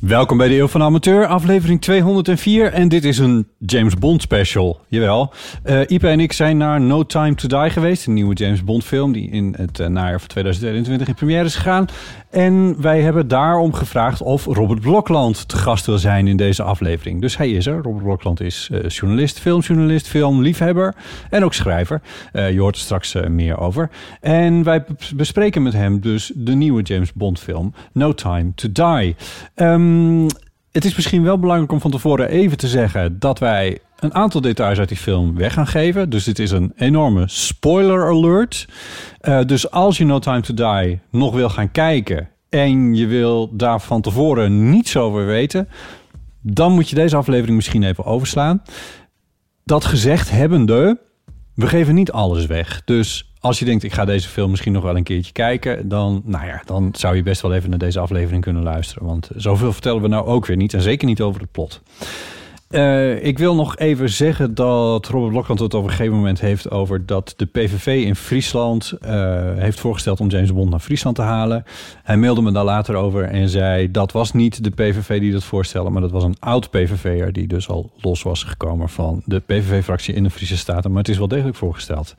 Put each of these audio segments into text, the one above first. Welkom bij de Eeuw van de Amateur, aflevering 204. En dit is een James Bond special. Jawel. Eh Ipe en ik zijn naar No Time to Die geweest. Een nieuwe James Bond film die in het eh, najaar van 2021 in première is gegaan. En wij hebben daarom gevraagd of Robert Blokland te gast wil zijn in deze aflevering. Dus hij is er. Robert Blokland is eh, journalist, filmjournalist, filmliefhebber en ook schrijver. Eh, je hoort er straks eh, meer over. En wij b- bespreken met hem dus de nieuwe James Bond film No Time to Die. Ehm, het is misschien wel belangrijk om van tevoren even te zeggen dat wij een aantal details uit die film weg gaan geven. Dus dit is een enorme spoiler alert. Eh, dus als je No Time to Die nog wil gaan kijken en je wil daar van tevoren niets over weten, dan moet je deze aflevering misschien even overslaan. Dat gezegd hebbende, we geven niet alles weg. Dus als je denkt, ik ga deze film misschien nog wel een keertje kijken, dan, nou ja, dan zou je best wel even naar deze aflevering kunnen luisteren. Want zoveel vertellen we nou ook weer niet. En zeker niet over het plot. Eh, ik wil nog even zeggen dat Robert Blokland het op een gegeven moment heeft over dat de PVV in Friesland eh, heeft voorgesteld om James Bond naar Friesland te halen. Hij mailde me daar later over en zei dat was niet de PVV die dat voorstelde, maar dat was een oud PVV'er die dus al los was gekomen van de PVV-fractie in de Friese Staten. Maar het is wel degelijk voorgesteld.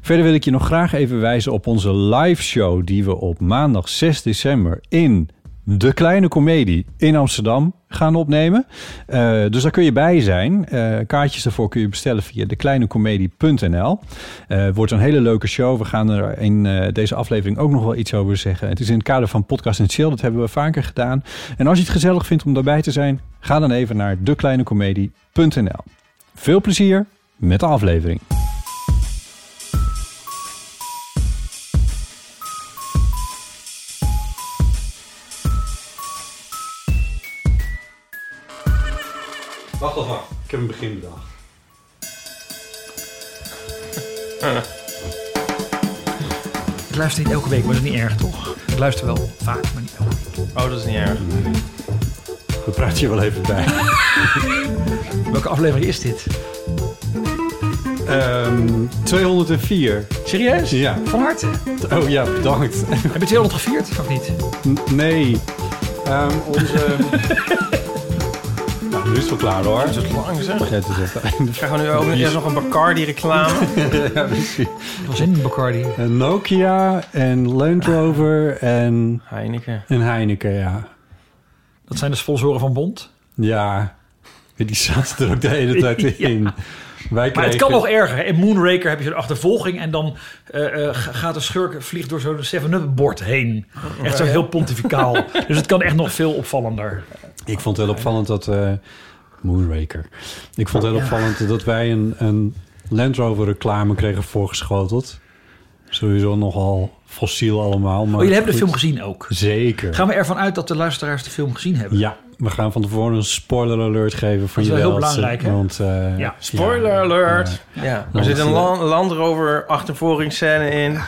Verder wil ik je nog graag even wijzen op onze live show die we op maandag 6 december in de Kleine Comedie in Amsterdam gaan opnemen. Eh, dus daar kun je bij zijn. Eh, kaartjes daarvoor kun je bestellen via dekleinecomedie.nl. Eh wordt een hele leuke show. We gaan er in eh, deze aflevering ook nog wel iets over zeggen. Het is in het kader van Podcast en Chill. Dat hebben we vaker gedaan. En als je het gezellig vindt om daarbij te zijn, ga dan even naar dekleinecomedie.nl. Veel plezier met de aflevering. Wacht al wacht. Ik heb een begin bedacht. Ik luister niet elke week, maar dat is niet erg, toch? Ik luister wel vaak, maar niet elke week. Oh, dat is niet erg. We praat je wel even bij. Welke aflevering is dit? Ehm, 204. Serieus? Ja. Van harte. Oh ja, bedankt. Heb je 200 gevierd, of niet? N- Nee. Ehm, onze. nou, nu is het wel klaar hoor. Dat is lang zeg. Vergeet het even. Krijgen we nu ook eerst nog een Bacardi-reclame? ja, precies. Dat was in Bacardi. En Nokia en Land Rover en, Heineken. en Heineken, ja. Dat zijn de sponsoren van Bond. Ja. Die zaten er ook de hele tijd Ja. in. Wij Maar het kregen- kan nog erger. hè? In Moonraker heb je een achtervolging en dan eh, eh, ga- gaat de schurk vliegt door zo'n 7-up-bord heen. Echt zo heel pontificaal. dus het kan echt nog veel opvallender. Ik vond het heel opvallend dat... eh, Moonraker. Ik vond Oh, het heel opvallend dat wij een, een Land Rover reclame kregen voorgeschoteld. Sowieso nogal fossiel allemaal. Maar Oh, jullie hebben de goed. film gezien ook. Zeker. Gaan we ervan uit dat de luisteraars de film gezien hebben? Ja, we gaan van tevoren een spoiler alert geven voor is je wel heel belangrijk, hè? Want, eh, Ja. Spoiler alert! Ja. Er zit een Want, eh, Lan- Land Rover achtervolgingsscène in.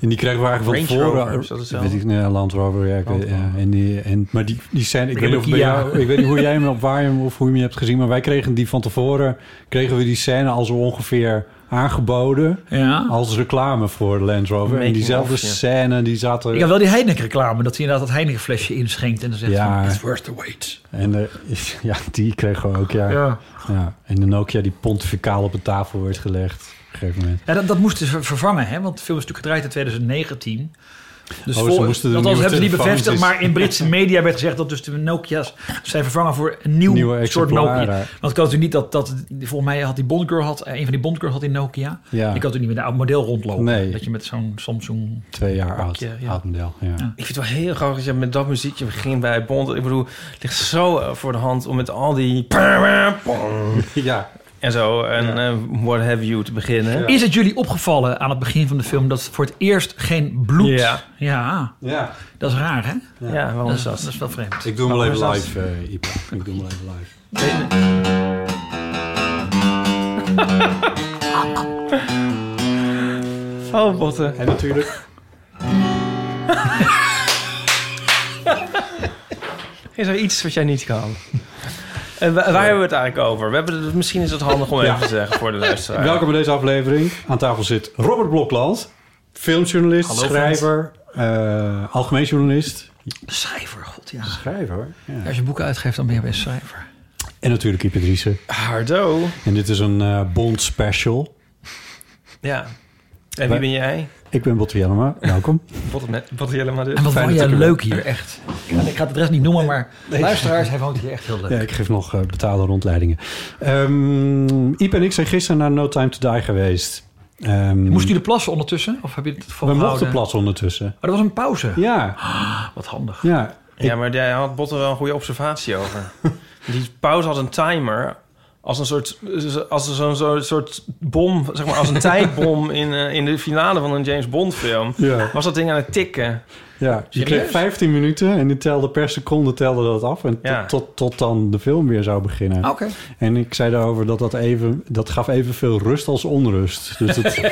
En die krijgen we eigenlijk van Range tevoren. Rover, is dat hetzelfde? weet ik, nee, Land Rover. Ja, ik Land weet- ja, Rover. en die, en, maar die, die zijn, ik, Ik heb weet niet of een bij Kia. jou- ik weet niet hoe jij hem of waar je hem of hoe je hem hebt gezien. Maar wij kregen die van tevoren, kregen we die scène al zo ongeveer aangeboden. ja. Als reclame voor Land Rover. en Making diezelfde of, ja. scène, die zat er... Ik had wel die Heineken-reclame, dat hij inderdaad dat Heineken-flesje inschenkt en dan zegt Ja. van, it's worth the wait. En eh, ja, die kregen we ook, ja. ja. En de Nokia die pontificaal op de tafel wordt gelegd. Op een gegeven moment. Ja, dat, dat moest dus ver- vervangen, hè? want de film is natuurlijk gedraaid in 2019. Dus Oh, ze vol, moesten de althans, nieuwe hebben ze niet telefoontjes- bevestigd, maar in Britse media werd gezegd dat dus de Nokia's zijn vervangen voor een nieuw Nieuwe soort exemplaren. Nokia. Want ik had natuurlijk niet dat, dat volgens mij had die Bondgirl had, eh, een van die Bondgirl had die Nokia. Ja. Ik had natuurlijk niet met een oud model rondlopen. Nee. Dat je met zo'n Samsung Twee jaar oud, pakje, ja. oud model. Ja. Ik vind het wel heel grappig dat je met dat muziekje begint bij Bond. Ik bedoel, het ligt zo eh, voor de hand om met al die... Ja. En zo, en eh, what have you te beginnen. Is het jullie opgevallen aan het begin van de film dat voor het eerst geen bloed? Ja. Ja, Ja. dat is raar, hè? Ja, waarom is dat? Dat is wel vreemd. Ik doe hem wel even Waarom is live, eh Ipa. Ik doe hem wel even live. Oh, botten. En natuurlijk... Is er iets wat jij niet kan? En wa- waar hebben we het eigenlijk over? We hebben het, misschien is het handig om even te zeggen voor de luisteraar. Welkom bij deze aflevering. Aan tafel zit Robert Blokland. Filmjournalist, Hallo, schrijver, eh, algemeen journalist. Schrijver, god ja. Schrijver? Ja. Als je boeken uitgeeft, dan ben je best schrijver. En natuurlijk Ipe Driessen. Hardo. En dit is een eh, Bond special. Ja. En wie ben jij? Ik ben Botte Jellema. Welkom. Botten met dus. Botten helemaal dit. En wat Fijn vond dat jij ik er ben. leuk hier, echt? Ik ga- Ik ga het rest niet noemen, maar luisteraars, hij woont hier echt heel leuk. Ja, ik geef nog eh, betaalde rondleidingen. Ehm Iep en ik zijn gisteren naar No Time To Die geweest. Ehm, Moest u de plassen ondertussen? Of heb je het we volgehouden? mochten plat ondertussen. Maar Oh, er was een pauze. Ja, Wat handig. ja. Ja, maar jij had Botten wel een goede observatie over. Die pauze had een timer. Als een soort, als zo'n zo'n soort bom, zeg maar als een tijdbom in, eh, in de finale van een James Bond film. Ja. Was dat ding aan het tikken? ja. Je kreeg 15 minuten en die telde per seconde telde dat af. En tot- Ja. tot, tot dan de film weer zou beginnen. Ah, Oké. En ik zei daarover dat dat even... Dat gaf evenveel rust als onrust. Dus dat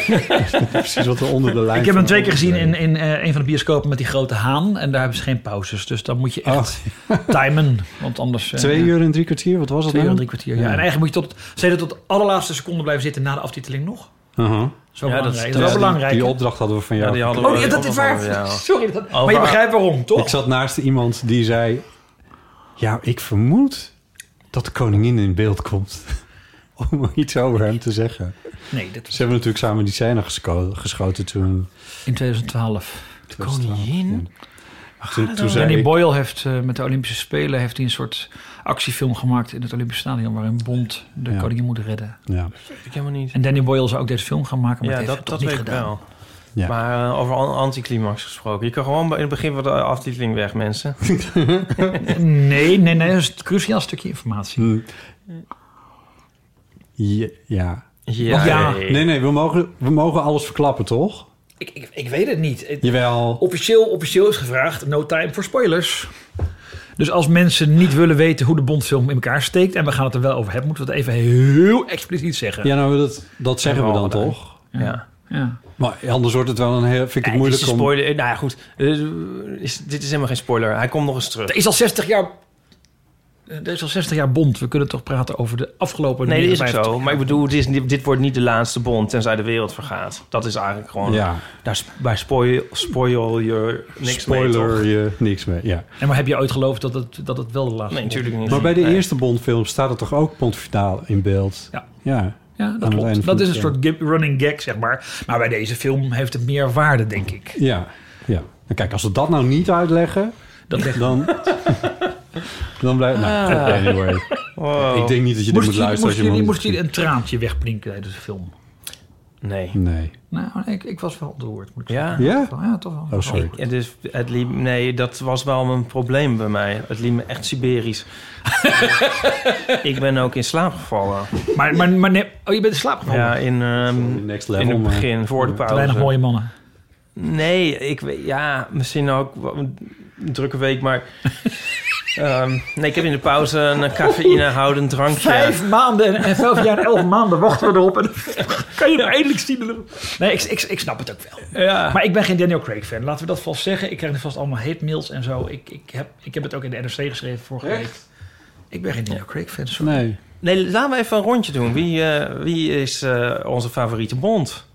precies wat er onder de lijn... Ik heb hem van twee keer gezien in, overbleef. in eh, een van de bioscopen met die grote haan. En daar hebben ze geen pauzes. Dus dan moet je echt timen. Want anders... eh, Ah. Twee uur en drie kwartier? Wat was dat Twee uur en nou? drie kwartier. Ja. Ja. En eigenlijk moet je tot, zeker tot de allerlaatste seconde blijven zitten na de aftiteling nog. Aha. Dat is wel Ja, dat- belangrijk. dat Dat, is Ja, wel die- belangrijk. Die, opdracht hadden we van jou. Ja, die hadden we oh, ja, ook dat is waar. opgevangen, ja. Sorry. dat- maar je Over- begrijpt waarom, toch? Ik zat naast iemand die zei... Ja, ik vermoed dat de koningin in beeld komt. Om iets over hem te zeggen. Nee, dat Ze was hebben natuurlijk samen die scène gesco- geschoten toen... in 2012. De koningin? Toen, toen zei Danny ik- Boyle heeft eh, met de Olympische Spelen heeft hij een soort actiefilm gemaakt in het Olympisch Stadion. waarin Bond de Ja. koningin moet redden. Ja, Weet ik helemaal niet. En Danny Boyle zou ook deze film gaan maken, maar Ja, dat heeft dat, hij dat toch weet niet ik gedaan. wel. Ja. Maar eh, over an- anticlimax gesproken. Je kan gewoon bij- in het begin van de aftiteling weg, mensen. Nee, nee, nee, dat is een cruciaal stukje informatie. hm. Ja, ja. Ja, ja. Nee, nee, we mogen, we mogen alles verklappen, toch? Ik, ik, ik weet het niet. Het- Jawel. Officieel, officieel is gevraagd, no time for spoilers. Dus als mensen niet willen weten hoe de Bondfilm in elkaar steekt... en we gaan het er wel over hebben, moeten we het even heel expliciet zeggen. Ja, nou, dat, dat zeggen we dan Hebben we al toch? Ja. Ja. Maar anders wordt het wel een heel... Vind ik het Ja, moeilijk dit is om... een spoiler. Nou ja, goed. Eh, is- dit is helemaal geen spoiler. Hij komt nog eens terug. Er is al 60 jaar... Er is al 60 jaar Bond. We kunnen toch praten over de afgelopen... Nee, dat is ook 59 zo. Maar ik bedoel, dit, is, niet- dit wordt niet de laatste bond tenzij de wereld vergaat. Dat is eigenlijk gewoon... Ja, Daar, sp- bij spoil, spoil je niks spoiler mee, toch? je niks mee, ja. En maar heb je ooit geloofd dat het, dat het wel de laatste Nee, Bond- natuurlijk niet. Maar bij de Nee. eerste Bondfilm staat er toch ook pontificaal in beeld? Ja. Ja. Ja, het dat einde klopt. van Dat de is een film. soort gip- running gag, zeg maar. Maar bij deze film heeft het meer waarde, denk ik. Ja. ja. Nou, kijk, als we dat nou niet uitleggen, Dat legt... dan... dan blijft... Nou, Ah. anyway. Wow. Ik denk niet dat je dit Moest moet jullie, luisteren als moest je hem jullie, al moest niet jullie een traantje wegplinken tijdens de film? Nee. ziet. Nee. Nou, nee, ik, ik was wel ontroerd, moet ik Ja? zeggen. Ja? Ja, toch wel. Oh, sorry. Ja, dus het liep, nee, dat was wel een probleem bij mij. Het liep me echt Siberisch. ik ben ook in slaap gevallen. Maar, maar, maar nee, oh, je bent in slaap gevallen. Ja, in, ehm, Next in level, het maar- begin, voor de pauze. Te weinig mooie mannen. Nee, ik weet, ja, misschien ook wel een drukke week, maar. ehm, nee, ik heb in de pauze een cafeïnehoudend drankje. Vijf maanden en, en vijf jaar en elf maanden wachten we erop. En kan je nou eindelijk zien. Nee, ik, ik, ik snap het ook wel. Ja. Maar ik ben geen Daniel Craig fan. Laten we dat vast zeggen. Ik krijg nu vast allemaal hate mails en zo. Ik, ik, heb, ik heb het ook in de NRC geschreven vorige week. Ik ben geen Daniel Craig fan. sorry. Nee. Nee, laten we even een rondje doen. Wie, eh, wie is eh, onze favoriete bond?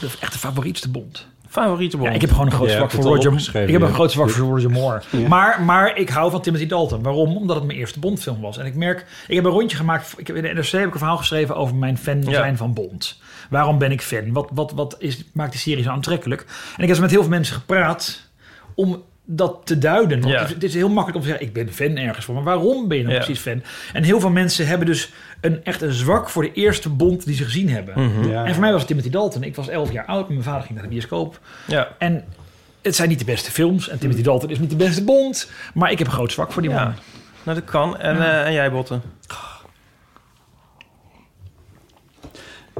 De echte favorietste Bond. Favoriete Bond? Ja, ik heb gewoon een groot Ja, zwak ik heb voor het al Roger opgeschreven, Ik heb een ja. groot zwak voor Roger Moore. Ja. Maar, maar ik hou van Timothy Dalton. Waarom? Omdat het mijn eerste Bondfilm was. En ik merk, ik heb een rondje gemaakt. Ik heb, in de NRC heb ik een verhaal geschreven over mijn fan zijn van Bond. Waarom ben ik fan? Wat, wat, wat is, maakt de serie zo aantrekkelijk? En ik heb met heel veel mensen gepraat om dat te duiden. Want Ja. het, het is heel makkelijk om te zeggen, ik ben fan ergens voor. Maar waarom ben je nou Ja. precies fan? En heel veel mensen hebben dus een, echt een zwak voor de eerste Bond die ze gezien hebben. Mhm. Ja. En voor mij was het Timothy Dalton. Ik was 11 jaar oud. Mijn vader ging naar de bioscoop. Ja. En het zijn niet de beste films. En Mm. Timothy Dalton is niet de beste Bond. Maar ik heb een groot zwak voor die man. Nou, dat kan. En, Ja. eh, en jij, Botten?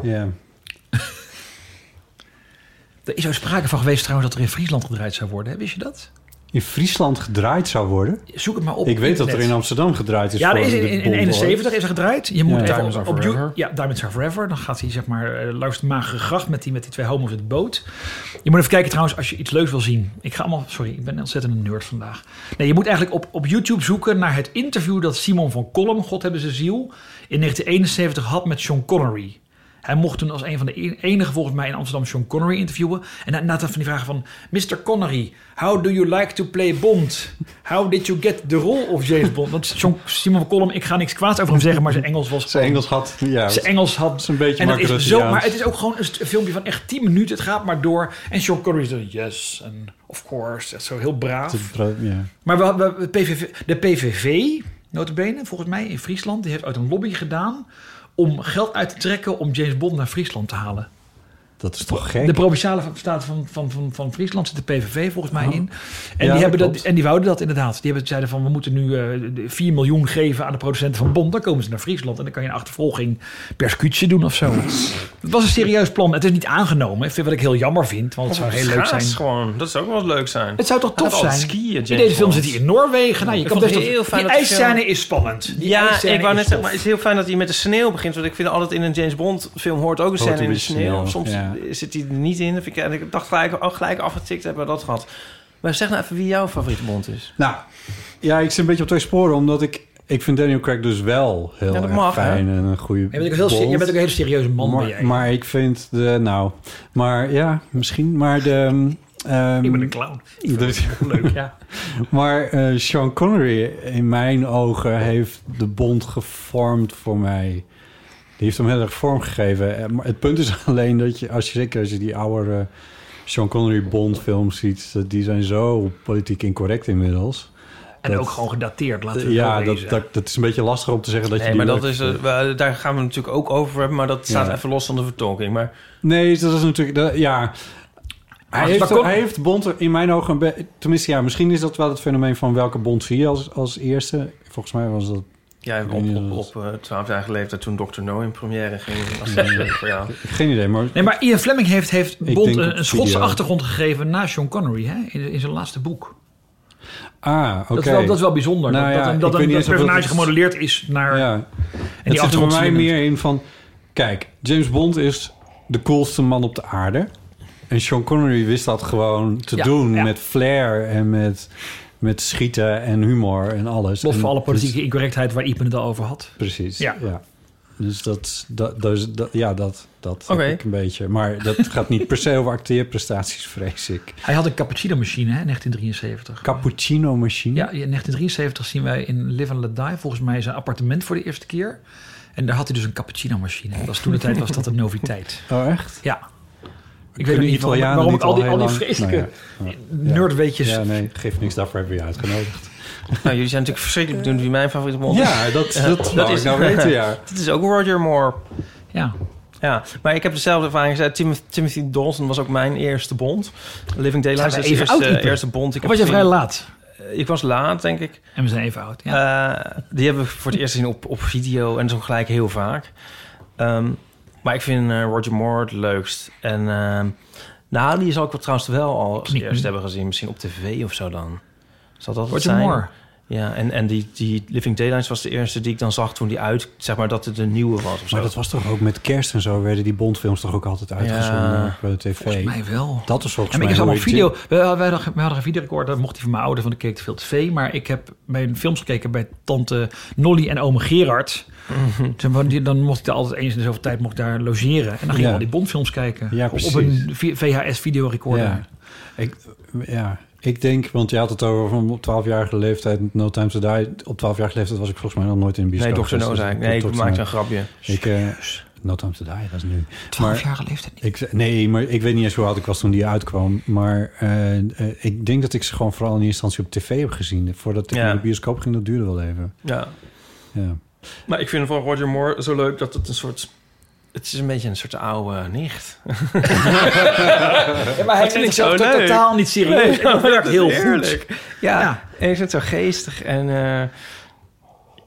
Ja. Er is ook sprake van geweest trouwens dat er in Friesland gedraaid zou worden. hè? Wist je dat? In Friesland gedraaid zou worden? Zoek het maar op Ik weet dat er internet. in Amsterdam gedraaid is. ja, er voor is in, de in, in Bond, hoor. 71 is er gedraaid. Je moet Ja. even Diamonds op, Are op Forever. you- ja, Diamonds Are Forever. Dan gaat hij zeg maar eh, langs de magere gracht met die, met die twee homo's in de boot. Je moet even kijken trouwens als je iets leuks wil zien. Ik ga allemaal, sorry, ik ben ontzettend een nerd vandaag. Nee, je moet eigenlijk op, op YouTube zoeken naar het interview dat Simon van Kolm, God hebben zijn ziel, in 1971 had met Sean Connery. Hij mocht toen als een van de e- enige volgens mij in Amsterdam Sean Connery interviewen. En na- na dat van die vragen van... Mr. Connery, how do you like to play Bond? How did you get the role of James Bond? Want Sean, Simon van Kolm, ik ga niks kwaads over hem zeggen... maar zijn Engels was... Zijn Engels had... Ja, zijn Engels had... Een beetje en het is zo, Marco-Russiaans. Maar het is ook gewoon een st- een filmpje van echt 10 minuten. Het gaat maar door. En Sean Connery is dan... Yes, and of course. Echt zo heel braaf. Ja. Maar we, we- we- PVV, de PVV, notabene, volgens mij in Friesland... die heeft uit een lobby gedaan... om geld uit te trekken om James Bond naar Friesland te halen. Dat is toch gek? De provinciale staat van, van, van, van Friesland zit de PVV volgens mij Oh. in. Ja, En, dat die hebben dat, klopt. en die wouden dat inderdaad. Die hebben, zeiden van we moeten nu eh, de 4 miljoen geven aan de producenten van Bond. Dan komen ze naar Friesland en dan kan je een achtervolging per scootje doen of zo. het was een serieus plan. Het is niet aangenomen. Ik vind wat ik heel jammer vind, want het zou Of heel leuk schaats zijn. gewoon. Dat zou ook wel leuk zijn. Het zou toch Hij tof gaat altijd zijn? skiën, James in deze film Bond. zit hij in Noorwegen. Nou, je Ik kan vond best het heel heel fijn Die dat de film- ijsscène is spannend. Die Ja, ijsscène ik wou is net zeggen, tof. maar het is heel fijn dat hij met de sneeuw begint. Want ik vind altijd in een James Bond film hoort ook een Hoort scène een in de beetje sneeuw. sneeuw, Soms ja. zit hij er niet in. Dat Vind ik, en ik dacht gelijk, oh, gelijk afgetikt hebben we dat gehad. Maar zeg nou even wie jouw favoriete Bond is. Nou, ja, ik zit een beetje op twee sporen, omdat ik... Ik vind Daniel Craig dus wel heel Ja, dat erg mag, hè? fijn en een goede Je bent ook, heel Bond. ser- je bent ook een hele serieuze man. ben maar, jij. maar ik vind de... Nou, maar ja, misschien. Maar de... ehm, ik ben een clown. Ik vind dus- het leuk, ja. maar eh, Sean Connery, in mijn ogen, heeft de bond gevormd voor mij. Die heeft hem heel erg vormgegeven. Eh, Maar het punt is alleen dat je, als je zeker als je die oude eh, Sean Connery Bond-films ziet, dat die zijn zo politiek incorrect inmiddels. En Dat- ook gewoon gedateerd, laten we Ja, wel dat, wezen. dat, dat is een beetje lastig om te zeggen dat je nee, die maar dat leuk is, vindt. eh, wel, daar gaan we natuurlijk ook over hebben. Maar dat staat Ja. even los van de vertolking. Maar Nee, dat is natuurlijk... dat- ja. Hij Maar heeft, waar komt- hij heeft Bond er in mijn ogen... een be- Tenminste, ja, misschien is dat wel het fenomeen van welke Bond zie je als, als eerste. Volgens mij was dat... jij op, op, op, eh, 12 jaar leeftijd toen Dr. No in première ging. Was dat leuk voor jou? Geen idee, maar... Nee, maar Ian Fleming heeft, heeft Ik Bond denk op een, een Schotse video. achtergrond gegeven na Sean Connery hè? In, in zijn laatste boek. Ah, oké. Dat, is wel, dat is wel bijzonder. Nou dat ja, dat, een- ik dat weet een niet dat eens of dat personage het- gemodelleerd is naar... Ja. En die het zit er voor achtergrond mij zien we. meer in van... Kijk, James Bond is de coolste man op de aarde. En Sean Connery wist dat gewoon te Ja, doen ja. met flair en met, met schieten en humor en alles. Los En van alle dus- politieke incorrectheid waar Iepen het al over had. Precies, ja. Ja. Dus dat, dat, dus dat- ja, dat, dat Oké. heb ik een beetje. Maar dat gaat niet per se over acteerprestaties, vrees ik. Hij had een cappuccino-machine, hè, 1973. Cappuccino-machine? Ja, in 1973 zien wij in Live and Let Die volgens mij zijn appartement voor de eerste keer. En daar had hij dus een cappuccino-machine. Dat was toen de tijd was dat een noviteit. Oh, echt? Ja. Ik weet Kunnen ook niet waarom, waarom Italianen ik dit al die, heel al die lang- vreselijke Nou ja, ja. nerdweetjes... Ja, nee, geeft niks. Daarvoor hebben we je uitgenodigd. Nou, jullie zijn natuurlijk verschrikkelijk benieuwd wie mijn favoriete mol is. Ja, dat- dat wou ik nou weten, ja. dat is ook Roger Moore. Ja. Ja, maar ik heb dezelfde ervaring. gezegd. Tim- Timothy Dalton was ook mijn eerste bond. Living Daylights Zijn is we de even oud, eerste, Ieper? eerste bond. Of was je gezien. vrij laat? Eh, Ik was laat, denk ik. En we zijn even oud, ja. die hebben we voor het eerst gezien op, op video en zo gelijk heel vaak. Ehm, maar ik vind eh, Roger Moore het leukst. En ehm nou, die zal ik wel trouwens wel al als eerst hebben gezien. Misschien op tv of zo dan. Zal dat het Roger zijn? Moore. Ja, en, en die, die Living Daylights was de eerste die ik dan zag toen die uit... Zeg maar dat het een nieuwe was of zo. Maar dat was toch ook met kerst en zo werden die Bondfilms toch ook altijd uitgezonden Ja, op eh, tv? Volgens mij wel. Dat is volgens En ik mij is allemaal hoe ik video. We hadden, wij hadden een videorecorder, mocht die van mijn ouder, van de keek te veel tv. Maar ik heb mijn films gekeken bij tante Nolly en oom Gerard. Mhm. Toen wou die- Dan mocht ik daar altijd eens in de zoveel tijd mocht ik daar logeren. En dan ging Ja. ik al die Bondfilms kijken. Ja, Op- precies. op een vi- VHS-videorecorder. Ja. Ik, ja, ik denk, want je had het over van op 12-jarige leeftijd, No Time to Die. Op 12-jarige leeftijd was ik volgens mij nog nooit in een bioscoop. Nee, Dr. No geweest. zei ik. Dus Nee, ik Dr. No. maakte een grapje. Ik, eh, no Time to Die, dat is nu. 12-jarige leeftijd niet. Ik, nee, maar ik weet niet eens hoe oud ik was toen die uitkwam. Maar eh, eh, ik denk dat ik ze gewoon vooral in eerste instantie op tv heb gezien. Voordat ik Ja. naar de bioscoop ging, dat duurde wel even. Ja. Ja. Maar ik vind van Roger Moore zo leuk dat het een soort... Het is een beetje een soort oude nicht. Ja, maar hij Dat vind neemt ik zo het ook leuk. totaal niet serieus. En dat werkt heel is goed. Ja, en ik vind het zo geestig en... eh,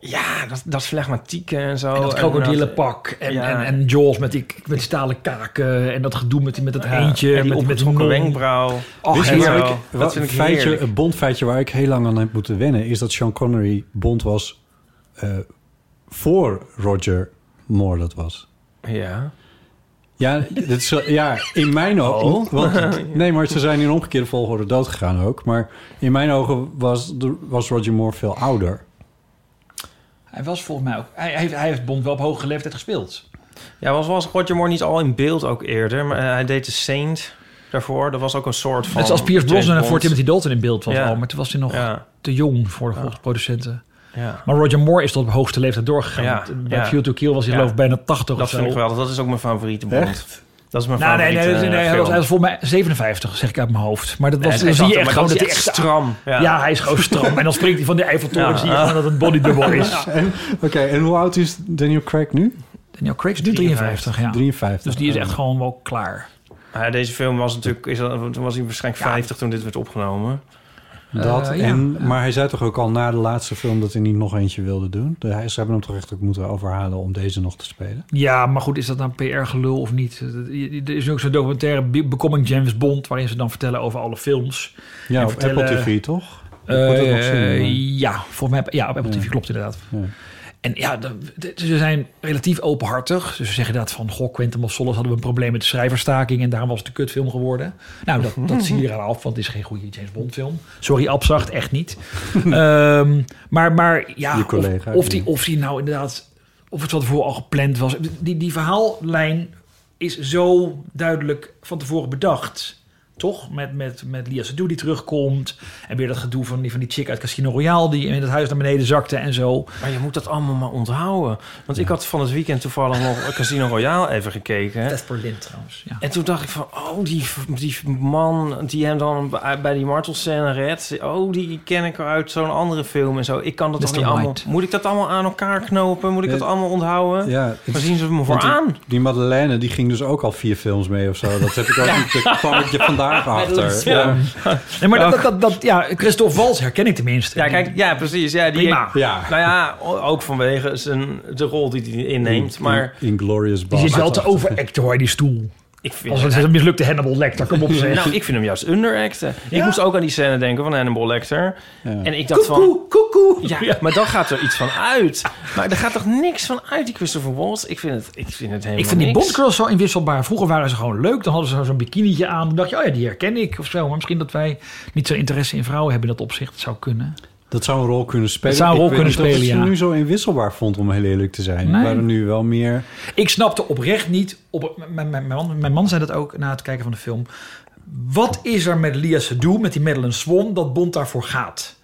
ja, dat, dat flegmatieke en zo. En dat krokodillenpak en, Ja. en, en Jaws met die, met die stalen kaken Eh, en dat gedoe met, die- met dat eentje. en die met, die- met die opgetrokken non. wenkbrauw. Ach, Weet je en waar zo. ik- wat een feitje, een bondfeitje waar ik heel lang aan heb moeten wennen... is dat Sean Connery bond was eh, voor Roger Moore dat was. Ja. Ja, dat is, wel- ja in mijn ogen... Oh. Want, nee, maar ze zijn in omgekeerde volgorde doodgegaan ook. Maar in mijn ogen was, de- was Roger Moore veel ouder. Hij was volgens mij ook... Hij, hij heeft, hij heeft Bond wel op hoge leeftijd gespeeld. Ja, was, was Roger Moore niet al in beeld ook eerder? Maar eh, hij deed de Saint daarvoor. Dat was ook een soort van... Net zoals Piers James Brosnan en Bond. voor Timothy Dalton in beeld was Ja. al. Maar toen was hij nog Ja. te jong voor de volgens producenten. Ja. Maar Roger Moore is tot op hoogste leeftijd doorgegaan. Ja, Want eh, Bij ja. View to Kill was hij Ja. geloof ik bijna 80 Dat of zo. vind ik wel. Dat is ook mijn favoriete Bond. Echt? Dat is mijn Nou, nee, favoriete nee, nee, nee, eh, hij, was, film. hij was volgens mij 57, zeg ik uit mijn hoofd. Maar dat Nee, was, hij dan is zie je altijd- echt maar dan gewoon dat hij is hij echt echt stram. Ja. Ja. hij is gewoon stram. En dan springt hij van de Eiffeltoren. Ja. zie je gewoon dat het bodybubbel is. En- Oké, en hoe oud is Daniel Craig nu? Daniel Craig is nu 53, ja. 53. Dus die is echt gewoon wel klaar. Ja, deze film was natuurlijk... Is, al- toen was hij waarschijnlijk 50 toen dit werd opgenomen. Dat, Eh, ja. en, Mm, maar hij zei toch ook al na de laatste film dat hij niet nog eentje wilde doen? De- Hij, ze hebben hem toch echt ook moeten overhalen om deze nog te spelen? Ja, maar goed, is dat nou PR-gelul of niet? Er is ook zo'n documentaire, Be- Becoming James Bond... waarin ze dan vertellen over alle films. Ja, En op vertellen- Apple TV, toch? Eh, Ik moet dat nog zien, maar- ja, voor mij, ja, op Apple Ja. TV klopt inderdaad. Ja. En ja, de- de- ze zijn relatief openhartig. Dus ze zeggen dat van, goh, Quentin Marsalis hadden we een probleem met de schrijverstaking... en daarom was het een kutfilm geworden. Nou, dat, dat zie je eraan af, want het is geen goede James Bond film. Sorry, Abzacht, echt niet. Ehm, maar, maar ja, Je collega, of, of, die, ja. of die nou inderdaad... of het van tevoren al gepland was. Die, die verhaallijn is zo duidelijk van tevoren bedacht... Toch? Met, met, met Lia Seydoux die terugkomt. En weer dat gedoe van die, van die chick uit Casino Royale... die in het huis naar beneden zakte en zo. Maar je moet dat allemaal maar onthouden. Want ik had van het weekend toevallig nog Casino Royale even gekeken. Berlin trouwens. Ja. En toen dacht ik van, oh, die, die man die hem dan bij- bij die martelscène redt... oh, die ken ik uit zo'n andere film en zo. Ik kan dat Mr. toch niet allemaal... White. Moet ik dat allemaal aan elkaar knopen? Moet ik dat Eh, allemaal onthouden? Ja, Waar zien ze me voor want die, aan? Die Madeleine, die ging dus ook al vier films mee of zo. Nou, Dat heb ik ook Ja. niet, daar kwam ik je vandaag achter. Ja. Nee, maar dat, dat, dat, ja, Christophe Wals herken ik tenminste. Ja, kijk, ja, precies. Ja, die, Prima. Ja. Nou ja, o- ook vanwege zijn, de rol die hij inneemt. Maar In, Glorious Die zit wel te overacten hoor, die stoel. ik vind... Als het een mislukte Hannibal Lecter, kom op zeg. nou, ik vind hem juist underacten. Ik Ja? moest ook aan die scène denken van Hannibal Lecter. En ik dacht van... Ja, maar dan gaat er iets van uit. Maar er gaat toch niks van uit, die Christopher Waltz? Ik vind het, ik vind het helemaal ik vind die niks. bondcurls zo inwisselbaar. Vroeger waren ze gewoon leuk. Dan hadden ze zo'n bikinietje aan. Dan dacht je, oh ja, die herken ik of zo. Maar misschien dat wij niet zo interesse in vrouwen hebben in dat opzicht. Dat zou kunnen. Dat zou een rol kunnen spelen. zou een rol Ik weet kunnen niet of ik spelen, ja. ze nu zo inwisselbaar vond, om heel eerlijk te zijn. Nee. Waren nu wel meer... Ik snapte oprecht niet. Op, mijn, mijn, mijn, man, mijn man zei dat ook na het kijken van de film. Wat is er met Lia Seydoux, met die Madeleine Swan, dat Bond daarvoor gaat?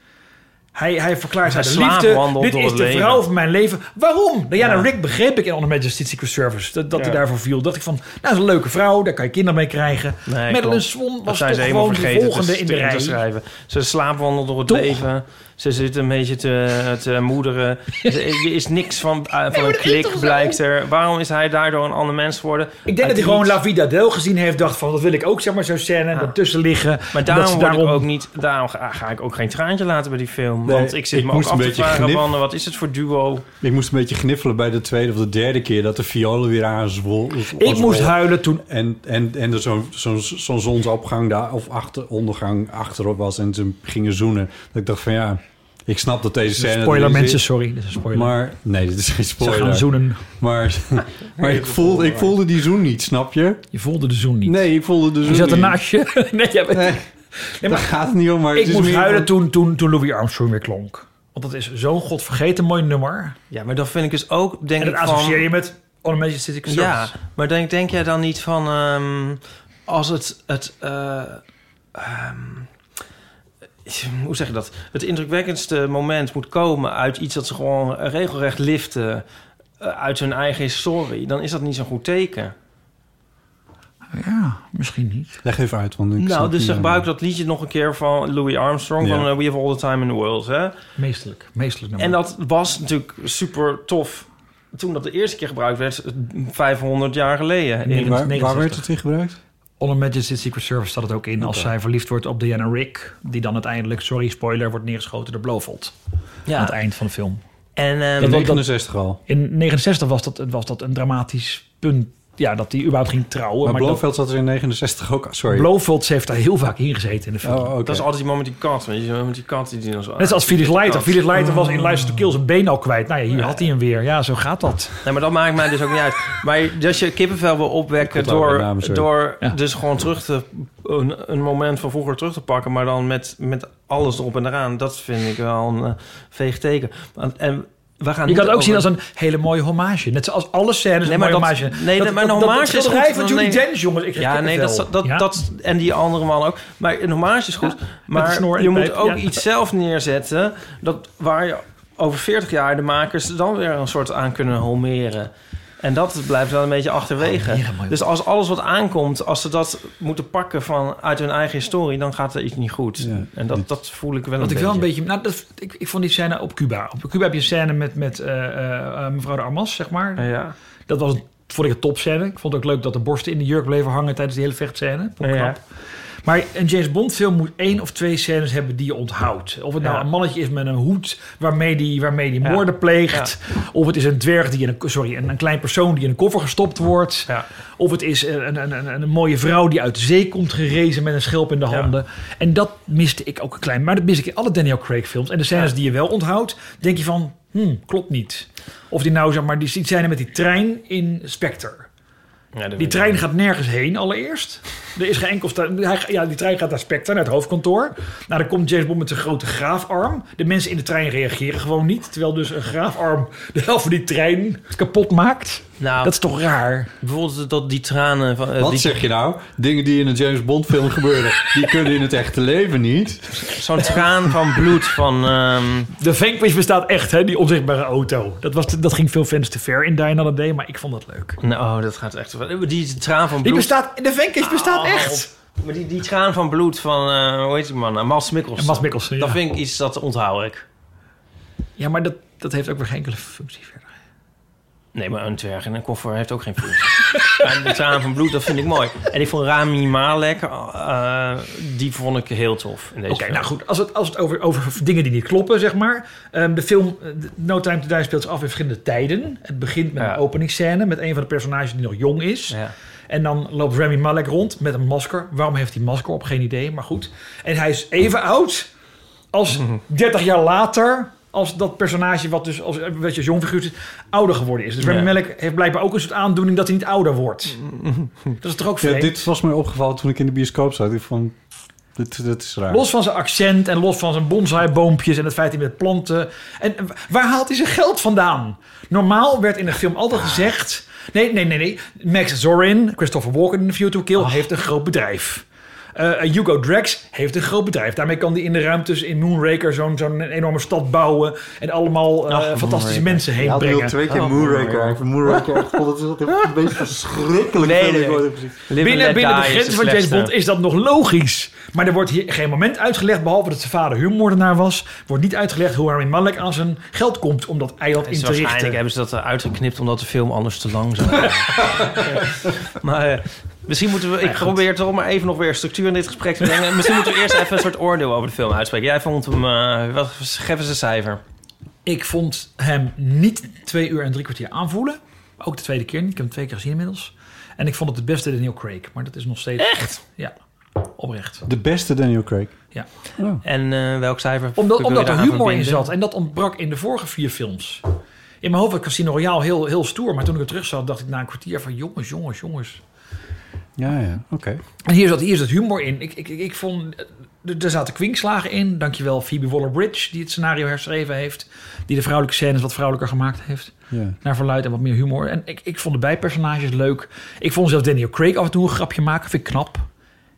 Hij, hij verklaart Hij haar de liefde. slaapwandelt Dit door is het de leven. vrouw van mijn leven. Waarom? Nou ja, nou, Rick begreep ik in On Majesty's Secret Service dat, dat Ja. hij daarvoor viel. Dacht ik van, nou, dat is een leuke vrouw, daar kan je kinderen mee krijgen. Nee, Madeleine klopt. Swan Dat was zijn toch ze helemaal gewoon de vergeten volgende te, in de te- te rij. schrijven. Ze slaapwandelt door het Toch? leven. Ze zit een beetje te, te moederen. Ze- Er is niks van, eh, van een klik, blijkt er. Waarom is hij daardoor een ander mens geworden? Ik denk dat hij gewoon La Vida Del gezien heeft. Dacht van, dat wil ik ook, zeg maar, zo'n scène. Ja. Daartussen liggen. Maar dat daarom, ze word ik ook niet, daarom ga, ga ik ook geen traantje laten bij die film. Nee, want ik zit ik me ook moest af een te beetje vragen, gnip. van, wat is het voor duo? Ik moest een beetje gniffelen bij de tweede of de derde keer... dat de violen weer aanzwol. Ik moest huilen toen. En, en, en er zo'n zo'n zo'n zonsopgang daar, of achter, ondergang achterop was en ze gingen zoenen. Dat ik dacht van ja, Ik snap dat deze Dit is een scène... spoiler, er is. mensen, sorry. Dit is een spoiler. Maar, nee, dit is geen spoiler. gaan zoenen. Maar, maar ik, dat voelde, ik voelde die zoen niet, snap je? Je voelde de zoen niet? Nee, ik voelde de zoen Je zat niet. ernaast je. Nee, jij bent... nee. maar daar gaat het niet om. Maar ik het is moest meer huilen van- toen, toen, toen Louis Armstrong weer klonk. Want dat is zo'n godvergeten mooi nummer. Ja, maar dat vind ik dus ook... Denk en dat ik van- associeer je met On a Magic City Ja, maar denk, denk jij dan niet van... ehm, als het... het eh, ehm, hoe zeg je dat? Het indrukwekkendste moment moet komen uit iets dat ze gewoon regelrecht liften eh, uit hun eigen historie, dan is dat niet zo'n goed teken. Ja, misschien niet. Leg even uit, want ik nou, snap dus niet ze helemaal. gebruik dat liedje nog een keer van Louis Armstrong Ja. van eh, We Have All the Time in the World, hè? Meestelijk, meestelijk nummer. En dat was natuurlijk super tof toen dat de eerste keer gebruikt werd, 500 jaar geleden. Nee, in waar- waar werd het in gebruikt? On a Magic Secret Service staat het ook in als Oké. zij verliefd wordt op Diana Rick. Die dan uiteindelijk, sorry spoiler, wordt neergeschoten door Blofeld. Ja. Aan het eind van de film. En, ehm, Dat- dat- al. In 69 was dat, was dat een dramatisch punt. Ja, dat hij überhaupt ging trouwen. Maar, dat- Blofeld zat er in 69 ook. Sorry. Oh, Blofeld heeft daar heel vaak in gezeten in de film. Dat is altijd die man met die kat, weet je wel, met die kat die, die dan zo... Net zoals Felix Leiter. Kat. Felix Leiter was in Lies to Kill zijn been al kwijt. Nou ja, hier had hij hem weer. Ja, zo gaat dat. Nee, maar dat maakt mij dus ook niet uit. Maar als je kippenvel wil opwekken Ik onthoud door, mijn naam, sorry. door dus gewoon terug te, een, een moment van vroeger terug te pakken, maar dan met, met alles erop en eraan, dat vind ik wel een eh, veeg teken. Want- En we gaan Je niet kan het ook over- zien als een hele mooie hommage. Net zoals alle scènes Nee, een maar mooie dat, hommage. nee, Dat- maar een dat- hommage dat is goed. schilderij van Dan Judy neem- Dench, jongens. Ik ja, nee, dat, dat, dat, en die andere man ook. Maar een hommage is goed. de maar snor en je de moet peep, ook ja. iets zelf neerzetten... Dat, waar je over 40 jaar de makers dan weer een soort aan kunnen homeren. En dat blijft dan een beetje achterwege. Homeren, mooi. dus als alles wat aankomt, als ze dat moeten pakken van, uit hun eigen historie... dan gaat er iets niet goed. en dat, dat voel ik wel Wat een ik beetje. wel een beetje... Nou, dat, ik, ik vond die scène op Cuba. Op Cuba heb je een scène met, met eh, eh, eh, mevrouw de Armas, zeg maar. Ja. Dat was, een- vond ik een topscène. Ik vond het ook leuk dat de borsten in de jurk bleven hangen... tijdens die hele vechtscène. Vond ik Ja. knap. Maar een James Bond film moet één of twee scènes hebben die je onthoudt. Of het nou Ja. een mannetje is met een hoed waarmee die, waarmee die Ja. moorden pleegt. Of het is een dwerg die in een, sorry, een, een klein persoon die in een koffer gestopt wordt. Of het is een, een, een, een mooie vrouw die uit de zee komt gerezen met een schelp in de handen. En dat miste ik ook een klein. Maar dat mis ik in alle Daniel Craig films. En de scènes die je wel onthoudt, denk je van, hmm, klopt niet. Of die nou zeg maar, die scène met die trein in Spectre. Ja, dat Die weet ik trein gaat nergens heen allereerst. Er is geen enkel... sta- hij ga- Ja, die trein gaat naar Spectre, naar het hoofdkantoor. Nou, dan komt James Bond met zijn grote graafarm. De mensen in de trein reageren gewoon niet. Terwijl dus een graafarm de helft van die trein kapot maakt. Nou, dat is toch raar? Bijvoorbeeld dat die tranen... Van, eh, Wat die- zeg je nou? Dingen die in een James Bond film gebeuren, die kunnen in het echte leven niet. Zo'n traan van bloed van... ehm, De Vanquish bestaat echt, hè? Die onzichtbare auto. Dat, was te- dat ging veel fans te ver in Die Another Day, maar ik vond dat leuk. Nou, dat gaat echt... Die traan van bloed... Die bestaat... De Vanquish bestaat Oh. echt! Maar die, die traan van bloed van, eh, hoe heet die man? Uh, Mas Mikkelsen. Ja, Mads Mikkelsen, ja. Dat vind ik iets, dat onthoud ik. Ja, maar dat, dat heeft ook weer geen enkele functie verder. Nee, maar een dwerg in een koffer heeft ook geen functie. maar de traan van bloed, dat vind ik mooi. En ik vond Rami Malek, eh, die vond ik heel tof in deze Oké, nou goed. Als het, als het over, over dingen die niet kloppen, zeg maar. Ehm, de film eh, No Time to Die speelt zich af in verschillende tijden. Het begint met een openingsscène met een van de personages die nog jong is. En dan loopt Remy Malek rond met een masker. Waarom heeft hij masker op? Geen idee, maar goed. En hij is even oud als 30 jaar later... als dat personage wat dus als, wat je jong figuur is, ouder geworden is. Dus Remy Ja. Malek heeft blijkbaar ook een soort aandoening... dat hij niet ouder wordt. Dat is toch ook Ja, vreemd? dit was mij opgevallen toen ik in de bioscoop zat. Ik vond, dit, dit is raar. Los van zijn accent en los van zijn bonsaiboompjes en het feit dat hij met planten. En waar haalt hij zijn geld vandaan? Normaal werd in de film altijd Ah. gezegd. Nee, nee, nee, nee. Max Zorin, Christopher Walken in View to Kill, Ah. heeft een groot bedrijf. Eh, Hugo Drax heeft een groot bedrijf. Daarmee kan hij in de ruimtes in Moonraker zo'n zo'n enorme stad bouwen. En allemaal eh, fantastische mensen heen Ja, brengen. Ik twee keer Moonraker. Ik vind Moonraker echt vond het dat is het meest verschrikkelijk Nee, film die ik nee. ooit heb gezien. Binnen, binnen de grenzen van James Bond is dat nog logisch. Maar er wordt hier geen moment uitgelegd, behalve dat zijn vader huurmoordenaar was. Wordt niet uitgelegd hoe Rami Malek aan zijn geld komt om dat eiland in Dus te waarschijnlijk richten. hebben ze dat eruit geknipt omdat de film anders te lang zou zijn. maar eh, misschien moeten we... Ik probeer toch maar even nog weer structuur in dit gesprek te brengen. Misschien moeten we eerst even een soort oordeel over de film uitspreken. Jij vond hem... eh, wat, geef eens een cijfer. Ik vond hem niet twee uur en drie kwartier aanvoelen. Ook de tweede keer niet. Ik heb hem twee keer gezien inmiddels. En ik vond het het beste Daniel Craig. Maar dat is nog steeds... Echt? Ja. Oprecht. De beste Daniel Craig. Ja. En eh, welk cijfer? Omdat, wil je omdat er daaraan humor in verbinden? zat. En dat ontbrak in de vorige vier films. In mijn hoofd was Casino Royale heel, heel stoer. Maar toen ik er terug zat, dacht ik na een kwartier van... jongens, jongens, jongens. Ja, ja, oké. En hier zat, hier zat humor in. Ik, ik, ik, ik vond... eh, Er zaten kwinkslagen in. Dankjewel Phoebe Waller-Bridge, die het scenario herschreven heeft. Die de vrouwelijke scènes wat vrouwelijker gemaakt heeft. Ja. Naar verluid en wat meer humor. En ik, ik vond de bijpersonages leuk. Ik vond zelfs Daniel Craig af en toe een grapje maken. Vind ik knap.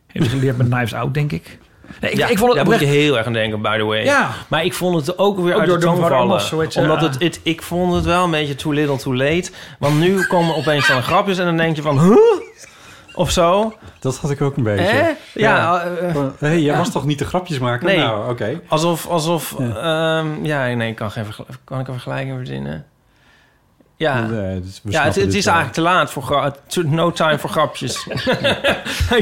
Heeft geleerd met Knives Out, denk ik. Nee, ik, ja, ik vond het daar moet oprecht- je heel erg aan denken, by the way. Ja. Maar ik vond het ook weer Ook uit door- de door toon mevrouw vallen. Amos, zoiets, ja. Omdat het, het, ik vond het wel een beetje too little too late. Want nu komen opeens dan grapjes en dan denk je van... Huh? Of zo. Dat had ik ook een beetje. Hè? Ja. eh, Van, hey, jij ja. was toch niet de grapjesmaker? Nee. Nou, oké. Alsof... alsof ja. ja, nee, ik kan, geen vergel- kan ik een vergelijking verzinnen. Ja, Nee, dus we ja het, snappen het dit is wel. eigenlijk te laat voor gra- to- no time voor grapjes. Ik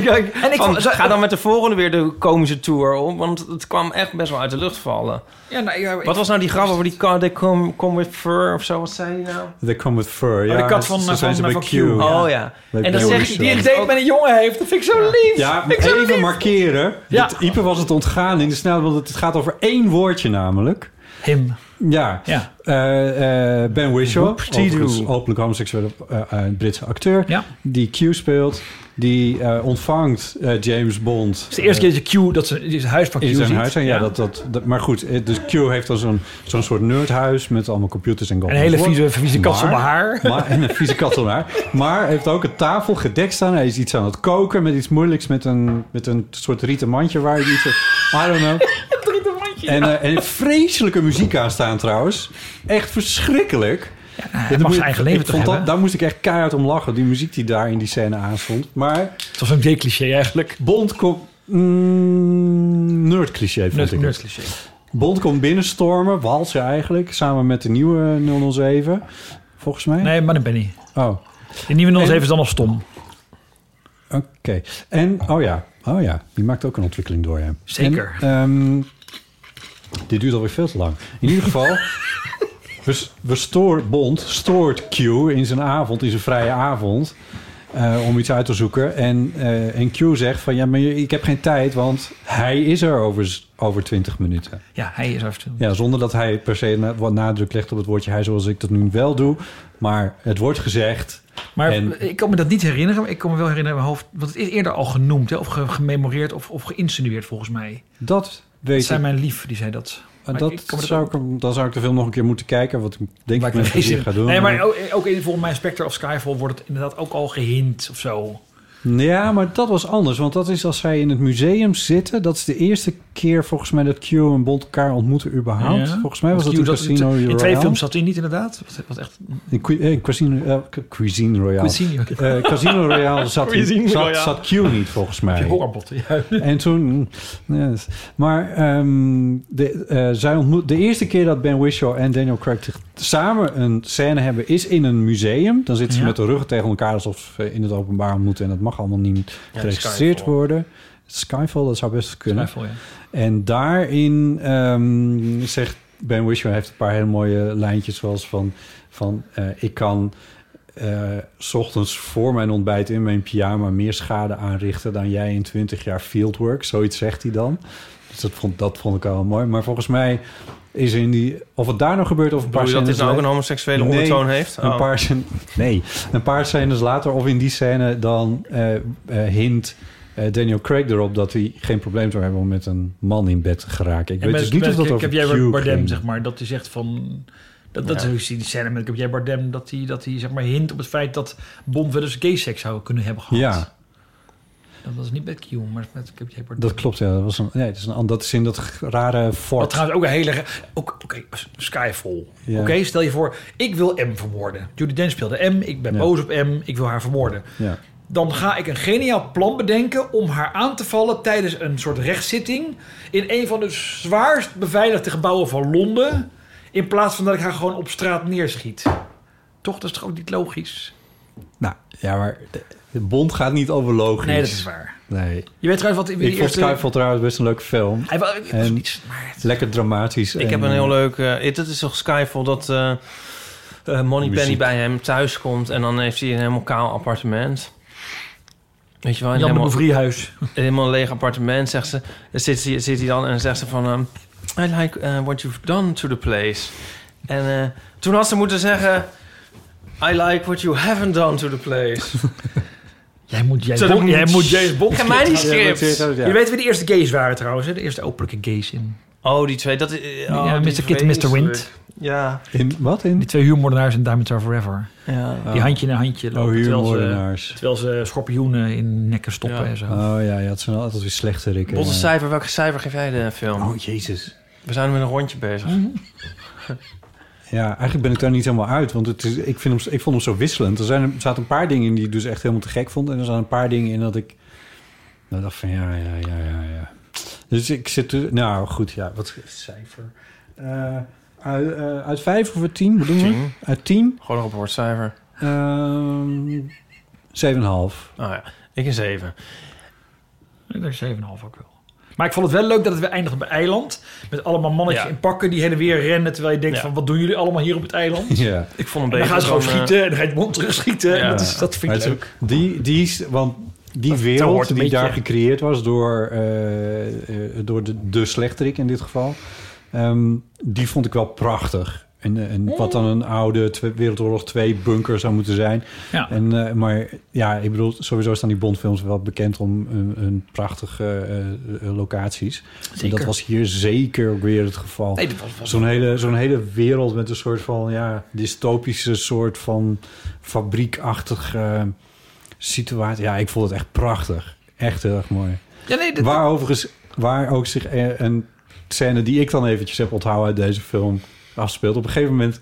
denk, En ik van, vond- zo- ga dan met de volgende weer de komische tour op, want het kwam echt best wel uit de lucht vallen. Ja, nou, ja, ik- Wat was nou die grap over die car they come, come with fur of zo? Wat zei die nou? They come with fur. de ja, kat van- zo van- zijn ze van bij Q. Q. Oh, ja. Bij En dan Barry zeg je- Swan. die- date met een jongen heeft. Dat vind ik zo lief. Ja, Vind ik zo even lief. markeren. Ja. Dat Ipe was het ontgaan in de snelheid, want het gaat over één woordje namelijk. Him. Ja. Ja. Eh, eh, ben Whishaw, Whoop-dee-doo. overigens openlijk homoseksuele eh, eh, Britse acteur, Ja. die Q speelt, die eh, ontvangt eh, James Bond. Het is de eerste keer dat je Q, dat ze is het huis van Q in zijn ziet. huis. En ja, Dat, dat, dat- maar goed, eh, dus Q heeft dan zo'n zo'n soort nerdhuis met allemaal computers en Een hele golf- vieze- vieze kat Maar- zonder haar. Maar, en een vieze kat zonder haar. Maar hij heeft ook een tafel gedekt staan. Hij is iets aan het koken met iets moeilijks, met een, met een soort rieten mandje waar hij iets... I don't know. En, eh, en vreselijke muziek aan staan trouwens. Echt verschrikkelijk. hij nou, Dat mag moet- zijn eigen leven ik toch vond dat, hebben? Daar moest ik echt keihard om lachen. Die muziek die daar in die scène aanstond. Maar... Het was een J-cliché eigenlijk. Bond komt... Mm, nerd cliché vond Nerd- ik het. nerdcliché. Bond komt binnenstormen. Walsen eigenlijk. Samen met de nieuwe 007. Volgens mij. Nee, maar dan ben ik. Oh. De nieuwe 07 is dan nog stom. Oké. En, oh ja, oh ja, die maakt ook een ontwikkeling door hem. Zeker. En, ehm, dit duurt alweer veel te lang. In ieder geval, we, we stoor, Bond stoort Q in zijn avond, in zijn vrije avond, eh, om iets uit te zoeken. En, eh, en Q zegt van, ja, maar je- ik heb geen tijd, want hij is er over, s- over 20 minuten. Ja, hij is af. Ja, zonder dat hij per se na- wat nadruk legt op het woordje hij, zoals ik dat nu wel doe. Maar het wordt gezegd. Maar en- ik kan me dat niet herinneren. maar Ik kan me wel herinneren in mijn hoofd. Want het is eerder al genoemd. Hè, of ge- gememoreerd of, of geïnsinueerd volgens mij. Dat weet Het zijn ik. mijn lief, die zei dat. Maar Maar dat ik kan me zou ik, hem- dan zou ik de film nog een keer moeten kijken. Wat ik denk ik met Deze- deze ga doen. Nee, maar ook, ook in, volgens mij Spectre of Skyfall wordt het inderdaad ook al gehint of zo. Ja, maar dat was anders. Want dat is als zij in het museum zitten. Dat is de eerste keer volgens mij dat Q en Bond elkaar ontmoeten überhaupt. Ja. Volgens mij was Want dat in Q Casino in, Royale. in twee films zat hij niet inderdaad. Wat, wat echt In, Cu- eh, Casino, eh, Cuisine Royale. Cuisine. Eh, Casino Royale zat, Cuisine zat, Royale. zat Q niet volgens mij. horrorbot. Ja. En toen... mm, yes. Maar ehm, de, eh, zij ontmoet, de eerste keer dat Ben Whishaw en Daniel Craig te- samen een scène hebben... is in een museum. Dan zitten ze Ja. met de ruggen tegen elkaar alsof ze in het openbaar ontmoeten. En dat mag allemaal niet Ja, geregistreerd Skyfall. worden. Skyfall, dat zou best kunnen. Skyfall, ja. En daarin ehm, zegt Ben Whishaw heeft een paar hele mooie lijntjes zoals van, van eh, ik kan eh, s ochtends voor mijn ontbijt in mijn pyjama meer schade aanrichten dan jij in 20 jaar fieldwork. Zoiets zegt hij dan. Dus dat vond, dat vond ik al wel mooi. Maar volgens mij is in die of het daar nog gebeurt of een paar Bedoel je dat dit scènes nou ook la- een homoseksuele ondertoon heeft? Een Oh. paar scènes- nee, een paar scènes later of in die scène dan eh, eh, hint eh, Daniel Craig erop dat hij geen probleem zou hebben om met een man in bed te geraken. Ik Ja, weet maar dus dat- niet of dat ik, over ik heb jij Q Bardem, ging. zeg maar, dat hij zegt van... Dat, dat Ja. is die scène met ik heb jij Bardem, dat hij, dat hij zeg maar hint op het feit dat Bond wel eens gay seks zou kunnen hebben gehad. Ja. Dat was niet met Q, maar met ik heb jij Bardem. Dat klopt, ja. Dat, was een, nee, dat, is een, ander- dat is in dat g- rare fort. Wat trouwens ook een hele... ge- ook- Oké, Skyfall. Ja. Oké, stel je voor, ik wil M vermoorden. Judy Dench speelde M, ik ben Ja. boos op M, ik wil haar vermoorden. Ja. Dan ga ik een geniaal plan bedenken om haar aan te vallen tijdens een soort rechtszitting in een van de zwaarst beveiligde gebouwen van Londen. In plaats van dat ik haar gewoon op straat neerschiet. Toch, dat is toch ook niet logisch? Nou, ja, maar de, de Bond gaat niet over logisch. Nee, dat is waar. Nee. Je weet trouwens wat in de Ik vond eerste- Skyfall trouwens best een leuke film. Hij wa- het was En niets, maar Lekker dramatisch. Ik heb een heel leuk... eh dat is toch Skyfall dat eh Penny Muziek. bij hem thuis komt... en dan heeft hij een helemaal kaal appartement. Weet je wel, Jan de Boevriehuis. Helemaal een leeg appartement, zegt ze. Dan Zit, ze- zit hij dan en zegt ze van... ehm, I like eh, what you've done to the place. En eh, toen had ze moeten zeggen... I like what you haven't done to the place. Jij moet, jij, Zodat Bond- ik jij niet- moet James Bond Ik heb mij niet script houden. script. Je weet wie de eerste gays waren trouwens, hè? De eerste openlijke gays in... Oh, die twee. Dat, is- oh, ja, die Mr. Kid en Mr. Wind. vreselijk. Ja. In, wat in? Die twee huurmoordenaars in Diamonds Are Forever. Ja. Die handje na handje lopen. Oh, terwijl ze- huurmoordenaars. Terwijl ze, schorpioenen in nekken stoppen en zo. Oh ja, ja het zijn altijd weer slechte rikken. Botte Ja. cijfer, welke cijfer geef jij de film? Oh, jezus. We zijn met een rondje bezig. Ja, eigenlijk ben ik daar niet helemaal uit. Want het is, ik, vind hem, ik vond hem zo wisselend. Er, zijn, er zaten een paar dingen in die ik dus echt helemaal te gek vond. En er zaten een paar dingen in dat ik... Nou, dacht van ja, ja, ja, ja, ja. Dus ik zit... er- Nou, goed, ja. Wat is het cijfer? Eh, uit, eh, uit vijf of uit tien? Wat doen we? Tien. Uit tien? Gewoon nog een woordcijfer. Ehm, Zeven en een half. Nou ja, ik een 7. Ik denk 7,5 ook wel. Maar ik vond het wel leuk dat het weer eindigt op een eiland. Met allemaal mannetjes Ja. in pakken die heen en weer rennen. Terwijl je denkt Ja. van, wat doen jullie allemaal hier op het eiland? Ja. Ik vond hem En beter. dan gaan ze gewoon dan, eh, schieten en dan ga je het mond terug schieten. Ja. En dat, is, dat vind ik Maar het leuk. is ook- Die, die, is- want die wereld hoort een die beetje. daar gecreëerd was door, eh, eh, door de, de slechterik in dit geval... ehm, die vond ik wel prachtig. En, eh, en wat dan een oude Twe- Wereldoorlog 2 bunker zou moeten zijn. Ja. En, eh, maar ja, ik bedoel, sowieso staan die Bondfilms wel bekend om hun, hun prachtige eh, eh, locaties. En Zeker. dat was hier zeker weer het geval. Nee, dat was- was- Zo'n hele, zo'n hele wereld met een soort van ja, dystopische soort van fabriekachtige eh, situatie. Ja, ik vond het echt prachtig. Echt heel erg mooi. Ja, nee, dat- waar overigens, waar ook zich eh, een scène die ik dan eventjes heb onthouden uit deze film afspeelt. Op een gegeven moment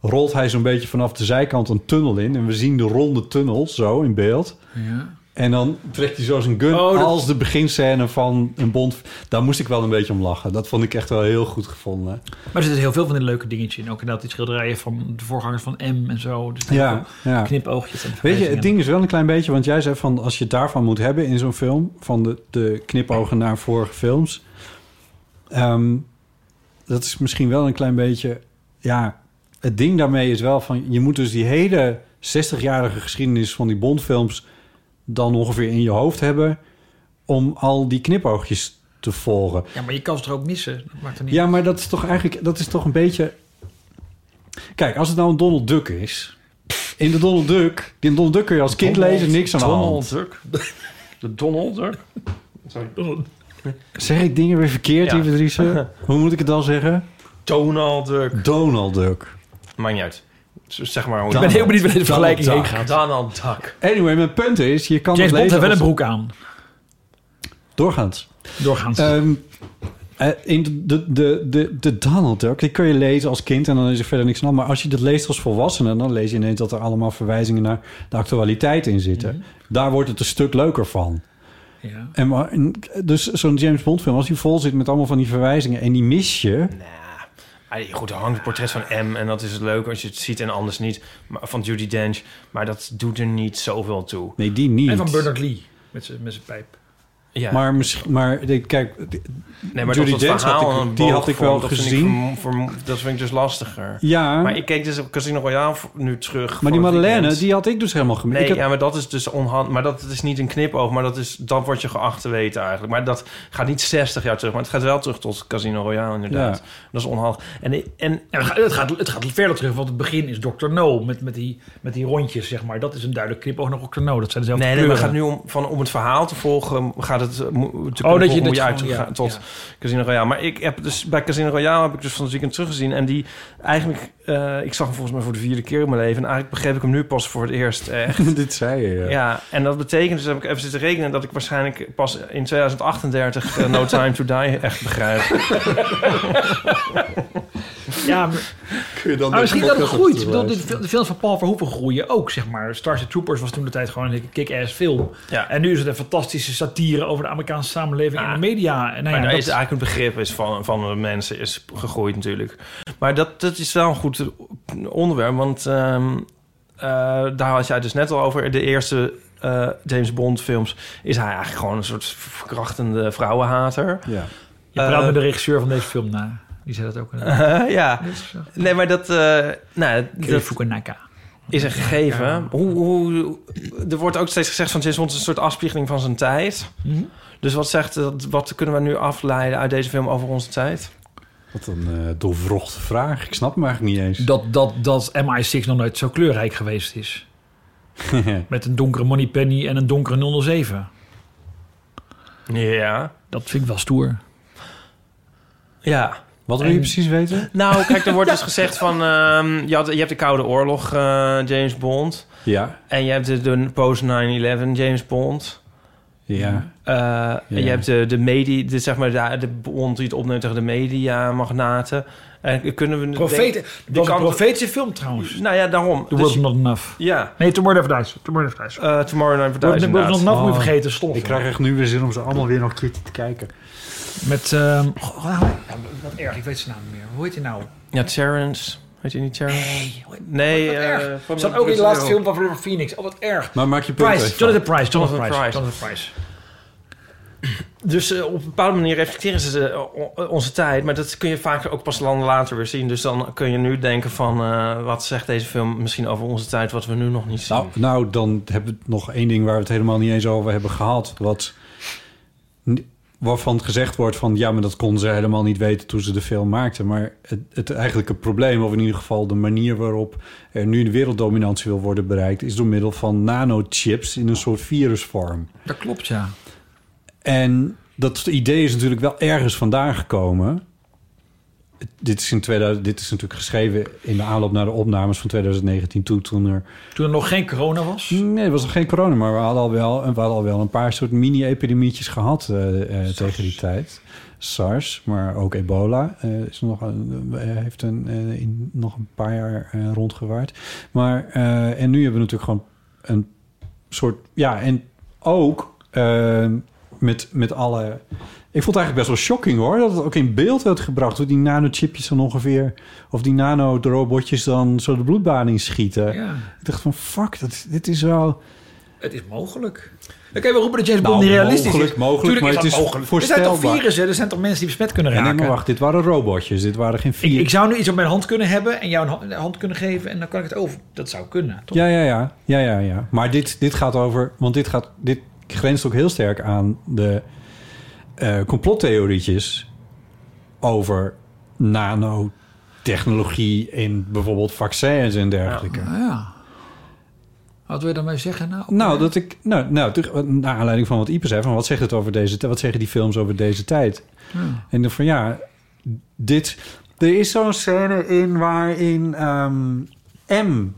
rolt hij zo'n beetje vanaf de zijkant een tunnel in. En we zien de ronde tunnel zo in beeld. Ja. En dan trekt hij zo zijn gun Oh, dat- als de beginscène van een Bond. Daar moest ik wel een beetje om lachen. Dat vond ik echt wel heel goed gevonden. Maar er zitten heel veel van die leuke dingetjes in. Ook inderdaad die schilderijen van de voorgangers van M en zo. Dus Ja, ja. Knipoogjes en Weet je, verwijzingen. het ding is wel een klein beetje, want jij zei van als je het daarvan moet hebben in zo'n film, van de, de knipogen naar vorige films, ehm, dat is misschien wel een klein beetje, ja, het ding daarmee is wel van je moet dus die hele 60-jarige geschiedenis van die Bondfilms dan ongeveer in je hoofd hebben om al die knipoogjes te volgen. Ja, maar je kan ze er ook missen. Dat maakt er niet Ja, maar dat is toch eigenlijk, dat is toch een beetje. Kijk, als het nou een Donald Duck is. In de Donald Duck, in Donald Duck kun je als kind lezen niks aan de Donald hand. Duck. De Donald Duck. Sorry. Zeg ik dingen weer verkeerd, Ja. ja. Hoe moet ik het dan zeggen? Donald Duck. Donald Duck. Maakt niet uit. Z- Zeg maar hoe Ik ben heel benieuwd waar deze vergelijking Donald heen Duck. Donald Duck. Anyway, mijn punt is, je kan James het Bond lezen heeft wel een broek als- aan. Doorgaans. Doorgaans. Ehm, eh, in de, de, de, de Donald Duck, die kun je lezen als kind en dan is er verder niks aan. Maar als je dat leest als volwassene, dan lees je ineens dat er allemaal verwijzingen naar de actualiteit in zitten. Daar wordt het een stuk leuker van. Mhm. Ja. En maar, en, dus zo'n James Bond film, als die vol zit met allemaal van die verwijzingen en die mis je. Ah, Goed, er hangt het portret van M en dat is leuk als je het ziet en anders niet. Maar, van Judy Dench. Maar dat doet er niet zoveel toe. Nee, die niet. En van Bernard Lee met zijn met zijn pijp. Ja. Maar, misschien, maar de- kijk, de- Nee, maar Judi dat was het Dench had verhaal ik- aan een die boog had ik wel vorm, dat vind ik gezien. vermo- vermo- dat vind ik dus lastiger. Ja. Maar ik keek dus op Casino Royale v- nu terug. maar die voor het Madeleine, weekend. die had ik dus helemaal gemist. Nee, ik heb- ja, maar dat is dus onhand. Maar dat is niet een knipoog, maar dat is dan word je geacht te weten eigenlijk. Maar dat gaat niet 60 jaar terug, maar het gaat wel terug tot Casino Royale inderdaad. Ja. Dat is onhandig. En, en, Ja, het, gaat, het, gaat, het gaat verder terug, want het begin is Dr. No met, met, die, met die rondjes, zeg maar. Dat is een duidelijk knipoog naar Dr. No. Dat zijn dezelfde nee, nee, maar kleuren. het gaat nu om van om het verhaal te volgen. Gaat het eh, mo- te kunnen dat je volgen, dit moet je uit gewoon- te ja, gaan tot ja. Casino Royale. Maar ik heb dus bij Casino Royale heb ik dus van het weekend teruggezien en die eigenlijk eh, ik zag hem volgens mij voor de vierde keer in mijn leven en eigenlijk begreep ik hem nu pas voor het eerst echt. Dit zei je, ja. Ja, en dat betekent, dus heb ik even zitten rekenen... dat ik waarschijnlijk pas in 2038 eh, No Time To Die echt begrijp. Ja, maar, Kun je dan maar misschien deze dat het podcast groeit. Ik opzetten, bedoel, de, fil- de films van Paul Verhoeven groeien ook, zeg maar. Starship Troopers was toen de tijd gewoon een kick-ass film. En nu is het een fantastische satire over de Amerikaanse samenleving en de media. En nou maar ja, daar dat, is eigenlijk het begrip is van, van de mensen is gegroeid natuurlijk. Maar dat, dat is wel een goed onderwerp, want ehm, eh, daar had jij dus net al over. De eerste eh, James Bond films is hij eigenlijk gewoon een soort verkrachtende vrouwenhater. Ja. je praat Eh, met de regisseur van deze film na. Die zei dat ook. ja. Nee, maar dat... eh nou, Fukunaga. is een gegeven. Hoe, hoe, er wordt ook steeds gezegd van James Bond is een soort afspiegeling van zijn tijd. Mhm. Dus wat, zegt, dat- wat kunnen we nu afleiden uit deze film over onze tijd? Wat een eh doorwrochte vraag. Ik snap hem eigenlijk niet eens. Dat, dat, dat MI6 nog nooit zo kleurrijk geweest is. Met een donkere Moneypenny en een donkere 007. Ja. Dat vind ik wel stoer. Ja. Wat wil je precies weten? Nou, kijk, er wordt dus gezegd van... ehm, je, had, je hebt de Koude Oorlog, eh, James Bond. Ja. En je hebt de, de post-9-11 James Bond. Ja. Eh, En je Ja. hebt de, de media, de, zeg maar, de, de Bond die het opneemt tegen de media-magnaten. En kunnen we... die Profeten. Dat was een kant- profetische film trouwens. Nou ja, daarom. The World Not Enough. Ja. Nee, Tomorrow Never Dies. Tomorrow Never Dies. Eh, Tomorrow Never World Dies, Not- World Not inderdaad. Enough moet je vergeten. Stom. Ik krijg echt nu weer zin om ze allemaal weer nog een keertje te kijken. Met... ehm, goh, nou, nou, wat erg. Ik weet zijn naam niet meer. Hoe heet hij nou? Ja, Terrence. Weet je niet Terrence? Nee. Nee. Wat eh, erg. van Zat de- ook in de laatste Brazil. film van River Phoenix. Oh, wat erg. Maar maak je punt Price. even. Jonathan Price. Jonathan Jonathan Price. Price. Jonathan Price. Dus eh, op een bepaalde manier reflecteren ze eh, o- onze tijd. Maar dat kun je vaak ook pas lang later weer zien. Dus dan kun je nu denken van... eh, wat zegt deze film misschien over onze tijd... wat we nu nog niet zien? Nou, nou, dan hebben we nog één ding waar we het helemaal niet eens over hebben gehad. Wat, waarvan gezegd wordt van... ja, maar dat konden ze helemaal niet weten toen ze de film maakten. Maar het, het eigenlijke probleem, of in ieder geval de manier waarop... er nu de werelddominantie wil worden bereikt... is door middel van nanochips in een soort virusvorm. Dat klopt, ja. En dat idee is natuurlijk wel ergens vandaan gekomen. Het- Dit is, in 2000, dit is natuurlijk geschreven in de aanloop naar de opnames van 2019 toe, toen er... Toen er nog geen corona was? Nee, er was nog geen corona, maar we hadden al wel, we hadden al wel een paar soort mini-epidemietjes gehad eh, eh, tegen die tijd. SARS, maar ook ebola eh, is nog een, eh, heeft een, eh, in, nog een paar jaar eh, rondgewaard. Maar, eh, en nu hebben we natuurlijk gewoon een soort... Ja, en ook eh, met, met alle... Ik vond het eigenlijk best wel shocking hoor, dat het ook in beeld werd gebracht... hoe die nanochipjes dan ongeveer, of die nanorobotjes dan zo de bloedbaan inschieten. Ja. Ik dacht van, fuck, dat, dit is wel... Het is mogelijk. Oké, we roepen dat James Bond Nou, niet realistisch mogelijk, is. mogelijk, Tuurlijk maar is het dat is mogelijk. Er zijn toch voorstelbaar. virussen, er zijn toch mensen die besmet kunnen En nee, raken. maar wacht, dit waren robotjes. Dit waren geen vier. ik, ik zou nu iets op mijn hand kunnen hebben en jou een hand- hand kunnen geven en dan kan ik het over. Dat zou kunnen. Toch? Ja, ja, ja. ja, ja, ja. Maar dit, dit gaat over... Want dit, gaat, dit grenst ook heel sterk aan de eh, complottheorietjes... over nanotechnologie in bijvoorbeeld vaccins Nou, en dergelijke. ja. Wat wil je daarmee zeggen? Nou, Nou, dat ik, nou, nou, terug- naar aanleiding van wat Ieper zei... Van wat, zegt het over deze, wat zeggen die films over deze tijd? Ah. En dan van ja, dit. Er is zo'n scène in waarin ehm, M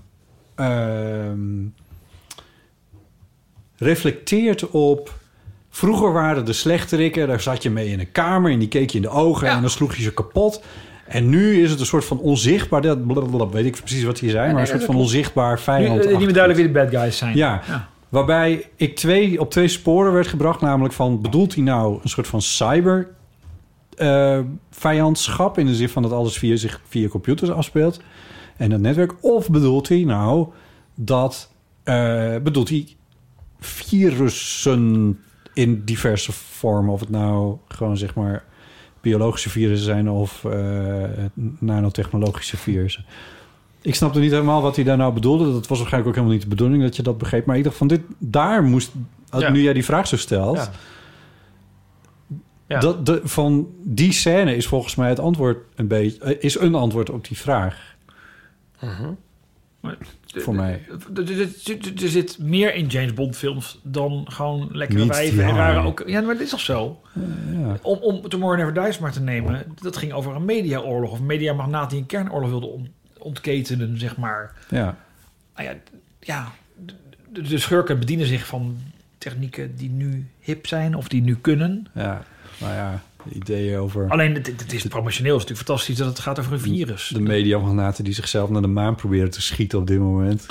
ehm, reflecteert op. Vroeger waren de slechterikken, daar zat je mee in een kamer en die keek je in de ogen en dan sloeg je ze kapot. En nu is het een soort van onzichtbaar, dat blablabla, weet ik precies wat hij zei, Ja, maar nee, een soort dat van klopt. onzichtbaar Nu, eh, vijand. niet meer duidelijk wie de bad guys zijn. Ja. Waarbij ik twee, op twee sporen werd gebracht. Namelijk van, bedoelt hij nou een soort van cyber eh, vijandschap... in de zin van dat alles via, zich via computers afspeelt en dat netwerk? Of bedoelt hij nou dat... eh, bedoelt hij virussen in diverse vormen? Of het nou gewoon zeg maar biologische virussen zijn of eh, nanotechnologische virussen. Ik snapte niet helemaal wat hij daar nou bedoelde. Dat was waarschijnlijk ook helemaal niet de bedoeling dat je dat begreep. Maar ik dacht van dit, daar moest, als Ja. nu jij die vraag zo stelt. Ja. Ja. Dat de, van die scène is volgens mij het antwoord een beetje, eh, is een antwoord op die vraag. Voor mij. Er, er- Mhm. er- er zit meer in James Bond films dan gewoon lekkere Niet, wijven. en ja. rare ook, ja, maar dit is toch zo? ja. Om, om Tomorrow Never Dies maar te nemen. Dat ging over een mediaoorlog. Of een mediamagnaat die een kernoorlog wilde on- ontketenen, zeg maar. Ja. Nou ja, d- ja d- d- de schurken bedienen zich van technieken die nu hip zijn of die nu kunnen. Ja, nou ja, de ideeën over... Alleen het, het is promotioneel. Het is natuurlijk fantastisch dat het gaat over een virus. De mediamagnaten die zichzelf naar de maan proberen te schieten op dit moment.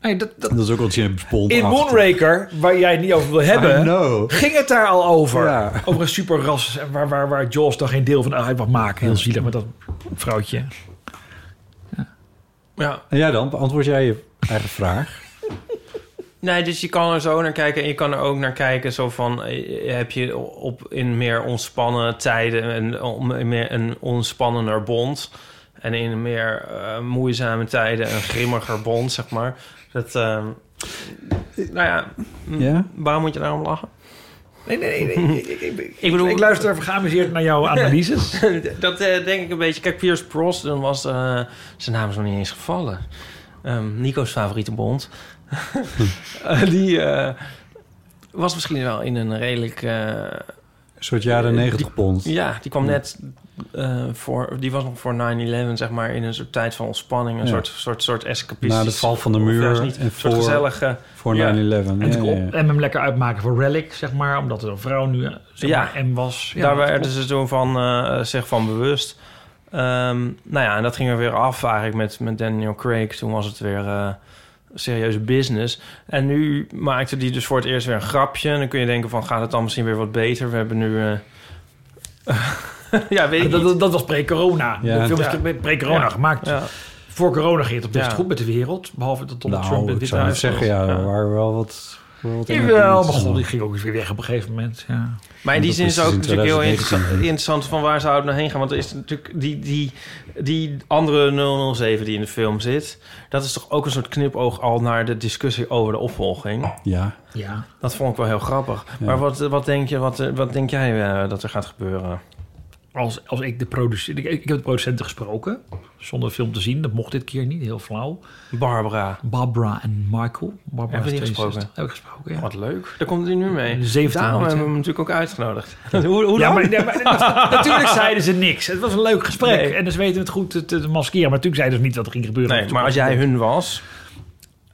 Nee, dat, Dat is ook wat je bond in Moonraker, waar jij het niet over wil I hebben, know. ging het daar al over. Ja. Over een superras en waar, waar, waar Jaws dan geen deel van uit mag maken. Heel zielig met dat vrouwtje. Ja. En jij dan? Beantwoord jij je eigen vraag? Nee, dus je kan er zo naar kijken. En je kan er ook naar kijken zo van... eh, heb je op, in meer ontspannen tijden... en om- in meer een ontspannender bond... En in meer eh, moeizame tijden een grimmiger bond, zeg maar. Dat, ehm, nou ja, m- Ja? waarom moet je daarom lachen? Nee, nee, nee. Ik, ik, ik, Ik bedoel- ik luister geamuseerd naar jouw analyses. dat eh, denk ik een beetje. Kijk, Pierce Brosnan was... eh, zijn naam is nog niet eens gevallen. Ehm, Nico's favoriete bond. Eh, die eh, was misschien wel in een redelijk... eh, Een soort jaren eh, 90 die- pond. Ja, die kwam net eh, voor... Die was nog voor 9-11, zeg maar, in een soort tijd van ontspanning. Een Ja. soort, soort, soort escapistisch... Na de val van de of muur juist niet, en een soort voor- gezellige... voor ja. 9-11. En, Ja, het- ja, ja. en hem lekker uitmaken voor Relic, zeg maar. Omdat er een vrouw nu eh, zeg Ja. maar, M was. Daar dat werden klopt. ze toen van, eh, zich van bewust. Ehm, nou ja, en dat ging er weer af eigenlijk met, met Daniel Craig. Toen was het weer eh, serieuze business. En nu maakte die dus voor het eerst weer een grapje. En dan kun je denken van, gaat het dan misschien weer wat beter? We hebben nu... eh, ja, weet ik dat, niet. dat, dat was pre-corona. Ja. De film is Ja. natuurlijk pre-corona Ja. gemaakt. Ja. Voor corona ging het op best Ja. goed met de wereld. Behalve dat Donald Trump het Nou, ik wit zou net huis zeggen, ja, was. er waren wel wat... wat Jawel, maar god, die ging ook eens weer weg op een gegeven moment. Ja. Maar in die zin is het ook natuurlijk heel interessant, 2019. interessant van waar zou het nou heen gaan. Want er is natuurlijk die, die, die andere 007 die in de film zit. Dat is toch ook een soort knipoog al naar de discussie over de opvolging. Ja. Ja. Dat vond ik wel heel grappig. Ja. Maar wat, wat, denk je, wat, wat denk jij eh, dat er gaat gebeuren? als, als ik de producent... Ik, ik heb de producenten gesproken, zonder de film te zien. Dat mocht dit keer niet, heel flauw. Barbara. Barbara en Michael. Barbara Hebben we die is 62. gesproken? Heb ik gesproken, ja. Wat leuk. Daar komt u nu mee. 17 Daarom maart, hebben we hè? hem natuurlijk ook uitgenodigd. hoe, ja, hoe dan? maar, nee, maar dat- natuurlijk zeiden ze niks. Het was een leuk gesprek. Nee. En dus weten we het goed te, te maskeren. Maar natuurlijk zeiden ze niet wat er ging gebeuren. Nee, maar als jij hun was...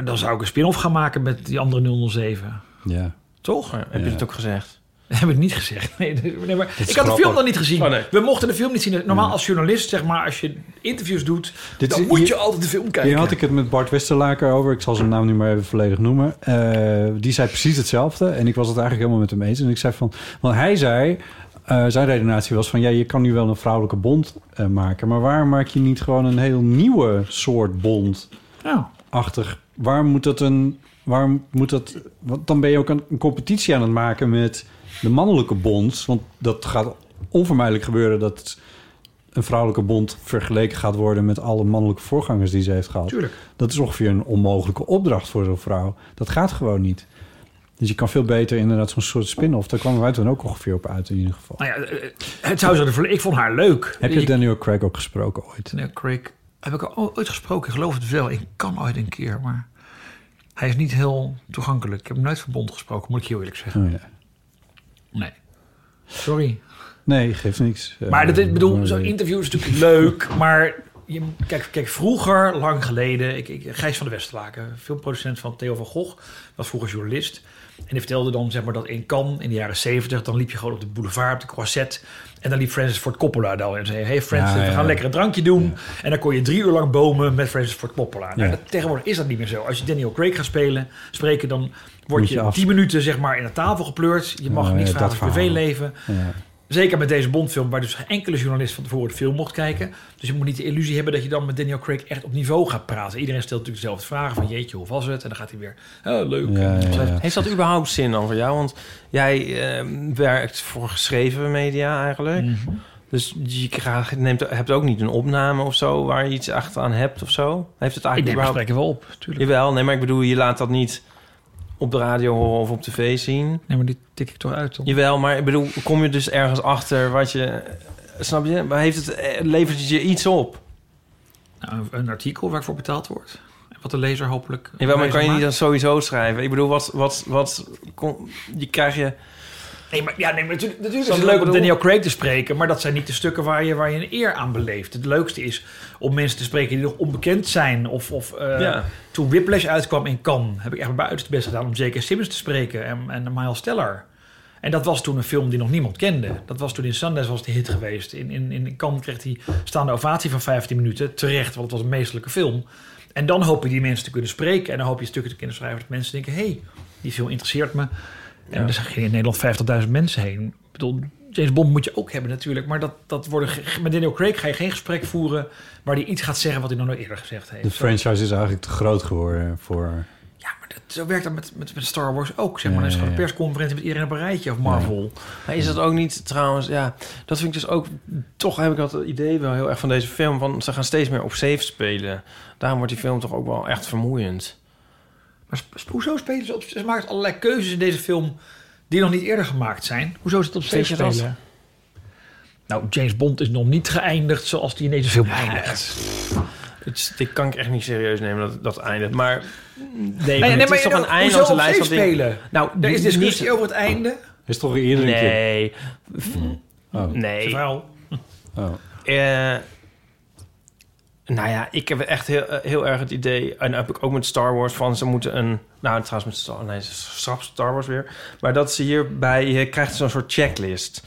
Dan zou ik een spin-off gaan maken met die andere 007. Ja. Toch? Heb je het ook gezegd? Heb ik niet gezegd. Nee, dus- nee, maar ik is had de grappig. film dan niet gezien. Oh, nee. We mochten de film niet zien. Normaal als journalist, zeg maar, als je interviews doet... Dit dan is- moet je hier- altijd de film kijken. Hier had ik het met Bart Westerlaker over. Ik zal zijn naam nu maar even volledig noemen. Eh, die zei precies hetzelfde. En ik was het eigenlijk helemaal met hem eens. En ik zei van... Want hij zei... eh, zijn redenatie was van... Ja, je kan nu wel een vrouwelijke bond eh, maken. Maar waarom maak je niet gewoon een heel nieuwe soort bond? Ja. Achtig. Waarom moet dat een... Waarom moet dat... Want dan ben je ook een, een competitie aan het maken met de mannelijke bond. Want dat gaat onvermijdelijk gebeuren dat een vrouwelijke bond vergeleken gaat worden met alle mannelijke voorgangers die ze heeft gehad. Tuurlijk. Dat is ongeveer een onmogelijke opdracht voor zo'n vrouw. Dat gaat gewoon niet. Dus je kan veel beter inderdaad zo'n soort spin-off. Daar kwamen wij toen ook ongeveer op uit in ieder geval. Nou ja, eh, het zou zo de verle- Ik vond haar leuk. Heb je Ik- Daniel Craig ook gesproken ooit? Daniel Craig heb ik al ooit gesproken. Ik geloof het wel. Ik kan ooit een keer, maar hij is niet heel toegankelijk. Ik heb hem nooit verbond gesproken, moet ik heel eerlijk zeggen. Oh, ja. Nee. Sorry. Nee, geeft niks. Maar Eh, dat is, bedoel, maar- zo'n interview is natuurlijk leuk, maar je, kijk, kijk, vroeger, lang geleden, ik, ik, Gijs van de Westerlaken, filmproducent van Theo van Gogh, was vroeger journalist. En die vertelde dan zeg maar, dat in Cannes in de jaren 70, dan liep je gewoon op de boulevard, op de croisette. En dan liep Francis Ford Coppola daar en zei: Hey Francis, Ja, we ja, gaan ja. lekker een drankje doen. En dan kon je drie uur lang bomen met Francis Ford Coppola. Nou, Ja. dat- tegenwoordig is dat niet meer zo. Als je Daniel Craig gaat spelen, spreken, dan word Moet je, je af- tien minuten zeg maar, in de tafel gepleurd. Je mag Oh, ja, niets vragen dat over je verhaal. privéleven. Ja. Zeker met deze Bondfilm, waar dus geen enkele journalist van tevoren de film mocht kijken. Dus je moet niet de illusie hebben dat je dan met Daniel Craig echt op niveau gaat praten. Iedereen stelt natuurlijk dezelfde vragen van jeetje, hoe was het? En dan gaat hij weer, oh, leuk. Heeft dat überhaupt zin dan voor jou? Want jij eh, werkt voor geschreven media eigenlijk. Mhm. Dus je krijgt, neemt, hebt ook niet een opname of zo waar je iets achteraan hebt of zo? Heeft het eigenlijk Ik neem überhaupt... gesprekken wel op, natuurlijk. Jawel, nee, maar ik bedoel, je laat dat niet op de radio horen of op tv zien. Nee, maar dit tik ik toch uit dan. Jawel, maar ik bedoel, kom je dus ergens achter wat je... Snap je? Maar heeft het, eh, levert het je iets op? Nou, een- een artikel waar ik voor betaald word. En Wat de lezer hopelijk... Jawel, maar kan je niet maakt. dat sowieso schrijven? Ik bedoel, wat... wat, wat kom, je krijg je... Nee, maar, ja, nee, maar natuurlijk, natuurlijk is Snap je het wat ik leuk om bedoel? Daniel Craig te spreken, maar dat zijn niet de stukken waar je, waar je een eer aan beleeft. Het leukste is om mensen te spreken die nog onbekend zijn. Of, of eh, Ja. toen Whiplash uitkwam in Cannes, heb ik echt mijn uiterste best gedaan om J.K. Simmons te spreken en, en Miles Teller. En dat was toen een film die nog niemand kende. Dat was toen in Sundance was het een hit geweest. In, in, in Cannes kreeg hij staande ovatie van 15 minuten. Terecht, want het was een meestelijke film. En dan hoop je die mensen te kunnen spreken. En dan hoop je stukken te kunnen schrijven dat mensen denken... hé, hey, die film interesseert me. En Ja. er gingen in Nederland 50.000 mensen heen. Ik bedoel, James Bond moet je ook hebben natuurlijk. Maar dat, dat worden, ge- met Daniel Craig ga je geen gesprek voeren... waar hij iets gaat zeggen wat hij nog nooit eerder gezegd heeft. De franchise is eigenlijk te groot geworden voor... Zo werkt dat met, met, met Star Wars ook, zeg maar. Ja, Dan is ja, gewoon een ja. persconferentie met iedereen op een rijtje of Marvel. Maar is dat ook niet trouwens, ja, dat vind ik dus ook, toch heb ik dat idee wel heel erg van deze film, van ze gaan steeds meer op safe spelen. Daarom wordt die film toch ook wel echt vermoeiend. Hoezo spelen ze op... Ze maken allerlei keuzes in deze film die nog niet eerder gemaakt zijn. Hoezo is het op Weet steeds je dat? spelen? Nou, James Bond is nog niet geëindigd zoals die in deze film eindigt. Het, is- dit kan ik echt niet serieus nemen, dat, dat eindigt. Maar nee, nee, het maar is toch je- een einde hoezo als de op lijst safe van dingen- spelen? Nou, Er is niet- discussie over het einde. Is toch eerder een keer? Nee. Oh. Nee. Eh, nou ja, ik heb echt heel, eh, heel erg het idee... en heb ik ook met Star Wars van... ze moeten een... nou, trouwens met Star, nee, straks Star Wars weer... maar dat ze hierbij... je krijgt zo'n soort checklist...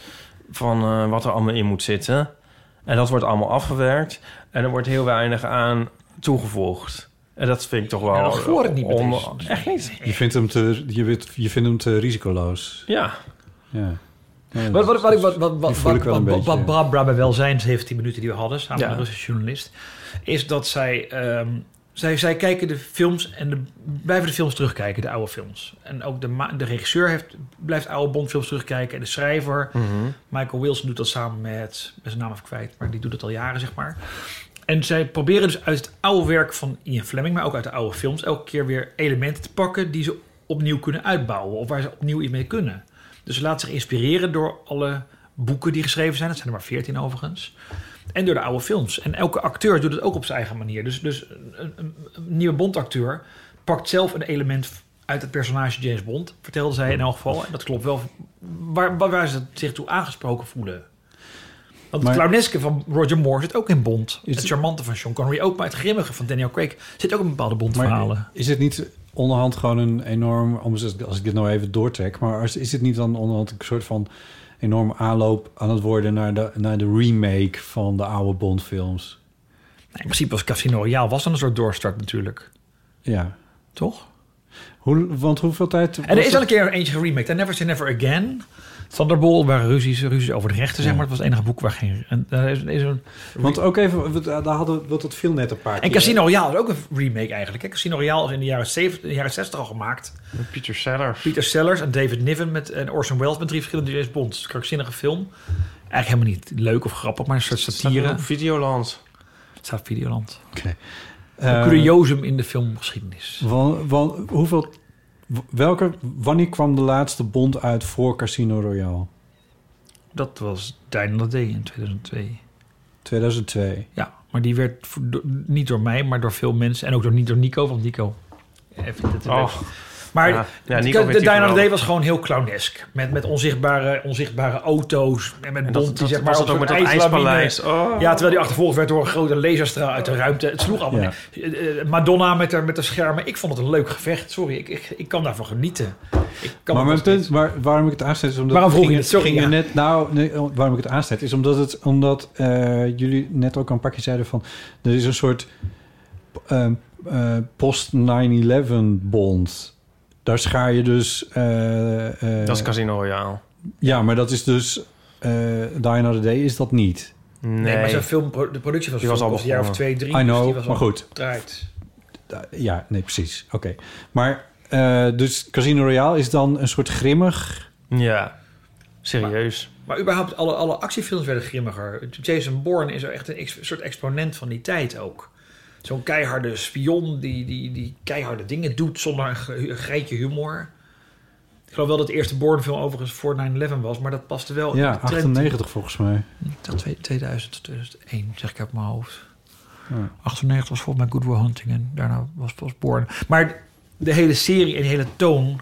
van eh, wat er allemaal in moet zitten. En dat wordt allemaal afgewerkt. En er wordt heel weinig aan toegevoegd. En dat vind ik toch wel... En dat voor het niet met on- deze. Echt niet. Je vindt hem te, je weet- je vindt hem te risicoloos. Ja. Ja. Ja, Wat, wat, wat, wat, wat, wat, Die voel ik wat, wel een wat, beetje, wat ja. Barbara bij Welzijn, 17 minuten die we hadden, samen Ja. met een Russische journalist, is dat zij, ehm, zij, zij kijken de films en de, blijven de films terugkijken, de oude films. En ook de, ma- de regisseur heeft, blijft oude Bondfilms terugkijken en de schrijver, Mhm. Michael Wilson, doet dat samen met, ik ben zijn naam even kwijt, maar die doet dat al jaren, zeg maar. En zij proberen dus uit het oude werk van Ian Fleming, maar ook uit de oude films, elke keer weer elementen te pakken die ze opnieuw kunnen uitbouwen of waar ze opnieuw iets mee kunnen. Dus ze laat zich inspireren door alle boeken die geschreven zijn. Dat zijn er maar veertien overigens. En door de oude films. En elke acteur doet het ook op zijn eigen manier. Dus, dus een, een, een nieuwe Bond-acteur pakt zelf een element uit het personage James Bond, vertelde zij in elk geval. En dat klopt wel, waar, waar, waar ze zich toe aangesproken voelen. Want Maar- het clowneske van Roger Moore zit ook in Bond. Is- het charmante van Sean Connery ook, maar het grimmige van Daniel Craig zit ook in bepaalde Bond-verhalen. Maar is het niet onderhand gewoon een enorm... Als ik- als ik dit nou even doortrek... maar als- is het niet dan onderhand een soort van enorm aanloop aan het worden... naar de, naar de remake van de oude Bondfilms? In principe was Casino Royale was dan een soort doorstart natuurlijk. Ja. Toch? Hoe, want hoeveel tijd... En er is al een dat- keer eentje geremaked. I Never Say Never Again. Thunderball, waar ruzies, ruzies over de rechten, zeg maar. Het was het enige boek waar geen... En, daar is, is een, Want ook even, we- daar hadden we want dat viel net een paar keer. en Casino Royale is ook een remake eigenlijk. hè. Casino Royale is in de jaren, 70, de jaren 60 al gemaakt. Met Peter Sellers. Peter Sellers en David Niven met, en Orson Welles met drie verschillende James Bonds. Krankzinnige film. Eigenlijk helemaal niet leuk of grappig, maar een soort satire. op Videoland. Het staat op Videoland. Oké. Een Eh, curiosum in de filmgeschiedenis. Wa- wa- hoeveel, w- welke, wanneer kwam de laatste Bond uit voor Casino Royale? Dat was Daniel Day in 2002. 2002. Ja, maar die werd v- do- niet door mij, maar door veel mensen. En ook door, niet door Nico, want Nico... Even dit Oh. Maar Ja. Ja, Nico de, vindt de die Dino geweldig. Day was gewoon heel clownesk. Met, met onzichtbare, onzichtbare auto's. En met En dat- Bond die dat zeg maar was op het ook zo'n met dat ijslawine- ijspaleis. Oh. Ja, terwijl die achtervolgd werd door een grote laserstraal uit de ruimte. Het sloeg allemaal Ja. neer. Eh, eh, Madonna met haar, met haar schermen. Ik vond het een leuk gevecht. Sorry, ik, ik, ik kan daarvan genieten. Ik kan maar het mijn punt waar, waarom ik het aanzet is omdat... Waarom vroeg je ging- het? Sorry, ging ja. net, nou, nee, waarom ik het aanzet is omdat, het, omdat eh, jullie net ook al een pakje zeiden van... Er is een soort ehm, eh, post-9-11 bond. Daar schaar je dus... eh, eh, dat is Casino Royale. Ja, maar dat is dus... eh Die Another Day is dat niet. Nee, Nee, maar zijn film, de productie van Die zijn was film al was een jaar of twee, drie. begonnen. I dus know, die was al maar goed. gedraaid. Ja, nee, precies. Oké. Maar eh, dus Casino Royale is dan een soort grimmig... Ja, serieus. Maar überhaupt, alle, alle actiefilms werden grimmiger. Jason Bourne is er echt een ex- soort exponent van die tijd ook. Zo'n keiharde spion die, die, die keiharde dingen doet zonder een, ge- een greintje humor. Ik geloof wel dat de eerste Bourne-film overigens voor 9-11 was, maar dat paste wel. in ja, de trend. 98 volgens mij. Dat twee- 2000, 2001, zeg ik uit mijn hoofd. Ja. 98 was volgens mij Good Will Hunting en daarna was pas Born. Maar de hele serie en de hele toon,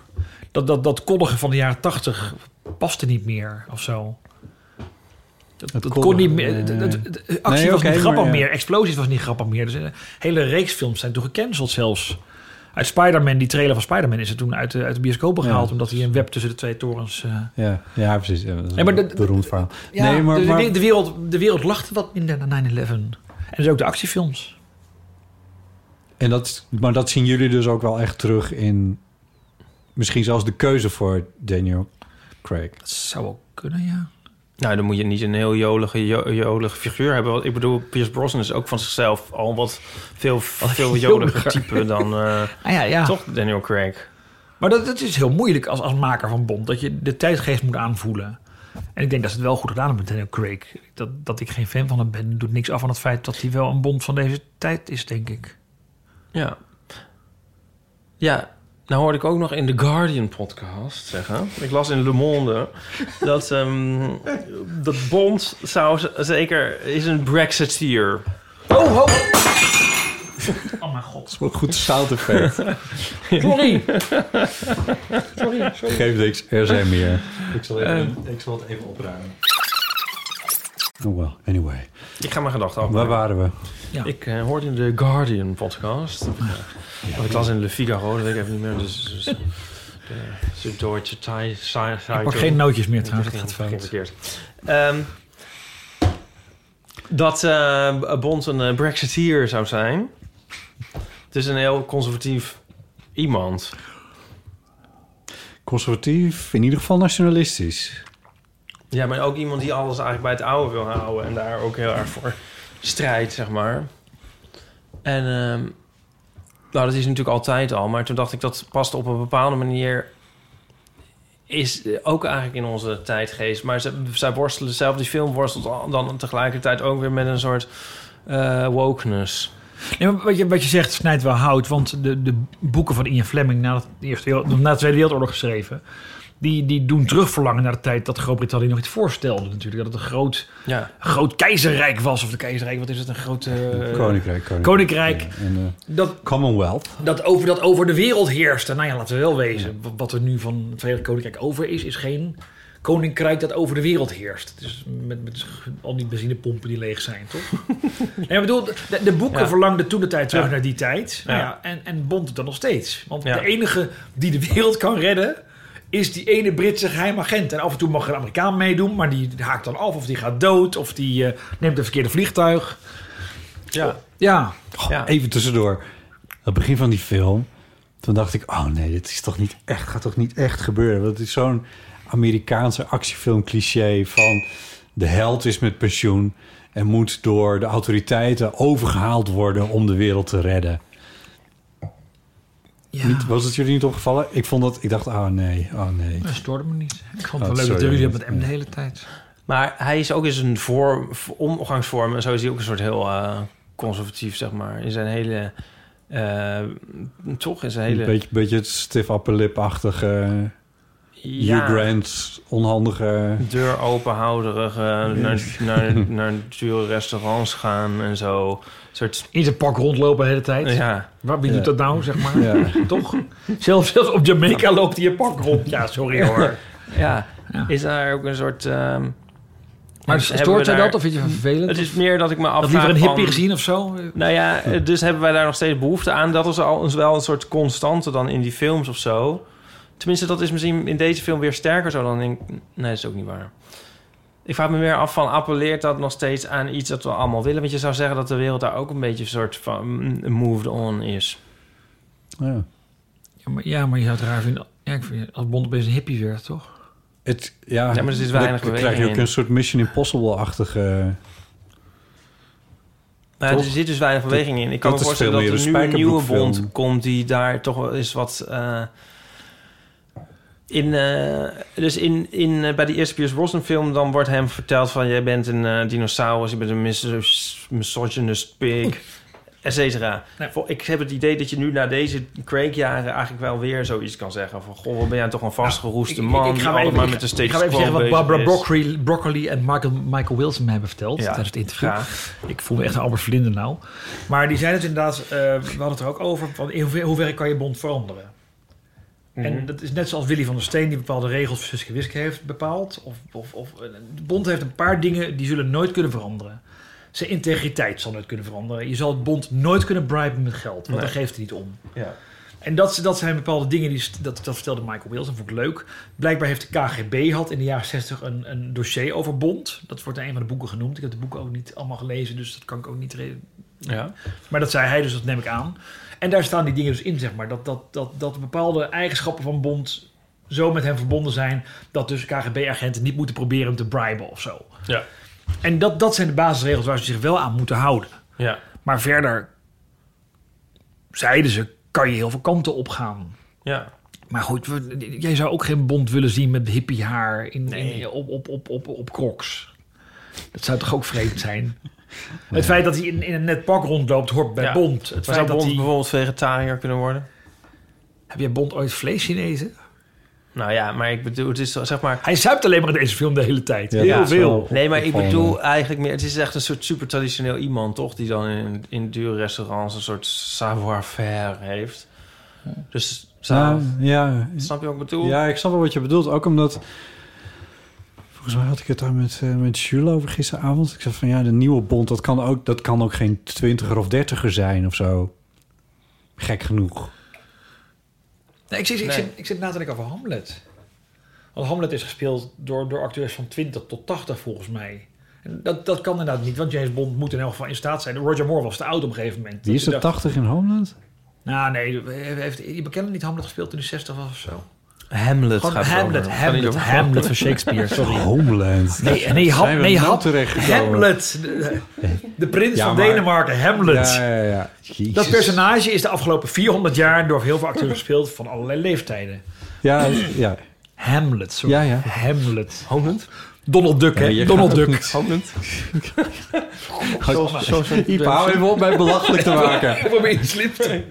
dat, dat, dat koddige van de jaren 80 paste niet meer of zo. Dat, dat kon koddige, niet meer. nee. dat- dat- dat- actie eh, Nee, was oké, niet grappig maar ja. meer, explosies was niet grappig meer. Dus een hele reeks films zijn toen gecanceld zelfs. Uit Spider-Man, die trailer van Spider-Man is er toen uit de, uit de bioscoop gehaald... Ja. omdat hij een web tussen de twee torens... eh, Ja, ja precies. Ja, dat is Nee, maar een dat- beroemd verhaal. ja, nee, maar, de, maar- de, wereld, de wereld lachte wat minder naar 9-11. En dus ook de actiefilms. en dat, maar dat zien jullie dus ook wel echt terug in... Misschien zelfs de keuze voor Daniel Craig. Dat zou ook kunnen, ja. Nou, dan moet je niet een heel jolige, jo- jolige figuur hebben. Want Ik bedoel, Pierce Brosnan is ook van zichzelf al wat veel, veel joliger joliger. type dan eh, Ah ja, ja. toch Daniel Craig. Maar dat, dat is heel moeilijk als, als maker van Bond. Dat je de tijdgeest moet aanvoelen. En ik denk dat ze het wel goed gedaan hebben met Daniel Craig. Dat, dat ik geen fan van hem ben, doet niks af van het feit dat hij wel een Bond van deze tijd is, denk ik. Ja. Ja, nou hoorde ik ook nog in de Guardian podcast zeggen. Ik las in Le Monde dat, ehm, dat Bond zou z- zeker is een Brexiteer. Oh, ho! Oh mijn god. Wat goed zout Sorry. sorry, sorry. Geef niks, er zijn meer. Ik zal, even- ik zal het even opruimen. Oh well, anyway. Ik ga mijn gedachten af. Waar waren we? Ik eh, hoorde in de Guardian podcast. Want ik las in Le Figaro, dat weet ik even niet meer. Dus, dus de Süddeutsche Zeit- Zeit- Ik pak geen nootjes meer trouwens, Ik dat gaat ging- fout. ging verkeerd. Ehm, dat eh, Bond een eh, Brexiteer zou zijn. Het is een heel conservatief iemand. Conservatief, in ieder geval nationalistisch. Ja, maar ook iemand die alles eigenlijk bij het oude wil houden en daar ook heel erg voor strijdt, zeg maar. En ehm, nou, dat is natuurlijk altijd al, maar toen dacht ik dat past op een bepaalde manier. Is eh, ook eigenlijk in onze tijdgeest. Maar ze, zij worstelen zelf, die film worstelt al- dan tegelijkertijd ook weer met een soort eh, wokeness. Nee, maar wat, je, wat je zegt snijdt wel hout. Want de, de boeken van Ian Fleming na, het eerste, Wereld- na de Tweede Wereldoorlog geschreven... Die, die doen terugverlangen naar de tijd dat Groot-Brittannië nog iets voorstelde natuurlijk. Dat het een groot, Ja. groot keizerrijk was. Of de keizerrijk, wat is het? Een groot... eh, Koninkrijk. Koninkrijk. ja, en, eh, Dat, Commonwealth. dat, over, dat over de wereld heerste. Nou ja, laten we wel wezen. Wat- Wat er nu van het Verenigd Koninkrijk over is, is geen koninkrijk dat over de wereld heerst. Dus met, met al die benzinepompen die leeg zijn, toch? nee, ik bedoel, de, de boeken Ja. verlangden toen de tijd terug Ja. naar die tijd. Nou Ja. ja, en, en bond het dan nog steeds. Want Ja. de enige die de wereld kan redden, is die ene Britse geheimagent. En af en toe mag er een Amerikaan meedoen, maar die haakt dan af of die gaat dood of die eh, neemt een verkeerde vliegtuig. Ja. Ja. Goh, Even tussendoor. Aan het begin van die film, toen dacht ik... oh nee, dit is toch niet echt, gaat toch niet echt gebeuren? Want het is zo'n Amerikaanse actiefilm cliché van... de held is met pensioen en moet door de autoriteiten overgehaald worden... om de wereld te redden. Niet, was het jullie niet opgevallen? Ik vond dat, ik dacht, oh nee, oh nee. Dat stoorde me niet. Ik vond Oh, het wel leuk dat sorry. jullie dat met hem de hele tijd. Maar hij is ook in zijn vorm, omgangsvorm en zo is hij ook een soort heel eh, conservatief, zeg maar. In zijn hele. eh, toch? In zijn hele. Een beetje, beetje het stiff upper lip-achtige... Ja. Hugh Grant, onhandige... deur openhouderig, eh, naar, naar, naar dure restaurants gaan en zo. Een soort... In zijn pak rondlopen de hele tijd. Ja. Waar, wie doet dat nou, zeg maar? Ja. Toch? Zelfs, zelfs op Jamaica loopt hij een pak rond. Ja, sorry hoor. Ja. Is daar ook een soort... ehm, Maar hebben stoort we hij daar- dat of vind je het vervelend? Het is meer dat ik me afvraag... liever een hippie van- gezien of zo? Nou ja, eh, dus hebben wij daar nog steeds behoefte aan. Dat is al is wel een soort constante dan in die films of zo. Tenminste, dat is misschien in deze film weer sterker zo dan in... Nee, dat is ook niet waar. Ik vraag me meer af van, appelleert dat nog steeds aan iets dat we allemaal willen? Want je zou zeggen dat de wereld daar ook een beetje een soort van mm, moved on is. Ja. Ja, maar, ja, maar je zou het raar vinden. Ja, ik vind, als Bond opeens een hippie werd, toch? Het, ja, Ja, maar er zit weinig dan beweging krijg je ook in. een soort Mission Impossible-achtige... Nou, er Toch? zit dus weinig beweging in. Ik kan Dat me is voorstellen dat veel er meer nu een een nieuwe spijkerbroekfilm. bond komt... die daar toch wel eens wat... eh, in, eh, dus in, in, eh, bij die eerste Pierce Brosnan film... dan wordt hem verteld van... jij bent een eh, dinosaurus, je bent een mis- misogynist pig... et cetera. Vo- Ik heb het idee dat je nu na deze Craig-jaren... eigenlijk wel weer zoiets kan zeggen. Van, goh, wat ben jij toch een vastgeroeste man... die maar altijd maar ik- met de ik steeds ga even zeggen wat Barbara Broccoli, Broccoli en Michael, Michael Wilson me hebben verteld Ja, tijdens het interview. graag. Ik voel me echt een Albert Vlinder nou. Maar die zijn het inderdaad, eh, we hadden het er ook over, van in hoever- hoeverre kan je Bond veranderen? Mhm. En dat is net zoals Willy van der Steen, die bepaalde regels voor Suske Wiske heeft bepaald. Of, of, of, eh, de Bond heeft een paar dingen die zullen nooit kunnen veranderen. Zijn integriteit zal nooit kunnen veranderen. Je zal het Bond nooit kunnen briben met geld, want Nee. daar geeft hij niet om. Ja. En dat, dat zijn bepaalde dingen, die, st- dat, dat vertelde Michael Wilson, vond ik leuk. Blijkbaar heeft de KGB had in de jaren 60 een, een dossier over Bond. Dat wordt in een van de boeken genoemd. Ik heb de boeken ook niet allemaal gelezen, dus dat kan ik ook niet... re- Ja. Maar dat zei hij, dus dat neem ik aan. En daar staan die dingen dus in, zeg maar. Dat, dat, dat, dat bepaalde eigenschappen van Bond zo met hem verbonden zijn... dat dus KGB-agenten niet moeten proberen hem te briben of zo. Ja. En dat, dat zijn de basisregels waar ze zich wel aan moeten houden. Ja. Maar verder, zeiden ze, kan je heel veel kanten op gaan. Ja. Maar goed, we- jij zou ook geen bond willen zien met hippie haar in, in- op, op, op, op, op crocs. Dat zou toch ook vreemd zijn? Het feit dat hij in, in een net pak rondloopt hoort bij Ja. Bond. Maar Het zou feit dat Bond hij... bijvoorbeeld vegetariër kunnen worden? Heb jij Bond ooit vlees genezen? Nou ja, maar ik bedoel, het is wel, zeg maar... Hij zuipt alleen maar in deze film de hele tijd. Ja, Heel dat is wel veel. Nee, maar ik bedoel eigenlijk meer... Het is echt een soort super traditioneel iemand, toch? Die dan in, in dure restaurants een soort savoir-faire heeft. Dus... zou- Nou, ja. Snap je wat ik bedoel? Ja, ik snap wel wat je bedoelt. Ook omdat... Volgens mij had ik het daar met, eh, met Jules over gisteravond. Ik zei van ja, de nieuwe bond, dat kan ook, dat kan ook geen twintiger of dertiger zijn of zo. Gek genoeg. Nee, ik, zit, ik, Nee. zit, ik zit na te denken over Hamlet. Want Hamlet is gespeeld door, door acteurs van 20 tot 80 volgens mij. En dat, dat kan inderdaad niet, want James Bond moet in elk geval in staat zijn. Roger Moore was te oud op een gegeven moment. Die is Dat er hij dacht- 80 in Homeland? Nou nee, heeft je bekende niet Hamlet gespeeld toen hij 60 was of zo? Hamlet Gewoon gaat het Hamlet, over. Hamlet, Gaat niet over- Hamlet van Shakespeare, sorry. Homeland. Nee, nee, Ham, Zijn we nee nou Ham, terechtgekomen? Hamlet. De, de prins Ja, van maar- Denemarken, Hamlet. Ja, ja, ja. Jezus. Dat personage is de afgelopen 400 jaar door heel veel acteurs gespeeld van allerlei leeftijden. Ja, ja. Hamlet, sorry. Ja, ja. Hamlet. Donald Duck, Ja, hè? je Donald gaat ook Duck. niet- Hamlet. Zo- zo- Iep, hou hem op mij belachelijk te maken. Ik probeer iets lip te...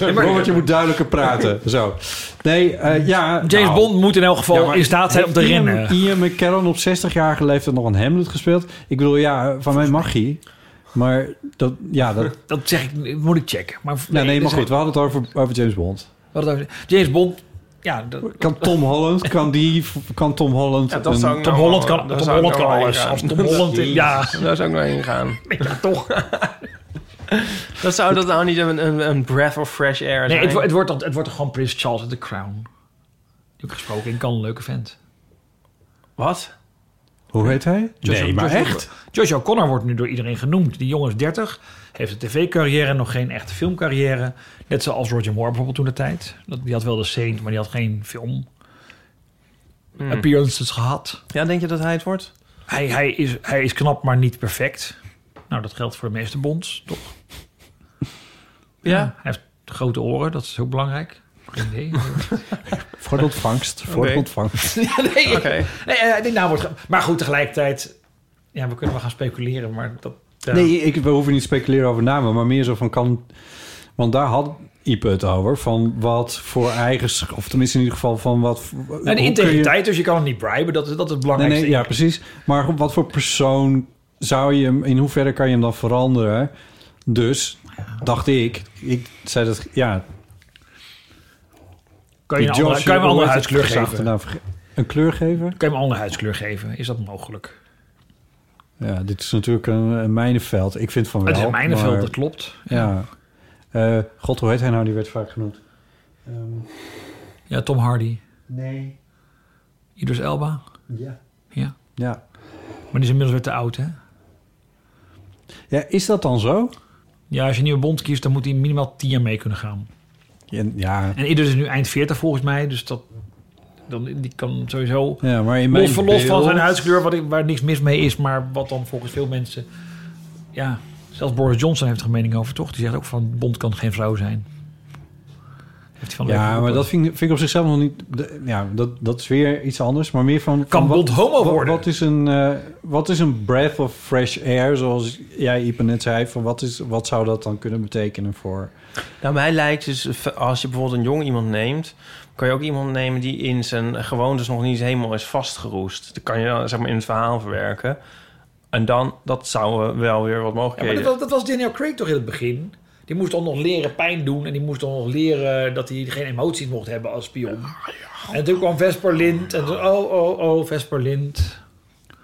Nee, maar- Robert, je moet duidelijker praten. Zo. Nee, eh, ja. James Bond moet in elk geval Ja, maar in staat zijn om te heeft Ian- rennen. Ian McKellen op 60-jarige leeftijd nog een Hamlet gespeeld. Ik bedoel, ja, van mij mag hij. Maar dat, ja, dat... Dat zeg ik, moet ik checken. Maar Ja, nee, maar dus- goed, we hadden het over, over James Bond. Wat het over- James Bond, ja... dat- Kan Tom Holland, kan die, kan Tom Holland... Ja, dat een- zou ik Tom nou Holland wel- kan- daar Tom zou ik Holland nou kan wel alles. heen gaan. Als Tom Holland in- ja. Daar zou ik nou heen gaan. Ja, toch. Dat zou dat nou niet een, een, een breath of fresh air Nee, zijn? het, wo- het, wordt, al- het wordt toch gewoon Prins Charles in The Crown. Die ook gesproken in kan een leuke vent. Wat? Hoe heet hij? nee, maar echt? Josh O'Connor wordt nu door iedereen genoemd. Die jongen is 30, heeft een tv-carrière, nog geen echte filmcarrière. Net zoals Roger Moore bijvoorbeeld toen de tijd. Dat- Die had wel de Saint, maar die had geen film. Hmm. Appearances gehad. Ja, denk je dat hij het wordt? Hij, hij, is, hij is knap, maar niet perfect. Nou, dat geldt voor de meeste bonds, toch? Ja. Hij heeft grote oren, dat is heel belangrijk. Geen idee. Voor de ontvangst. Voor Oké. de ontvangst. Ja, nee. Oké. Nee, eh, die naam wordt ge- maar goed, tegelijkertijd... Ja, we kunnen wel gaan speculeren, maar dat... eh, Nee, ik, we hoeven niet te speculeren over namen, maar meer zo van kan. Want daar had Ipe het over. Van wat voor eigen. Of tenminste in ieder geval van wat. nou, de hoe kun je- integriteit, dus je kan hem niet briben. Dat is, dat is het Nee, belangrijkste. nee, ja, precies. Maar wat voor persoon zou je hem. In hoeverre kan je hem dan veranderen? Dus dacht ik. Ik zei dat. Ja. Kan je een die andere- Josh- kan je hem een hoe andere heet het huidskleur gezag geven? ernaar verge- Een kleur Kan geven? je hem een andere huidskleur geven? Is dat mogelijk? Ja, dit is natuurlijk een, een mijnenveld. Ik vind van wel. het is een mijnenveld, maar- dat klopt. Ja. Eh, God, hoe heet hij nou? Die werd vaak genoemd. Ehm, Ja, Tom Hardy. Nee. Idris Elba. Ja. Ja. Ja. Maar die is inmiddels weer te oud, hè? Ja, is dat dan zo? Ja, als je een nieuwe bond kiest, dan moet hij minimaal 10 jaar mee kunnen gaan. Ja, ja. En Idris is nu eind 40 volgens mij, dus dat... Dan, die kan sowieso... Ja, maar in mijn Los, van- los van beeld- zijn huidskleur, wat, ik- waar niks mis mee is, maar wat dan volgens veel mensen. Ja, zelfs Boris Johnson heeft er een mening over, toch? Die zegt ook van Bond kan geen vrouw zijn. Heeft hij van Leeuwen Ja, maar gehoord. dat vind, ik- vind ik op zichzelf nog niet... de- Ja, dat, dat is weer iets anders, maar meer van... Kan van Bond homo wat- worden? Wat is, een, eh, wat is een breath of fresh air, zoals jij, Ipe, net zei? Van wat, is, wat zou dat dan kunnen betekenen voor... Nou, mij lijkt dus, als je bijvoorbeeld een jong iemand neemt... kan je ook iemand nemen die in zijn gewoontes nog niet helemaal is vastgeroest. Dat kan je dan zeg maar in het verhaal verwerken. En dan, dat zou eh, wel weer wat Ja, maar mogelijkheden... dat, was- dat was Daniel Craig toch in het begin? Die moest dan nog leren pijn doen en die moest dan nog leren dat hij geen emoties mocht hebben als spion. En toen kwam Vesper Lind en toen, oh, oh, oh, Vesper Lind.